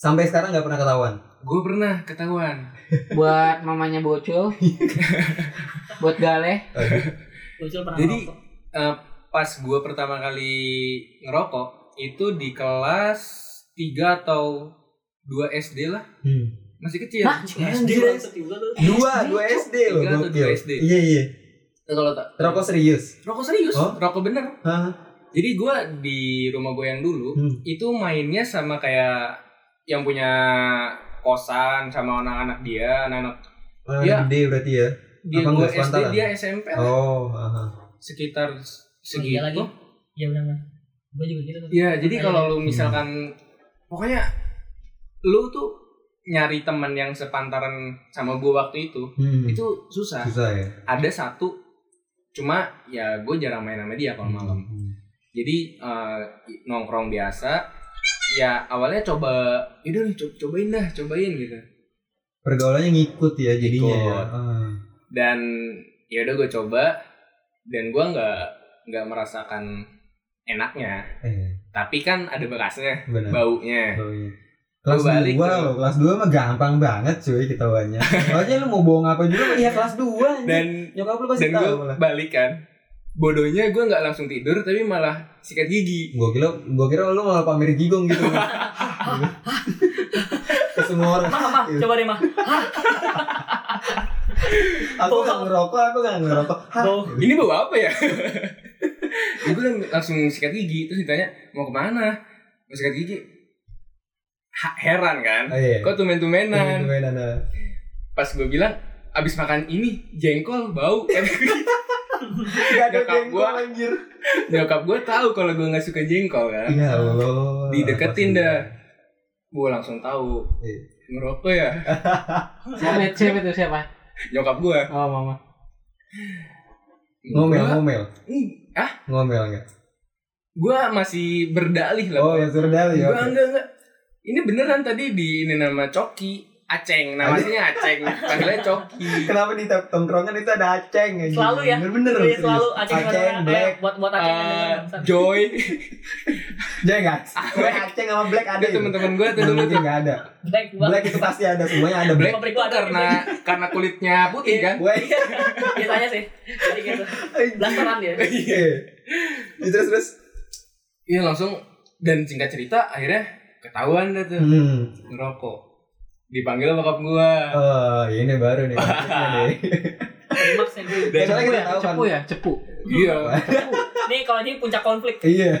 Speaker 4: Sampai sekarang nggak pernah ketahuan.
Speaker 2: gue pernah ketahuan
Speaker 5: buat mamanya bocul buat gale
Speaker 3: bocil pernah
Speaker 2: Jadi-
Speaker 3: ngerokok.
Speaker 2: Eh, pas gue pertama kali ngerokok itu di kelas 3 atau 2 SD lah
Speaker 4: Hmm.
Speaker 2: masih kecil
Speaker 3: Hah,
Speaker 4: Anjir,
Speaker 3: anjir, bangsat juga lu.
Speaker 4: Dua, dua SD loh.
Speaker 2: Tiga atau
Speaker 4: gokil.
Speaker 2: dua SD?
Speaker 4: Iya, iya.
Speaker 2: Nah, kalau tak
Speaker 4: Rokok serius.
Speaker 2: rokok serius
Speaker 4: Oh.
Speaker 2: rokok bener
Speaker 4: Hah?
Speaker 2: jadi gue di rumah gue yang dulu
Speaker 4: Hmm.
Speaker 2: itu mainnya sama kayak yang punya kosan sama anak-anak dia anak-anak
Speaker 4: Oh,
Speaker 2: Iya.
Speaker 4: gede berarti ya.
Speaker 2: dia
Speaker 4: Apa
Speaker 2: gue
Speaker 4: nggak
Speaker 2: SD
Speaker 4: sepantaran?
Speaker 2: dia SMP lah.
Speaker 4: Oh, aha.
Speaker 2: sekitar
Speaker 3: Oh,
Speaker 2: segitu
Speaker 3: iya lagi ya udah mah gue juga gitu
Speaker 4: Iya.
Speaker 3: tuh.
Speaker 2: Ya, jadi
Speaker 3: Kayak-
Speaker 2: kalau lu misalkan
Speaker 4: Hmm.
Speaker 2: pokoknya lu tuh nyari teman yang sepantaran sama gue waktu itu
Speaker 4: Hmm.
Speaker 2: itu susah.
Speaker 4: susah ya.
Speaker 2: Ada satu cuma ya gue jarang main sama dia kalau malam.
Speaker 4: Hmm.
Speaker 2: Jadi eh, nongkrong biasa ya awalnya coba yaudah nih, co- cobain dah cobain gitu
Speaker 4: Pergaulannya ngikut ya jadinya ya.
Speaker 2: Ngikut.
Speaker 4: Ah.
Speaker 2: dan ya udah gue coba dan gue nggak nggak merasakan enaknya
Speaker 4: Eh,
Speaker 2: tapi kan ada bekasnya
Speaker 4: benar.
Speaker 2: baunya
Speaker 4: Baunya. Kelas
Speaker 2: eh. Lu balik
Speaker 4: dua
Speaker 2: tuh.
Speaker 4: loh, kelas 2 mah gampang banget cuy ketahuannya. Soalnya lu mau bohong apa juga melihat kelas 2
Speaker 2: dan
Speaker 4: nyokap lu
Speaker 2: dan
Speaker 4: pasti
Speaker 2: gue
Speaker 4: tahu lah.
Speaker 2: balik kan bodohnya gue nggak langsung tidur tapi malah sikat gigi
Speaker 4: Gue kira gue kira lu malah pamer gigong
Speaker 2: <laughs>
Speaker 4: gitu. Ke semua orang. Iya.
Speaker 3: mah mah coba deh mah
Speaker 4: aku nggak ngerokok aku nggak ngerokok Hah?
Speaker 3: Bau.
Speaker 2: ini bau apa ya? <laughs> Jadi gue langsung sikat gigi terus ditanya mau kemana? Mau sikat gigi? Ha- heran kan?
Speaker 4: oh, iya.
Speaker 2: Kok tumen-tumenan?
Speaker 4: Main-main, anak.
Speaker 2: Pas gue bilang abis makan ini jengkol
Speaker 4: <laughs>
Speaker 2: bau.
Speaker 4: Gak ada
Speaker 2: Nyokap
Speaker 4: jengkol
Speaker 2: gua.
Speaker 4: anjir
Speaker 2: Nyokap gue tahu kalau gue nggak suka jengkol kan?
Speaker 4: Ya Allah
Speaker 2: Dideketin
Speaker 4: Apa sih?
Speaker 2: dah. Gue langsung tahu.
Speaker 4: Iya.
Speaker 2: Ngerokok ya? <laughs>
Speaker 5: Siapa, siapa itu siapa?
Speaker 2: Nyokap gue.
Speaker 5: Oh mama.
Speaker 4: Ngomel, ngomel
Speaker 2: Ah,
Speaker 4: Ngomel nggak?
Speaker 2: gue masih berdalih lah.
Speaker 4: Oh ya sudah ya
Speaker 2: Enggak,
Speaker 4: oke.
Speaker 2: enggak, enggak. Ini beneran tadi di ini nama Coki. Aceng, namanya Aceng, panggilnya
Speaker 4: <laughs>
Speaker 2: Coki.
Speaker 4: Kenapa di tap- tongkrongan itu ada aceng anjing?
Speaker 3: Selalu ya?
Speaker 4: Bener-bener
Speaker 3: Iya,
Speaker 4: serius.
Speaker 3: selalu aceh
Speaker 4: Aceng, black
Speaker 3: buat buat aceh yang dengar,
Speaker 2: Eh,
Speaker 3: bangsat.
Speaker 2: Joy,
Speaker 4: Jangan
Speaker 2: Black.
Speaker 4: Aceng sama black ada
Speaker 2: ada
Speaker 4: ya?
Speaker 2: teman-teman gue tuh
Speaker 4: Yang
Speaker 2: dulu
Speaker 4: penting
Speaker 2: tuh.
Speaker 4: nggak ada
Speaker 3: black buat
Speaker 4: Black itu pasti ada Semuanya ada black
Speaker 2: Black
Speaker 3: Pabrik
Speaker 2: itu
Speaker 3: gua ada. Iya.
Speaker 2: karena karena kulitnya putih kan.
Speaker 4: Weh
Speaker 3: biasanya Iya, sih jadi gitu blasteran
Speaker 4: <laughs>
Speaker 3: dia
Speaker 4: Iya Ya, Terus terus
Speaker 2: Iya langsung dan singkat cerita akhirnya ketahuan dah tuh
Speaker 4: Hmm
Speaker 2: ngerokok. Dipanggil bokap gue.
Speaker 4: Oh ini baru nih maksudnya nih.
Speaker 3: Climax yang gitu.
Speaker 4: Dan soalnya
Speaker 5: Cepu
Speaker 4: kita
Speaker 5: ya,
Speaker 4: tahu kan
Speaker 5: cepu ya, cepu.
Speaker 2: Iya.
Speaker 3: nih kalau ini puncak konflik
Speaker 4: Iya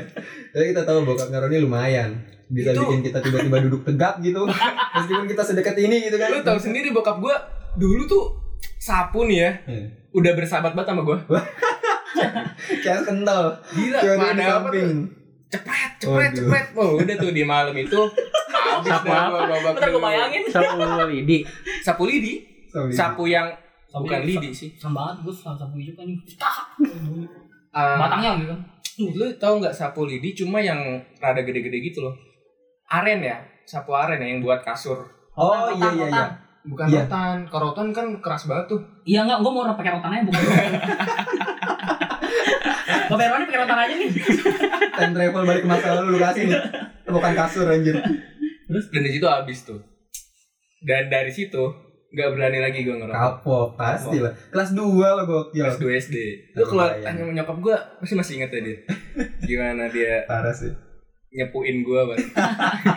Speaker 4: Soalnya kita tahu bokapnya Roni lumayan Bisa
Speaker 2: Itu-
Speaker 4: bikin kita tiba-tiba duduk tegap gitu Meskipun kita sedekat ini gitu kan
Speaker 2: Lu tahu sendiri bokap gue dulu tuh sapu nih ya.
Speaker 4: Hmm.
Speaker 2: Udah bersahabat banget sama gue.
Speaker 4: Kayak kental
Speaker 2: Gila,
Speaker 4: Teori
Speaker 2: mana apa
Speaker 4: di
Speaker 2: tuh?
Speaker 4: samping
Speaker 2: cepet cepet
Speaker 4: Waduh.
Speaker 2: cepet oh udah tuh di malam itu habis
Speaker 5: Sapu
Speaker 2: dah
Speaker 5: apa?
Speaker 2: gua babak
Speaker 3: bentar gue
Speaker 2: belur.
Speaker 3: bayangin
Speaker 5: Sama Lidi.
Speaker 2: sapu lidi
Speaker 4: Sorry.
Speaker 2: sapu yang bukan lidi sih
Speaker 3: Serem banget gue sama sapu hijau kan
Speaker 2: Ah,
Speaker 3: batangnya gitu kan
Speaker 2: lu tau nggak sapu lidi cuma yang rada gede-gede gitu loh aren ya sapu aren ya yang buat kasur
Speaker 4: Oh iya iya iya.
Speaker 2: bukan
Speaker 4: Iya.
Speaker 2: rotan kalau rotan kan keras banget tuh
Speaker 3: iya enggak gue mau orang pakai rotan aja
Speaker 4: <laughs>
Speaker 3: bukan Gue bayar mana pakai rotan aja nih
Speaker 4: <laughs> Time travel balik ke masa lalu lu kasih nih. Bukan kasur anjir.
Speaker 2: dan di situ habis tuh dan dari situ nggak berani lagi gue ngerokok
Speaker 4: Kapok pasti lah. Ya, Kelas 2 lo
Speaker 2: Kelas
Speaker 4: gokil.
Speaker 2: 2 SD Lu keluar
Speaker 4: Lumayan.
Speaker 2: tanya sama nyokap gue Masih masih inget
Speaker 4: <laughs>
Speaker 2: ya dia Gimana dia
Speaker 4: Parah sih.
Speaker 2: nyepuin gue Bang.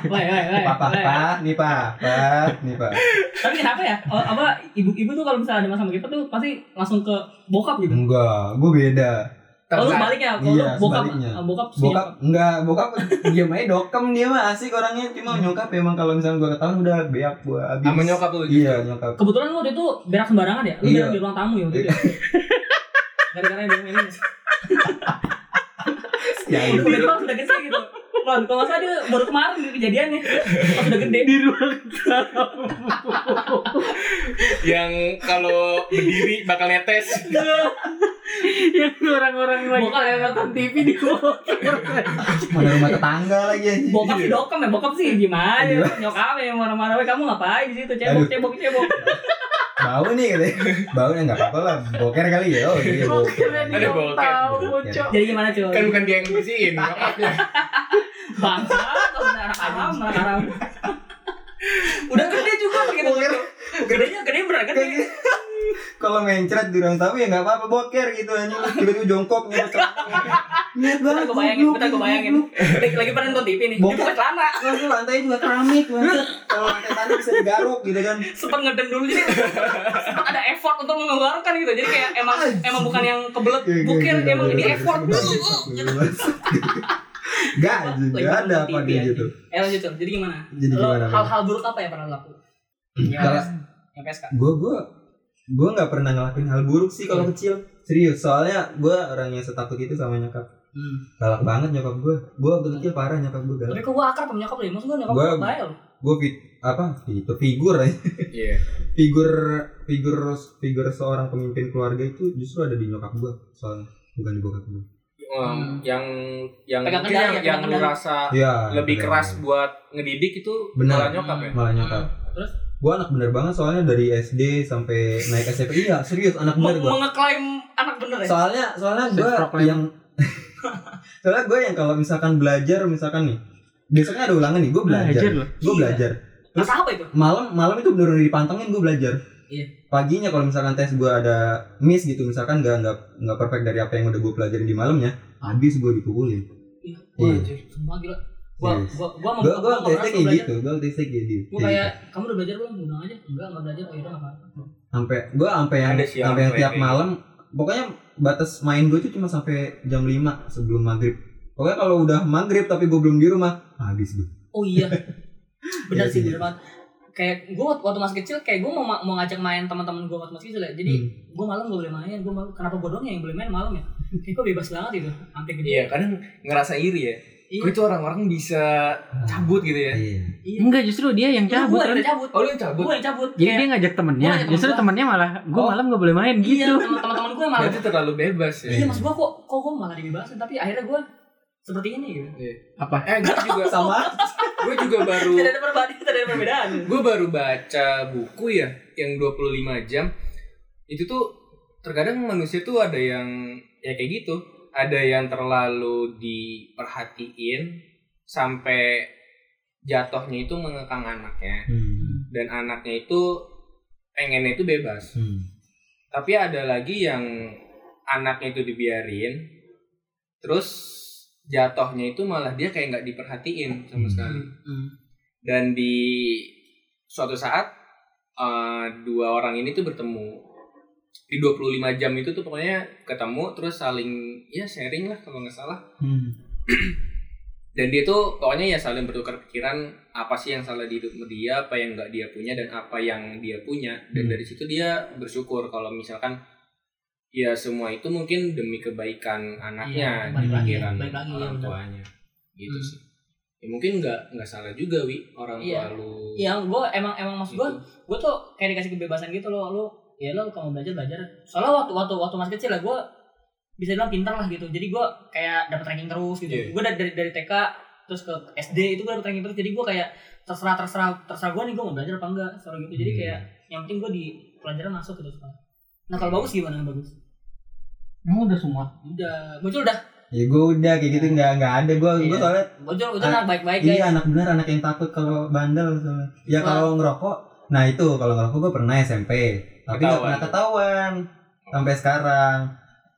Speaker 3: Woi, woi,
Speaker 2: Eh,
Speaker 3: woi,
Speaker 4: Papa,
Speaker 3: woi.
Speaker 4: papa, nih papa, papa, nih papa.
Speaker 3: tapi kenapa ya Oh, apa ibu-ibu tuh kalau misalnya ada masalah sama kita tuh pasti langsung ke bokap gitu
Speaker 4: Enggak, gue beda.
Speaker 3: kalau
Speaker 2: Terus-
Speaker 3: sebaliknya kalau Oh,
Speaker 4: Iya,
Speaker 3: lu bokap
Speaker 4: sebaliknya.
Speaker 3: ah, bokap
Speaker 4: Bokap, enggak, bokap diam aja dokem dia mah asik orangnya. Cuma nyokap emang kalau misalnya gue ketahuan udah beak gue abis.
Speaker 2: Hmm. Sama nyokap lu gitu
Speaker 4: Iya, nyokap.
Speaker 3: Kebetulan lu waktu itu berak sembarangan ya? Lu
Speaker 4: Iya.
Speaker 3: berak di ruang tamu ya waktu itu. ya? <laughs> Gara-gara yang ini.
Speaker 4: Ya,
Speaker 3: Udah
Speaker 4: iya.
Speaker 3: udah sudah gede gitu. Kalau kalau nggak salah dia baru kemarin gitu kejadiannya. Pas udah gede.
Speaker 5: Di ruang tamu.
Speaker 2: yang kalau berdiri bakal netes
Speaker 4: <laughs>
Speaker 5: Yang orang-orang lagi
Speaker 3: Iya. Bokap yang nonton
Speaker 5: TV di bawah.
Speaker 4: Mana rumah tetangga lagi anjir.
Speaker 3: Bokap sih dokem ya, bokap sih gimana? Nyokap ya marah-marah, "Weh, kamu ngapain di situ? Cebok,
Speaker 4: Iya. Aduh.
Speaker 3: cebok, cebok."
Speaker 4: Bau nih katanya. Bau nih enggak apa-apa lah. Boker kali ya. Oh iya.
Speaker 5: Boker di
Speaker 2: Ada
Speaker 5: ruang
Speaker 2: boker.
Speaker 5: tamu,
Speaker 4: Boker.
Speaker 5: Cok.
Speaker 3: Jadi gimana
Speaker 2: kan
Speaker 3: cuy?
Speaker 2: bukan dia yang
Speaker 3: <laughs>
Speaker 2: bersihin nyokapnya
Speaker 3: Bangsa, kalau udah anak haram, anak haram. <laughs> Udah gede juga gitu. Gedenya gede berat kan?
Speaker 4: Kayak
Speaker 3: gede.
Speaker 4: gitu. Kalau mencret di ruang tamu ya nggak apa-apa boker gitu anjing tiba-tiba jongkok nyebut Niat
Speaker 3: Bentar
Speaker 4: banget.
Speaker 3: gue bayangin,
Speaker 4: goblok, gitu.
Speaker 3: bentar gue bayangin.
Speaker 4: goblok.
Speaker 3: Lagi lagi pada nonton TV nih. Dia
Speaker 4: Bokap.
Speaker 3: buka celana.
Speaker 4: Langsung lantai juga keramik banget. Kalau lantai tanah bisa digaruk gitu kan.
Speaker 3: sempat ngedem dulu jadi sempat ada effort untuk mengeluarkan gitu jadi kayak emang emang bukan yang kebelet bukir emang di effort iya.
Speaker 4: Gak anjing, gak ada apa
Speaker 3: Lagi
Speaker 4: dia
Speaker 3: nonton
Speaker 4: gitu.
Speaker 3: eh lanjut tuh jadi gimana
Speaker 4: Jadi
Speaker 3: Lo
Speaker 4: gimana, Bang?
Speaker 3: hal-hal buruk apa yang pernah lo lakuin
Speaker 4: Kalau
Speaker 3: yang PSK
Speaker 4: gue gue gue nggak pernah ngelakuin hal buruk sih
Speaker 3: Iya.
Speaker 4: kalau kecil serius soalnya gue orang yang setakut itu sama nyokap
Speaker 3: Hmm.
Speaker 4: galak banget nyokap gue gue waktu kecil parah nyokap gue galak
Speaker 3: tapi kok gue akrab sama nyokap lu ya maksud gue nyokap
Speaker 4: Gua-
Speaker 3: gue baik lo
Speaker 4: gue fit apa itu figur aja
Speaker 2: iya
Speaker 4: figur figur figur seorang pemimpin keluarga itu justru ada di nyokap gue soalnya bukan di bokap gue
Speaker 2: Um, yang yang
Speaker 3: Pegang
Speaker 2: mungkin yang, yang
Speaker 3: kendali, Hmm. ya, pegang
Speaker 2: lu
Speaker 3: kendali.
Speaker 2: rasa
Speaker 4: ya
Speaker 2: lebih
Speaker 4: bener.
Speaker 2: keras buat ngedidik itu
Speaker 4: Benar.
Speaker 2: malah nyokap
Speaker 3: Hmm.
Speaker 2: ya
Speaker 4: malah nyokap
Speaker 5: Ah,
Speaker 3: Terus?
Speaker 4: gue anak bener banget soalnya dari SD sampai naik SMP iya serius anak bener gue
Speaker 3: mengeklaim anak bener ya
Speaker 4: soalnya soalnya gue
Speaker 5: Self proclaim.
Speaker 4: yang <laughs> soalnya gue yang kalau misalkan belajar misalkan nih besoknya ada ulangan nih gue belajar
Speaker 5: Belajar loh.
Speaker 4: gue belajar Terus-
Speaker 3: Masa apa itu
Speaker 4: malam malam itu bener-bener dipantengin gue belajar
Speaker 3: Iya.
Speaker 4: paginya kalau misalkan tes gue ada miss gitu misalkan nggak nggak nggak perfect dari apa yang udah gue pelajarin di malamnya habis gue ya, dipukulin
Speaker 3: Iya.
Speaker 4: Iya.
Speaker 3: Sumpah gila gua
Speaker 4: Yes.
Speaker 3: gua Oh, gua
Speaker 4: Gue gue
Speaker 3: gua
Speaker 4: tesnya kayak gitu, gue tesnya kayak gitu.
Speaker 3: Gue kayak kamu udah belajar belum? Udah aja. Enggak, enggak belajar. Oh, yaudah apa.
Speaker 4: Sampai gue sampai yang
Speaker 2: Ada sih
Speaker 4: sampai
Speaker 2: orang
Speaker 4: yang tiap
Speaker 2: kayak gitu.
Speaker 4: malam, pokoknya batas main gue tuh cuma sampai jam 5 sebelum maghrib. Pokoknya kalau udah maghrib tapi gue belum di rumah, habis gue.
Speaker 3: Oh
Speaker 4: <laughs>
Speaker 3: iya. Benar
Speaker 4: Iya
Speaker 3: sih,
Speaker 4: sih.
Speaker 3: benar banget. Kayak gue waktu masih kecil, kayak gue mau, mau ngajak main teman-teman gue waktu masih kecil ya. Jadi
Speaker 4: Hmm.
Speaker 3: gue malam gak boleh main. Gue malam, kenapa gue doang yang boleh main malam ya? Kayak gue bebas banget gitu. Sampai gede.
Speaker 2: Iya, kadang ngerasa iri ya. Kok itu orang-orang bisa cabut gitu ya.
Speaker 4: Hmm. Iya.
Speaker 3: Iya.
Speaker 5: Enggak justru dia yang cabut.
Speaker 3: Gue yang cabut.
Speaker 2: Oh, lu yang cabut.
Speaker 3: Gue yang cabut.
Speaker 5: Jadi
Speaker 3: Kayak-
Speaker 5: dia ngajak
Speaker 3: Gua
Speaker 5: temennya,
Speaker 3: ngajak temen
Speaker 5: justru
Speaker 3: gua.
Speaker 5: temennya malah gue
Speaker 2: Oh.
Speaker 5: malam gak boleh main
Speaker 3: Iya,
Speaker 5: gitu.
Speaker 3: sama teman-teman gue malah.
Speaker 2: Berarti terlalu bebas ya.
Speaker 3: <laughs> Iya, maksud gue kok kok gue malah dibebasin. Tapi akhirnya gue seperti ini gitu.
Speaker 5: Apa?
Speaker 2: Eh, gue juga
Speaker 4: Sama.
Speaker 2: Gue juga baru
Speaker 3: Tidak ada perbedaan, tidak ada perbedaan.
Speaker 2: gue baru baca buku ya yang 25 jam itu tuh terkadang manusia tuh ada yang ya kayak gitu ada yang terlalu diperhatiin sampai jatuhnya itu mengekang anaknya
Speaker 4: Hmm.
Speaker 2: dan anaknya itu pengennya itu bebas
Speaker 4: Hmm.
Speaker 2: tapi ada lagi yang anaknya itu dibiarin terus jatuhnya itu malah dia kayak nggak diperhatiin sama
Speaker 4: Hmm.
Speaker 2: sekali dan di suatu saat eh, dua orang ini tuh bertemu di 25 jam itu tuh pokoknya ketemu terus saling ya sharing lah kalau nggak salah
Speaker 4: Hmm.
Speaker 2: dan dia tuh pokoknya ya saling bertukar pikiran apa sih yang salah di hidup dia apa yang nggak dia punya dan apa yang dia punya dan
Speaker 4: Hmm.
Speaker 2: dari situ dia bersyukur kalau misalkan ya semua itu mungkin demi kebaikan anaknya
Speaker 3: Iya,
Speaker 2: di
Speaker 3: balik lagi,
Speaker 2: pikiran
Speaker 3: balik lagi,
Speaker 2: orang
Speaker 3: iya, benar.
Speaker 2: tuanya gitu
Speaker 5: Hmm.
Speaker 2: sih ya mungkin nggak nggak salah juga wi orang
Speaker 3: Iya.
Speaker 2: tua lu
Speaker 3: Iya, gue emang emang maksud gue
Speaker 2: gitu.
Speaker 3: gue tuh kayak dikasih kebebasan gitu loh lu ya lo kalau mau belajar belajar soalnya waktu waktu waktu masih kecil lah gue bisa bilang pintar lah gitu jadi gue kayak dapat ranking terus gitu
Speaker 2: Iya.
Speaker 3: gue dari, dari dari TK terus ke SD itu gue dapet ranking terus jadi gue kayak terserah terserah terserah gue nih gue mau belajar apa enggak soal gitu jadi
Speaker 4: Hmm.
Speaker 3: kayak yang penting gue di pelajaran masuk gitu soalnya. nah kalau bagus gimana yang bagus
Speaker 5: Emang udah semua.
Speaker 3: udah muncul udah
Speaker 4: Ya gue udah kayak gitu nggak nggak ada gue gue
Speaker 3: Iya.
Speaker 4: soalnya
Speaker 3: muncul udah
Speaker 4: Ah,
Speaker 3: nah, baik baik guys
Speaker 4: iya anak bener anak yang takut kalau bandel soalnya. Ya
Speaker 3: Wah.
Speaker 4: kalau ngerokok, nah itu kalau ngerokok gue pernah SMP, tapi nggak
Speaker 2: Ketahuan.
Speaker 4: pernah ketahuan sampai sekarang.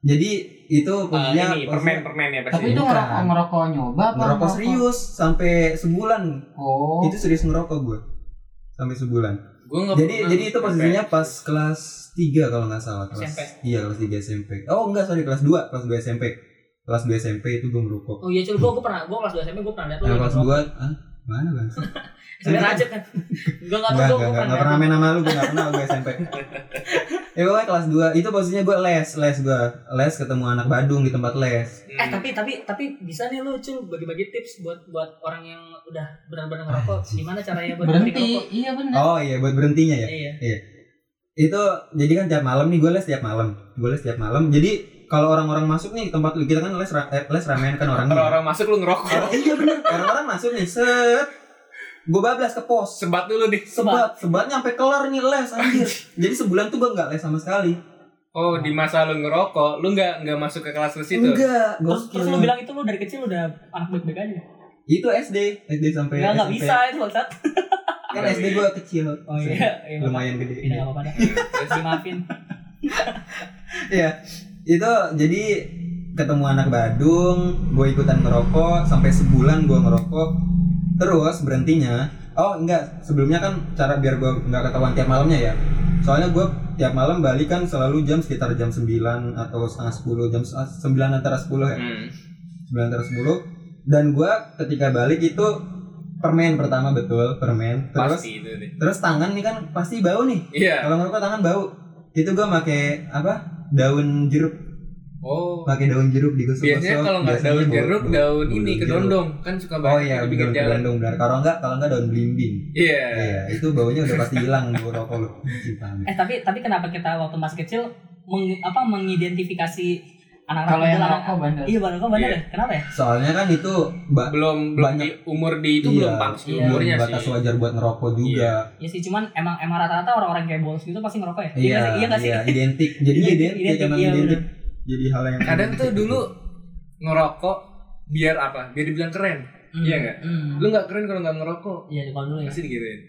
Speaker 4: Jadi itu
Speaker 2: Eh,
Speaker 4: kuncinya
Speaker 2: ini permen permen ya pasti
Speaker 5: Tapi itu
Speaker 4: Bukan.
Speaker 5: ngerokok ngerokok nyoba apa?
Speaker 4: ngerokok serius sampai sebulan.
Speaker 5: Oh.
Speaker 4: Itu serius ngerokok gue sampai sebulan.
Speaker 2: Gua nggak
Speaker 4: Jadi
Speaker 2: pernah
Speaker 4: jadi itu
Speaker 2: permen.
Speaker 4: posisinya pas kelas 3 kalau nggak salah kelas
Speaker 3: SMP.
Speaker 4: iya kelas 3 SMP. Oh enggak sorry kelas 2 kelas 2 SMP. Kelas 2 SMP itu gue
Speaker 3: oh
Speaker 4: ngerokok.
Speaker 3: iya cil gue gue pernah gue kelas dua SMP gue pernah lihat
Speaker 4: Nah,
Speaker 3: lu gitu.
Speaker 4: kelas 2 ah mana bang?
Speaker 3: sebenarnya aja kan <laughs> gue nggak tahu gue
Speaker 4: Enggak, enggak, enggak,
Speaker 3: pernah
Speaker 4: enggak pernah main sama lu, gue enggak pernah gue
Speaker 3: <laughs>
Speaker 4: SMP Ya pokoknya kelas 2, itu posisinya gue les, les gue Les ketemu anak Badung di tempat les
Speaker 2: Hmm.
Speaker 3: Eh tapi tapi tapi bisa nih lu cul bagi-bagi tips buat buat orang yang udah benar-benar ngerokok
Speaker 4: Anjing.
Speaker 3: gimana caranya buat
Speaker 5: Berhenti.
Speaker 3: ngerokok?
Speaker 5: Iya benar.
Speaker 4: Oh iya, buat berhentinya ya
Speaker 3: Iya.
Speaker 4: Itu, jadi kan tiap malam nih, gue les tiap malam Gue les tiap malam, jadi kalau orang-orang masuk nih ke tempat lu, kita kan les, ra- eh, les ramean kan orangnya
Speaker 2: orang-orang masuk lu ngerokok
Speaker 4: <laughs> Eh, Iya bener, orang-orang masuk nih, set Gue bablas ke pos
Speaker 2: sebat dulu nih
Speaker 4: Sebat, sebat nyampe kelar nih les, anjir Jadi sebulan tuh gue nggak les sama sekali
Speaker 2: oh di masa lu ngerokok lu nggak nggak masuk ke kelas kelas itu
Speaker 4: Enggak, gue
Speaker 3: Terus terus lu bilang itu lu dari kecil udah anak baik-baik aja.
Speaker 4: Itu SD, SD sampai
Speaker 3: Ya nggak
Speaker 4: SMP.
Speaker 3: bisa itu maksud.
Speaker 4: Kan SD gue kecil
Speaker 3: Oh iya. iya.
Speaker 4: lumayan
Speaker 3: Iya
Speaker 4: gede.
Speaker 3: nggak apa-apa dah.
Speaker 2: Terus-
Speaker 3: Maafin.
Speaker 4: Iya. Itu jadi ketemu anak Badung, gue ikutan ngerokok sampai sebulan gue ngerokok. Terus berhentinya, oh enggak, sebelumnya kan cara biar gue nggak ketahuan tiap malamnya ya. Soalnya gue tiap malam balik kan selalu jam sekitar jam 9 atau setengah 10, jam setengah- 9 antara 10 ya.
Speaker 2: Hmm.
Speaker 4: 9 antara 10. Dan gue ketika balik itu permen pertama betul, permen. Terus
Speaker 2: pasti itu deh
Speaker 4: terus tangan nih kan pasti bau nih.
Speaker 2: iya
Speaker 4: kalau ngerokok tangan bau itu gua pakai apa daun jeruk
Speaker 2: oh
Speaker 4: pakai daun jeruk digosok
Speaker 2: biasanya kalau nggak daun jeruk daun ini kedondong kan suka
Speaker 4: oh
Speaker 2: banget
Speaker 4: iya
Speaker 2: di
Speaker 4: daun
Speaker 2: pinggir jalan
Speaker 4: kedondong benar kalau nggak kalau nggak daun belimbing
Speaker 2: iya
Speaker 4: iya itu baunya udah pasti hilang bau rokok lu Cinta amat.
Speaker 3: Eh tapi tapi kenapa kita waktu masih kecil meng, apa mengidentifikasi anak-anak
Speaker 5: Kalau yang
Speaker 3: bandel, anak-
Speaker 5: ngerokok bandel.
Speaker 3: Iya bandel kok bandel
Speaker 2: Iya.
Speaker 3: ya? Kenapa ya?
Speaker 4: soalnya kan itu ba-
Speaker 2: belum belum
Speaker 4: Banyak.
Speaker 2: di umur di itu
Speaker 4: Iya,
Speaker 2: belum pas di
Speaker 3: iya,
Speaker 2: umurnya
Speaker 4: batas
Speaker 2: sih
Speaker 4: wajar buat ngerokok juga
Speaker 3: Ya sih cuman emang emang rata-rata orang-orang kayak bolos gitu pasti ngerokok ya.
Speaker 4: iya
Speaker 3: nggak sih?
Speaker 4: iya,
Speaker 3: nggak sih?
Speaker 4: identik jadinya identik,
Speaker 3: Identik,
Speaker 4: emang
Speaker 3: iya,
Speaker 4: identik jadi hal yang
Speaker 2: kadang tuh dulu ngerokok biar apa biar dibilang keren
Speaker 3: Hmm,
Speaker 2: Iya nggak?
Speaker 3: hmm.
Speaker 2: lu nggak keren kalau nggak ngerokok
Speaker 3: Iya kalau dulu ya.
Speaker 2: pasti digituin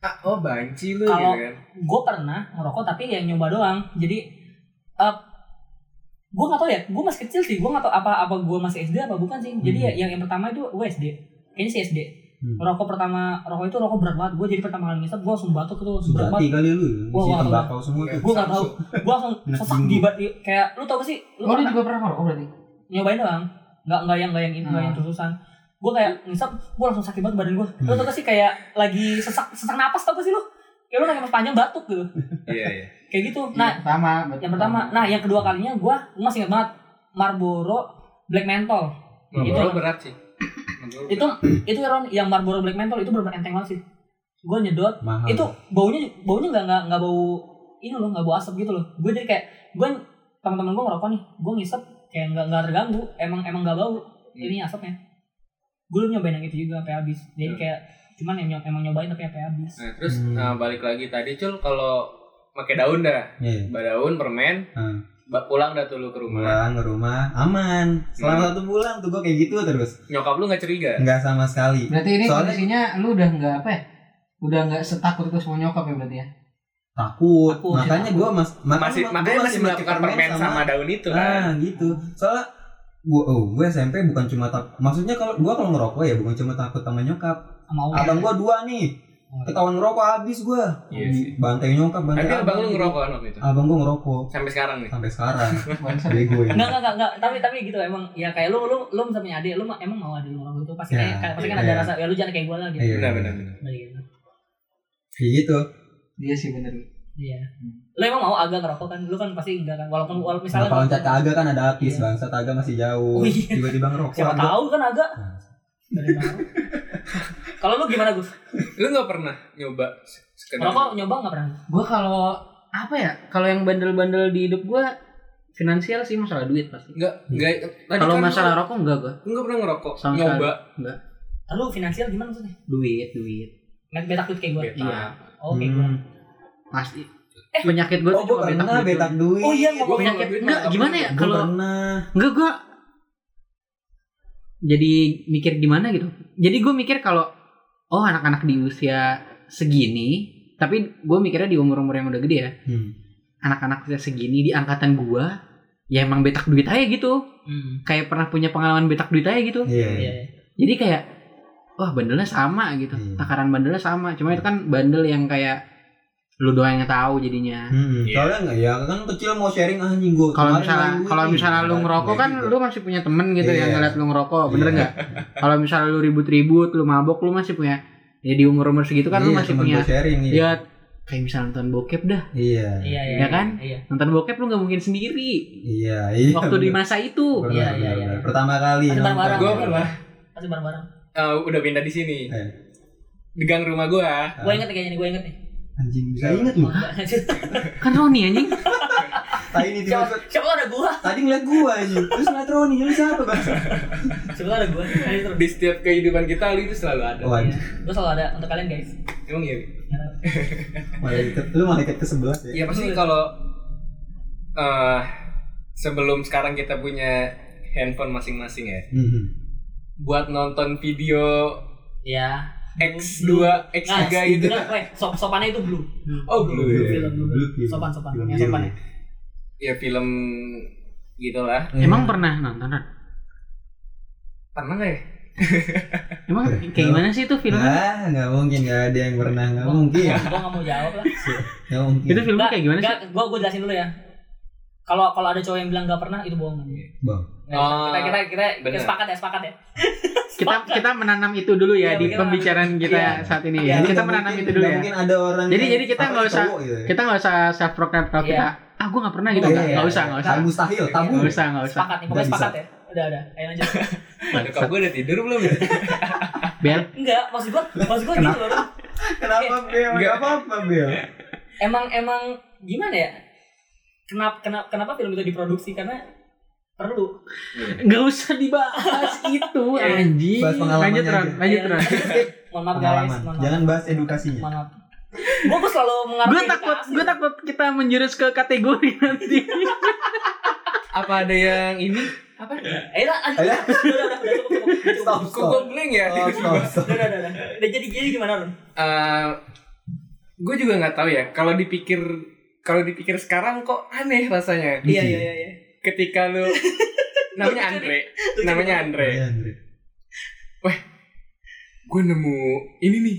Speaker 2: ah oh banci lu gitu
Speaker 3: Kalau-
Speaker 2: kan
Speaker 3: gue pernah ngerokok tapi yang nyoba doang jadi eh gue gak tau ya gue masih kecil sih gue gak tau apa apa gue masih SD apa bukan sih jadi
Speaker 4: Hmm.
Speaker 3: ya yang yang pertama itu gue SD kayaknya sih SD
Speaker 4: Hmm.
Speaker 3: rokok pertama rokok itu rokok berat banget gue jadi pertama kali ngisap gue langsung batuk itu langsung berat
Speaker 4: Sejati
Speaker 3: banget
Speaker 4: kali lu
Speaker 3: Wah,
Speaker 4: Isi
Speaker 3: wah,
Speaker 4: tembakau semua tuh
Speaker 3: gue gak tau gue langsung
Speaker 4: <laughs> Enak
Speaker 3: sesak
Speaker 4: dingin.
Speaker 3: di bat di- kayak lu tau gak sih lu kan.
Speaker 5: Oh, lu
Speaker 3: pernah-
Speaker 5: juga pernah ngerokok berarti?
Speaker 3: nyobain doang nggak nggak yang nggak yang ini nggak yang
Speaker 5: Hmm.
Speaker 3: terus-terusan gue kayak ngisap gue langsung sakit banget badan gue lu
Speaker 4: Hmm.
Speaker 3: tau gak sih kayak lagi sesak sesak napas tau gak sih lu kayak lu napas panjang batuk gitu
Speaker 2: Iya, iya.
Speaker 3: kayak gitu
Speaker 5: Yang
Speaker 3: nah
Speaker 5: pertama. betul.
Speaker 3: yang pertama nah yang kedua kalinya gue masih ingat banget Marlboro Black Menthol
Speaker 2: Marlboro berat sih. Marlboro
Speaker 3: itu itu Ron yang Marlboro Black Menthol itu benar enteng banget sih gue nyedot
Speaker 4: mahal.
Speaker 3: itu baunya baunya nggak nggak nggak bau ini loh nggak bau asap gitu loh gue jadi kayak gue teman-teman gue ngerokok nih gue ngisep kayak nggak nggak terganggu emang emang nggak bau ini asapnya gue belum nyobain yang itu juga sampai habis jadi
Speaker 2: Hmm.
Speaker 3: kayak cuman em- emang nyobain tapi sampai habis
Speaker 2: Nah, terus
Speaker 4: Hmm.
Speaker 2: nah, balik lagi tadi cul kalau pakai daun dah,
Speaker 4: Iya.
Speaker 2: daun permen,
Speaker 4: Hmm. Nah.
Speaker 2: ba- pulang dah tuh lu ke rumah.
Speaker 4: Pulang ke rumah aman.
Speaker 2: Hmm.
Speaker 4: Selama satu bulan tuh gue kayak gitu terus.
Speaker 2: Nyokap lu nggak curiga?
Speaker 4: Enggak sama sekali.
Speaker 5: Berarti ini
Speaker 4: Soalnya-
Speaker 5: kondisinya lu udah nggak apa ya? Udah nggak setakut itu semua nyokap ya berarti ya?
Speaker 4: Takut.
Speaker 3: Takut.
Speaker 4: Makanya gue mas,
Speaker 2: ya. Masih
Speaker 4: gua
Speaker 2: makanya masih melakukan permen sama, daun itu kan.
Speaker 4: Ah gitu. Soalnya gue oh, gue SMP bukan cuma tak maksudnya kalau gue kalau ngerokok ya bukan cuma takut sama nyokap
Speaker 2: Oh,
Speaker 3: sama orang
Speaker 4: abang gue dua nih ketahuan ngerokok habis gue
Speaker 2: Iya sih.
Speaker 4: bantai nyokap bantai
Speaker 2: Tapi abang lu ngerokok kan waktu itu?
Speaker 5: Oh.
Speaker 4: abang gue ngerokok
Speaker 2: Sampai sekarang nih.
Speaker 4: sampai
Speaker 2: <laughs>
Speaker 4: sekarang
Speaker 5: Bangsa.
Speaker 4: bego ya
Speaker 3: Enggak, enggak, enggak, enggak, tapi tapi gitu emang ya kayak lu lu lu misalnya punya adik, lu mah- emang mau adik lu ngerokok itu pasti
Speaker 4: Ya,
Speaker 3: kayak pasti kan ada
Speaker 4: iya.
Speaker 3: rasa ya lu jangan kayak gue lah gitu.
Speaker 4: Iya.
Speaker 2: Benar benar. benar.
Speaker 3: Nah, gitu.
Speaker 4: kayak gitu
Speaker 5: Dia sih bener.
Speaker 3: Iya. Lu emang mau agak ngerokok kan? Lu kan pasti enggak kan walaupun walaupun misalnya
Speaker 4: Kenapa loncat ke Aga kan ada artis
Speaker 3: Iya.
Speaker 4: bangsa Aga masih
Speaker 3: Oh,
Speaker 4: jauh
Speaker 3: iya.
Speaker 4: tiba-tiba ngerokok
Speaker 3: Siapa
Speaker 4: Aga.
Speaker 3: tahu kan agak.
Speaker 4: Nah.
Speaker 3: Dari
Speaker 4: <laughs>
Speaker 3: tahu. Kalau lu gimana Gus?
Speaker 2: Lu nggak pernah nyoba se- sekedar
Speaker 3: Merokok nyoba nggak pernah?
Speaker 5: Gue kalau apa ya? Kalau yang bandel-bandel di hidup gue finansial sih masalah duit pasti.
Speaker 2: Enggak, enggak. Tadi
Speaker 5: Hmm. Kalau
Speaker 2: kan lu-
Speaker 5: masalah rokok enggak gue.
Speaker 2: lu nggak pernah ngerokok,
Speaker 5: Sama sekali.
Speaker 2: nyoba.
Speaker 3: Lalu finansial gimana maksudnya?
Speaker 5: Duit, duit.
Speaker 3: Met betak duit kayak gue.
Speaker 2: Betak.
Speaker 5: Iya.
Speaker 3: Oh, kayak gue.
Speaker 4: Hmm.
Speaker 5: Pasti.
Speaker 3: Eh.
Speaker 5: Penyakit gue
Speaker 4: oh gue pernah betak duit
Speaker 3: Oh iya,
Speaker 2: Gua
Speaker 3: mau
Speaker 2: kalau
Speaker 3: penyakit.
Speaker 2: duit
Speaker 5: Enggak,
Speaker 2: malah
Speaker 5: gimana
Speaker 2: beli.
Speaker 5: ya?
Speaker 4: gue
Speaker 5: Kalau
Speaker 4: pernah
Speaker 5: Enggak gue jadi mikir gimana gitu. Jadi gue mikir kalau oh anak-anak di usia segini, tapi gue mikirnya di umur-umur yang udah gede ya,
Speaker 4: Hmm.
Speaker 5: anak-anak usia segini di angkatan gue, ya emang betak duit aja gitu.
Speaker 3: Hmm.
Speaker 5: Kayak pernah punya pengalaman betak duit aja gitu.
Speaker 4: iya
Speaker 3: Iya. iya.
Speaker 5: Jadi kayak wah bandelnya sama gitu.
Speaker 4: Iya.
Speaker 5: Takaran bandelnya sama, cuma itu kan bandel yang kayak lu doang yang tahu jadinya.
Speaker 4: Hmm,
Speaker 2: Iya.
Speaker 4: soalnya enggak ya kan kecil mau sharing anjing gue.
Speaker 5: Kalau misalnya kalau misalnya lu ngerokok kan lu masih punya temen gitu yang
Speaker 4: Iya.
Speaker 5: ngeliat lu ngerokok, bener
Speaker 4: Iya.
Speaker 5: nggak? Kalau misalnya lu ribut-ribut, lu mabok, lu masih punya ya di umur-umur segitu kan lu
Speaker 4: Iya,
Speaker 5: masih punya
Speaker 4: sharing iya.
Speaker 5: ya kayak misalnya nonton bokep dah.
Speaker 4: Iya.
Speaker 3: Iya, iya.
Speaker 5: Iya kan?
Speaker 3: Iya.
Speaker 5: Nonton bokep lu nggak mungkin sendiri
Speaker 4: Iya, iya.
Speaker 5: waktu di
Speaker 4: bener.
Speaker 5: masa itu.
Speaker 4: Bener,
Speaker 3: Iya,
Speaker 4: bener,
Speaker 3: iya, iya.
Speaker 4: bener. Pertama kali
Speaker 3: Masih bareng-bareng.
Speaker 2: Gua
Speaker 4: Iya.
Speaker 5: kan?
Speaker 2: pernah.
Speaker 3: Pasti bareng-bareng.
Speaker 4: Ah.
Speaker 2: Eh, udah pindah di sini.
Speaker 4: Eh.
Speaker 2: Di gang rumah gua.
Speaker 3: Gue inget nih kayaknya nih, gue inget
Speaker 4: <laughs>
Speaker 3: nih.
Speaker 4: Anjing bisa inget lu.
Speaker 5: Kan Roni anjing.
Speaker 4: Tadi ini tiba
Speaker 3: Siapa siapa ada gua?
Speaker 4: tadi ngeliat gua anjing. Terus ngeliat Roni, lu siapa bang?
Speaker 5: Iya.
Speaker 3: Siapa ada gua? Ayo terus.
Speaker 2: Di setiap kehidupan kita lu itu selalu ada.
Speaker 5: Oh.
Speaker 4: Waduh,
Speaker 3: Iya. Gua selalu ada untuk kalian guys.
Speaker 2: Emang iya. Bi?
Speaker 4: malaikat lu malaikat ke sebelas ya.
Speaker 5: Iya.
Speaker 2: Ya pasti kalau eh sebelum sekarang kita punya handphone masing-masing ya.
Speaker 4: Mhm.
Speaker 2: Buat nonton video
Speaker 3: Iya.
Speaker 2: X2,
Speaker 3: Blue.
Speaker 2: X3
Speaker 3: Nah,
Speaker 2: gitu.
Speaker 3: bener, weh, sop sopannya itu blue.
Speaker 2: Oh, blue.
Speaker 4: Iya,
Speaker 2: ya.
Speaker 3: Film,
Speaker 4: blue,
Speaker 3: blue.
Speaker 4: film.
Speaker 3: Sopan, sopan.
Speaker 4: Film
Speaker 3: Ya,
Speaker 4: biru.
Speaker 3: sopan.
Speaker 2: Ya film gitulah.
Speaker 4: Iya.
Speaker 5: Emang pernah nonton? Ron?
Speaker 2: Pernah nggak ya?
Speaker 5: Emang
Speaker 4: Eh,
Speaker 5: kayak gimana sih itu filmnya?
Speaker 4: Ah, nggak mungkin nggak ada yang pernah nggak mungkin. ya.
Speaker 3: Gua nggak mau jawab lah.
Speaker 4: Nggak mungkin.
Speaker 5: Oh.
Speaker 4: Iya,
Speaker 5: Itu iya, filmnya kayak gimana sih?
Speaker 3: Enggak, gua gua jelasin dulu ya. Kalau kalau ada cowok yang bilang gak pernah itu bohong.
Speaker 4: Bang.
Speaker 3: Nah,
Speaker 2: Ah,
Speaker 4: Oh.
Speaker 3: kita,
Speaker 4: <laughs>
Speaker 3: kita kita kita
Speaker 2: bener.
Speaker 3: sepakat ya, sepakat ya.
Speaker 5: Kita kita menanam itu dulu ya
Speaker 3: Iya,
Speaker 5: di
Speaker 3: kita-
Speaker 5: pembicaraan
Speaker 3: iya.
Speaker 5: kita saat ini
Speaker 4: Jadi
Speaker 5: ya. Kita
Speaker 4: nggak
Speaker 5: menanam
Speaker 4: mungkin-
Speaker 5: itu dulu
Speaker 4: nggak
Speaker 5: ya.
Speaker 4: Mungkin ada orang.
Speaker 5: Jadi-
Speaker 4: yang-
Speaker 5: jadi kita
Speaker 4: apa
Speaker 5: nggak
Speaker 4: sih,
Speaker 5: usah-
Speaker 4: cowok gitu ya.
Speaker 5: Kita nggak usah self proclaim kalau
Speaker 3: Iya.
Speaker 5: kita ah gue nggak pernah gitu.
Speaker 4: Iya,
Speaker 5: Nggak
Speaker 4: iya,
Speaker 5: nggak
Speaker 4: iya.
Speaker 5: usah, nggak usah.
Speaker 4: Kan mustahil, tabu.
Speaker 5: Nggak usah, nggak usah.
Speaker 3: Sepakat nih, pokoknya
Speaker 4: Udah
Speaker 3: sepakat ya. Udah, udah. Ayo lanjut. <laughs>
Speaker 2: Nyokap gua udah tidur belum ya?
Speaker 5: Bel,
Speaker 3: Enggak, maksud gua, maksud gua gitu
Speaker 5: Kenapa?
Speaker 3: loh.
Speaker 4: Kenapa Bel?
Speaker 2: Nggak.
Speaker 4: Gak apa-apa Bel.
Speaker 3: Emang emang gimana ya? Kenapa kenapa kenapa film itu diproduksi karena perlu.
Speaker 5: nggak usah dibahas itu
Speaker 3: Iya.
Speaker 5: anjing.
Speaker 4: Bahas pengalamannya
Speaker 5: Lanjut Ron,
Speaker 4: aja.
Speaker 5: lanjut
Speaker 3: Iya.
Speaker 5: Ron.
Speaker 3: Mohon maaf guys,
Speaker 4: Pengalaman.
Speaker 3: mohon maaf.
Speaker 4: Jangan bahas edukasinya.
Speaker 3: Mohon maaf. Gua gua selalu mengarah
Speaker 5: Gue
Speaker 3: ke
Speaker 5: takut,
Speaker 3: edukasi.
Speaker 5: gue takut kita menjurus ke kategori nanti.
Speaker 2: Apa ada yang ini?
Speaker 3: Apa? Eh, lah, lanjut.
Speaker 4: Ayo.
Speaker 3: Udah, udah, udah, cukup, cukup.
Speaker 4: Stop,
Speaker 2: Kok
Speaker 4: stop.
Speaker 2: gua blank ya?
Speaker 4: Oh, stop, stop.
Speaker 3: Udah, udah, udah. Udah jadi jadi gimana, Ron?
Speaker 2: gue Eh, juga nggak tahu ya. Kalau dipikir kalau dipikir sekarang kok aneh rasanya.
Speaker 3: Iya, iya, iya, iya.
Speaker 2: Ketika
Speaker 4: <laughs>
Speaker 2: lu namanya Andre, namanya Andre.
Speaker 4: Iya, Andre.
Speaker 2: gue nemu ini nih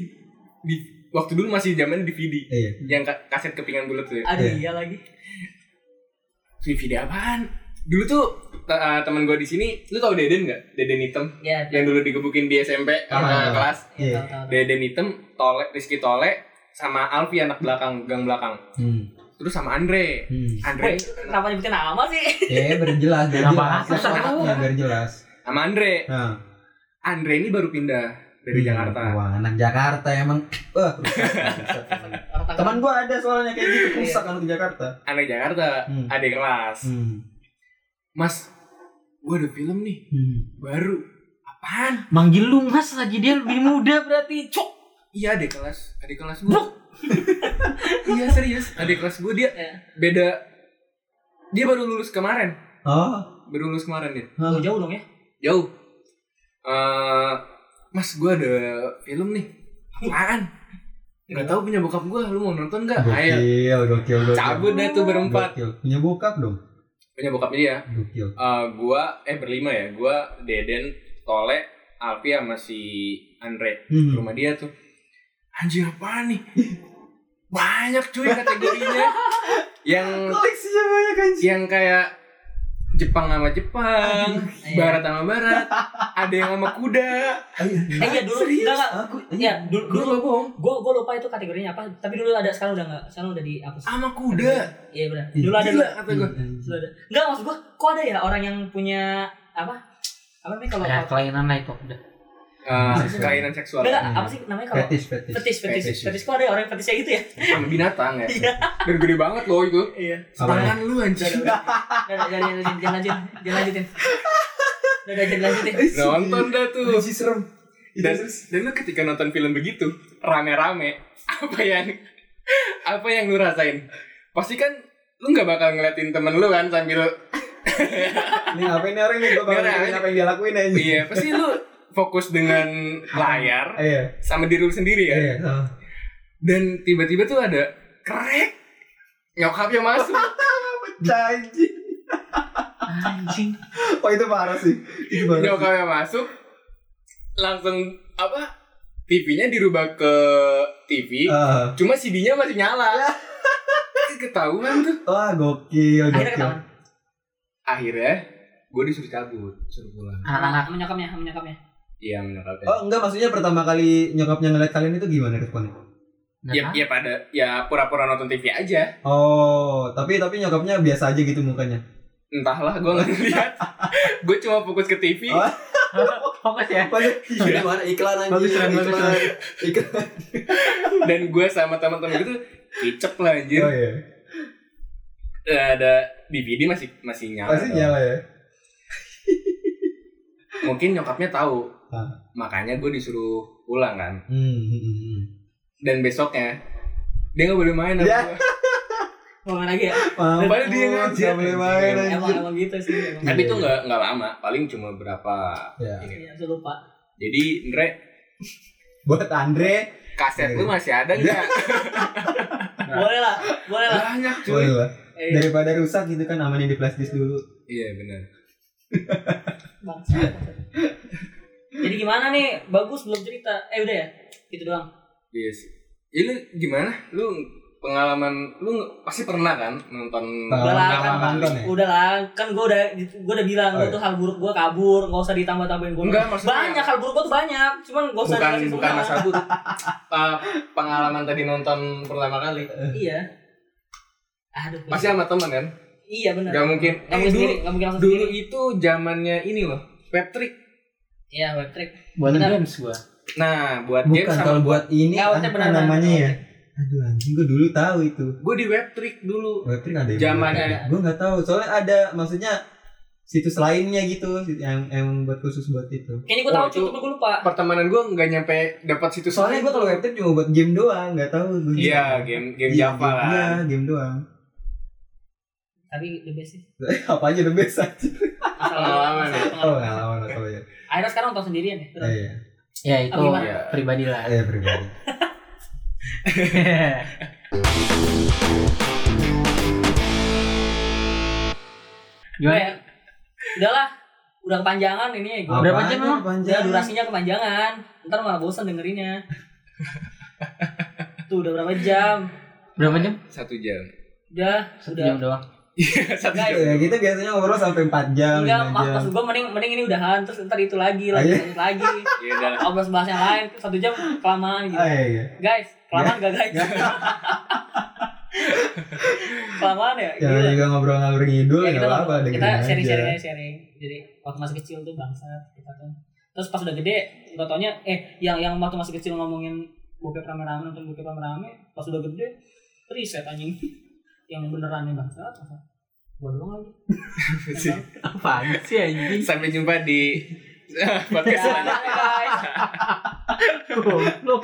Speaker 2: di waktu dulu masih zaman DVD
Speaker 4: Iya.
Speaker 2: yang ka- kaset kepingan bulat tuh ya.
Speaker 3: Ada dia lagi.
Speaker 2: DVD apaan dulu tuh te- eh, teman gue di sini lu tau Deden nggak Deden hitam
Speaker 3: Ya,
Speaker 2: yang dulu digebukin di SMP
Speaker 4: Ah.
Speaker 2: kakak kelas
Speaker 4: Iya.
Speaker 2: Deden hitam Tole Rizky Tole sama Alfi anak belakang gang belakang
Speaker 4: Hmm.
Speaker 2: terus sama Andre
Speaker 4: Hmm.
Speaker 3: Oh,
Speaker 2: Andre
Speaker 3: Kenapa nyebutin nama sih?
Speaker 4: Ya, berjelas,
Speaker 5: Kenapa?
Speaker 4: berjelas. Ya, berjelas.
Speaker 2: sama Andre
Speaker 4: Nah,
Speaker 2: Andre ini baru pindah dari
Speaker 4: Hmm,
Speaker 2: Jakarta
Speaker 4: Wah, anak Jakarta emang. Wah,
Speaker 2: <laughs>
Speaker 4: rusak, rusak, rusak. Teman gua ada soalnya kayak gitu
Speaker 5: Iya.
Speaker 4: rusak anak Jakarta.
Speaker 2: anak Jakarta
Speaker 4: Hmm.
Speaker 2: adik kelas
Speaker 4: Hmm.
Speaker 2: Mas gua ada film nih
Speaker 4: Hmm.
Speaker 2: baru apaan
Speaker 5: Manggil lu mas lagi dia lebih muda berarti. Cok.
Speaker 2: iya adik kelas adik kelas gua iya serius adik kelas gua dia
Speaker 3: Iya.
Speaker 2: beda dia baru lulus kemarin
Speaker 4: Oh,
Speaker 2: baru lulus kemarin dia
Speaker 3: Oh, jauh dong ya.
Speaker 2: jauh Eh, mas gue ada film nih apaan nggak tahu punya bokap gue lu mau nonton nggak ayo
Speaker 4: gokil, gokil, gokil.
Speaker 2: cabut dah tuh berempat
Speaker 4: Gokil. Punya bokap dong.
Speaker 2: punya bokapnya dia
Speaker 4: Gokil.
Speaker 2: Eh, gue eh berlima ya gue Deden Tole Alfia masih Andre
Speaker 4: Hmm.
Speaker 2: rumah dia tuh anjir apaan nih banyak cuy kategorinya yang
Speaker 4: Koleksinya banyak anjir.
Speaker 2: yang kayak Jepang sama Jepang,
Speaker 3: Iya.
Speaker 2: Barat sama Barat, ada yang sama kuda.
Speaker 3: Eh iya dulu
Speaker 2: Serius?
Speaker 3: enggak enggak.
Speaker 4: Aku
Speaker 3: Iya, dulu
Speaker 2: Gue
Speaker 3: dulu
Speaker 2: gak bohong,
Speaker 3: gua gua lupa itu kategorinya apa, tapi dulu ada sekarang udah enggak, sekarang udah dihapus.
Speaker 2: sama kuda.
Speaker 3: Ah. Iya benar.
Speaker 4: Iya.
Speaker 3: Dulu ada dulu
Speaker 2: Gila kata gue.
Speaker 3: Dulu ada. Enggak maksud gua, kok ada ya orang yang punya apa? Apa namanya kalau
Speaker 5: Ya kelainan lah itu udah.
Speaker 2: Eh, kelainan seksual
Speaker 3: Enggak,
Speaker 4: Hmm.
Speaker 3: apa sih namanya kalau
Speaker 4: fetish, fetish.
Speaker 3: fetis
Speaker 2: Fetish.
Speaker 3: fetis fetis kok ada orang yang fetisnya <laughs> gitu ya
Speaker 2: sama binatang ya.
Speaker 3: Iya.
Speaker 2: Dan gede banget loh itu.
Speaker 3: iya
Speaker 2: Tangan lu anjir.
Speaker 3: jangan jangan jangan jangan lanjutin jangan lanjutin udah udah, jangan lanjutin
Speaker 2: Nonton dah tuh.
Speaker 4: Anjir, serem. Itu
Speaker 2: Dan,
Speaker 4: terus.
Speaker 2: dan lu ketika nonton film begitu, rame-rame, apa yang apa yang lu rasain? Pasti kan lu nggak bakal ngeliatin temen lu kan sambil
Speaker 4: Ini ngapain nih orang ini? Gua bakal
Speaker 2: Nggak,
Speaker 4: ngikutin
Speaker 2: nggak.
Speaker 4: apa yang dia lakuin aja.
Speaker 2: iya pasti lu fokus dengan layar
Speaker 4: Iya.
Speaker 2: sama diri lu sendiri ya
Speaker 4: Iya. sama.
Speaker 2: dan tiba-tiba tuh ada krek nyokapnya masuk
Speaker 4: <laughs> Pecah anjir.
Speaker 5: Anjing.
Speaker 4: Oh, itu parah sih. Itu parah.
Speaker 2: nyokapnya masuk langsung apa TV-nya dirubah ke TV
Speaker 4: Ah.
Speaker 2: cuma CD-nya masih
Speaker 4: <laughs>
Speaker 2: nyala ketahuan tuh
Speaker 4: Wah, Ah,
Speaker 3: akhirnya
Speaker 4: gokil, gokil.
Speaker 3: ketahuan
Speaker 2: akhirnya gue disuruh cabut suruh pulang
Speaker 3: Ah.
Speaker 5: Anak-anak
Speaker 3: sama nyokapnya sama nyokapnya
Speaker 2: iya menyokapnya
Speaker 4: Oh, enggak maksudnya pertama kali nyokapnya ngeliat kalian itu gimana responnya? Iya kan?
Speaker 2: ya, ya pada ya pura-pura nonton TV aja
Speaker 4: Oh, tapi tapi nyokapnya biasa aja gitu mukanya.
Speaker 2: entahlah gue nggak
Speaker 4: <laughs>
Speaker 2: lihat gue cuma fokus ke TV
Speaker 4: Oh.
Speaker 5: fokus ya.
Speaker 4: Iya, mana iklan anjing.
Speaker 5: Bagus, Ren, bagus,
Speaker 4: iklan. Iklan.
Speaker 2: dan gue sama teman-teman gitu kicep lah anjir Eh,
Speaker 4: Oh iya.
Speaker 2: ada DVD masih masih nyala
Speaker 4: Pasti nyala ya.
Speaker 2: mungkin nyokapnya tahu
Speaker 4: Ah.
Speaker 2: makanya gue disuruh pulang kan
Speaker 4: Hmm. hmm, hmm, hmm.
Speaker 2: dan besoknya dia nggak boleh main sama
Speaker 4: Ya.
Speaker 2: gua.
Speaker 3: ngomongin lagi ya
Speaker 4: Mampus,
Speaker 2: Padahal dia ngajak.
Speaker 4: nggak boleh main
Speaker 3: emang
Speaker 4: anjir.
Speaker 3: emang gitu sih emang
Speaker 2: tapi
Speaker 4: Iya,
Speaker 2: itu nggak nggak lama paling cuma berapa
Speaker 4: Ya.
Speaker 3: Iya, saya lupa
Speaker 2: jadi Andre
Speaker 4: Buat Andre,
Speaker 2: kaset
Speaker 4: Iya.
Speaker 2: lu masih ada nggak
Speaker 3: boleh lah
Speaker 4: Iya.
Speaker 3: boleh lah
Speaker 2: banyak cuy
Speaker 4: boleh lah.
Speaker 3: eh
Speaker 4: Daripada rusak gitu kan amanin di flash disk dulu.
Speaker 2: iya benar
Speaker 3: bangsa. jadi gimana nih bagus belum cerita eh udah ya gitu doang
Speaker 2: iya sih ya, lu gimana lu pengalaman lu nge- pasti pernah kan nonton
Speaker 3: udah
Speaker 4: Pengalaman
Speaker 3: lah
Speaker 4: pertama
Speaker 3: kan
Speaker 4: nonton ya?
Speaker 3: udah lah kan gue udah gue udah bilang
Speaker 4: Oh,
Speaker 3: gue
Speaker 4: iya.
Speaker 3: tuh hal buruk gue kabur nggak usah ditambah tambahin gue
Speaker 2: enggak maksudnya
Speaker 3: banyak hal buruk gue tuh banyak cuman gak usah
Speaker 2: bukan
Speaker 3: dikasih
Speaker 2: bukan
Speaker 3: semua.
Speaker 2: masa buruk <laughs> Eh, pengalaman tadi nonton pertama kali
Speaker 4: Eh.
Speaker 3: iya aduh
Speaker 2: pasti sama temen kan
Speaker 3: iya benar
Speaker 2: nggak mungkin Eh,
Speaker 3: nggak mungkin
Speaker 2: dulu
Speaker 3: sendiri nggak mungkin langsung
Speaker 2: dulu
Speaker 3: sendiri
Speaker 2: itu zamannya ini loh Patrick
Speaker 3: iya web trick
Speaker 5: Buat
Speaker 3: Benar.
Speaker 5: games gua.
Speaker 2: nah buat game
Speaker 4: Bukan
Speaker 2: sama
Speaker 4: kalau buat ini
Speaker 3: Nggak, maksudnya
Speaker 4: apa
Speaker 3: beneran.
Speaker 4: namanya ya? Aduh anjing gua dulu tahu itu.
Speaker 2: gue di Webtrick dulu
Speaker 4: Webtrick ada yang
Speaker 2: Zamannya.
Speaker 4: Gue nggak tahu. Soalnya ada maksudnya situs lainnya gitu yang yang buat khusus buat itu.
Speaker 3: kayaknya gue tahu
Speaker 2: Oh, itu-
Speaker 3: cukup gue lupa
Speaker 2: pertemanan gue nggak nyampe dapat situ
Speaker 4: Soalnya gue kalau webtrip cuma buat game doang, nggak tahu. gua.
Speaker 2: iya game game
Speaker 4: Iya,
Speaker 2: Java
Speaker 4: game-
Speaker 2: lah
Speaker 4: Iya, game doang.
Speaker 3: tapi the best sih
Speaker 4: Apa aja the best aja.
Speaker 3: asal
Speaker 2: Pengalaman.
Speaker 3: asal
Speaker 4: Oh,
Speaker 3: pengalaman. Iya.
Speaker 4: ngelawan atau ya.
Speaker 3: akhirnya sekarang nonton sendirian ya Beneran.
Speaker 4: Iya.
Speaker 5: Ya itu
Speaker 3: Apa
Speaker 2: gimana?
Speaker 5: pribadi <laughs> lah.
Speaker 4: Iya, pribadi.
Speaker 3: Udah
Speaker 5: Gimana?
Speaker 3: ya udahlah udah kepanjangan ini gua.
Speaker 5: Udah
Speaker 4: Apaan
Speaker 5: panjang memang?
Speaker 4: Panjang.
Speaker 3: Ya, durasinya kepanjangan. Ntar malah bosan dengerinnya.
Speaker 4: <laughs>
Speaker 3: Tuh udah berapa jam?
Speaker 5: Berapa jam?
Speaker 2: Satu jam.
Speaker 3: Udah,
Speaker 5: Satu
Speaker 3: udah.
Speaker 5: jam doang.
Speaker 2: Satu
Speaker 3: Enggak,
Speaker 2: jam.
Speaker 4: Ya, kita biasanya ngobrol sampai 4 jam,
Speaker 3: Enggak,
Speaker 4: lima
Speaker 3: mak-
Speaker 4: jam.
Speaker 3: maksud gua mending mending ini udahan terus ntar itu lagi lagi
Speaker 4: Ah, iya?
Speaker 3: terus lagi.
Speaker 2: Ya udah lah.
Speaker 3: Obras bahas yang lain satu jam kelamaan gitu.
Speaker 4: Ah, iya, iya.
Speaker 3: Guys, kelamaan gak guys? <laughs> kelamaan ya?
Speaker 4: Jangan
Speaker 3: Gila.
Speaker 4: juga ngobrol ngalur ngidul
Speaker 3: Ya,
Speaker 4: ya
Speaker 3: kita
Speaker 4: nggak apa-apa
Speaker 3: ngobrol- kita
Speaker 4: dengerin aja.
Speaker 3: sharing-sharing aja sharing. Jadi waktu masih kecil tuh bangsa kita tuh. Terus pas udah gede, nggak taunya eh yang yang waktu masih kecil ngomongin bokep rame-rame nonton bokep rame-rame, pas udah gede riset anjing. <laughs> yang beneran nih bangsa. Gua doang lagi.
Speaker 4: Iya,
Speaker 3: Emang.
Speaker 5: Apaan sih anjing?
Speaker 2: Sampai jumpa di <laughs> podcast
Speaker 3: Ya, guys.
Speaker 5: Goblok.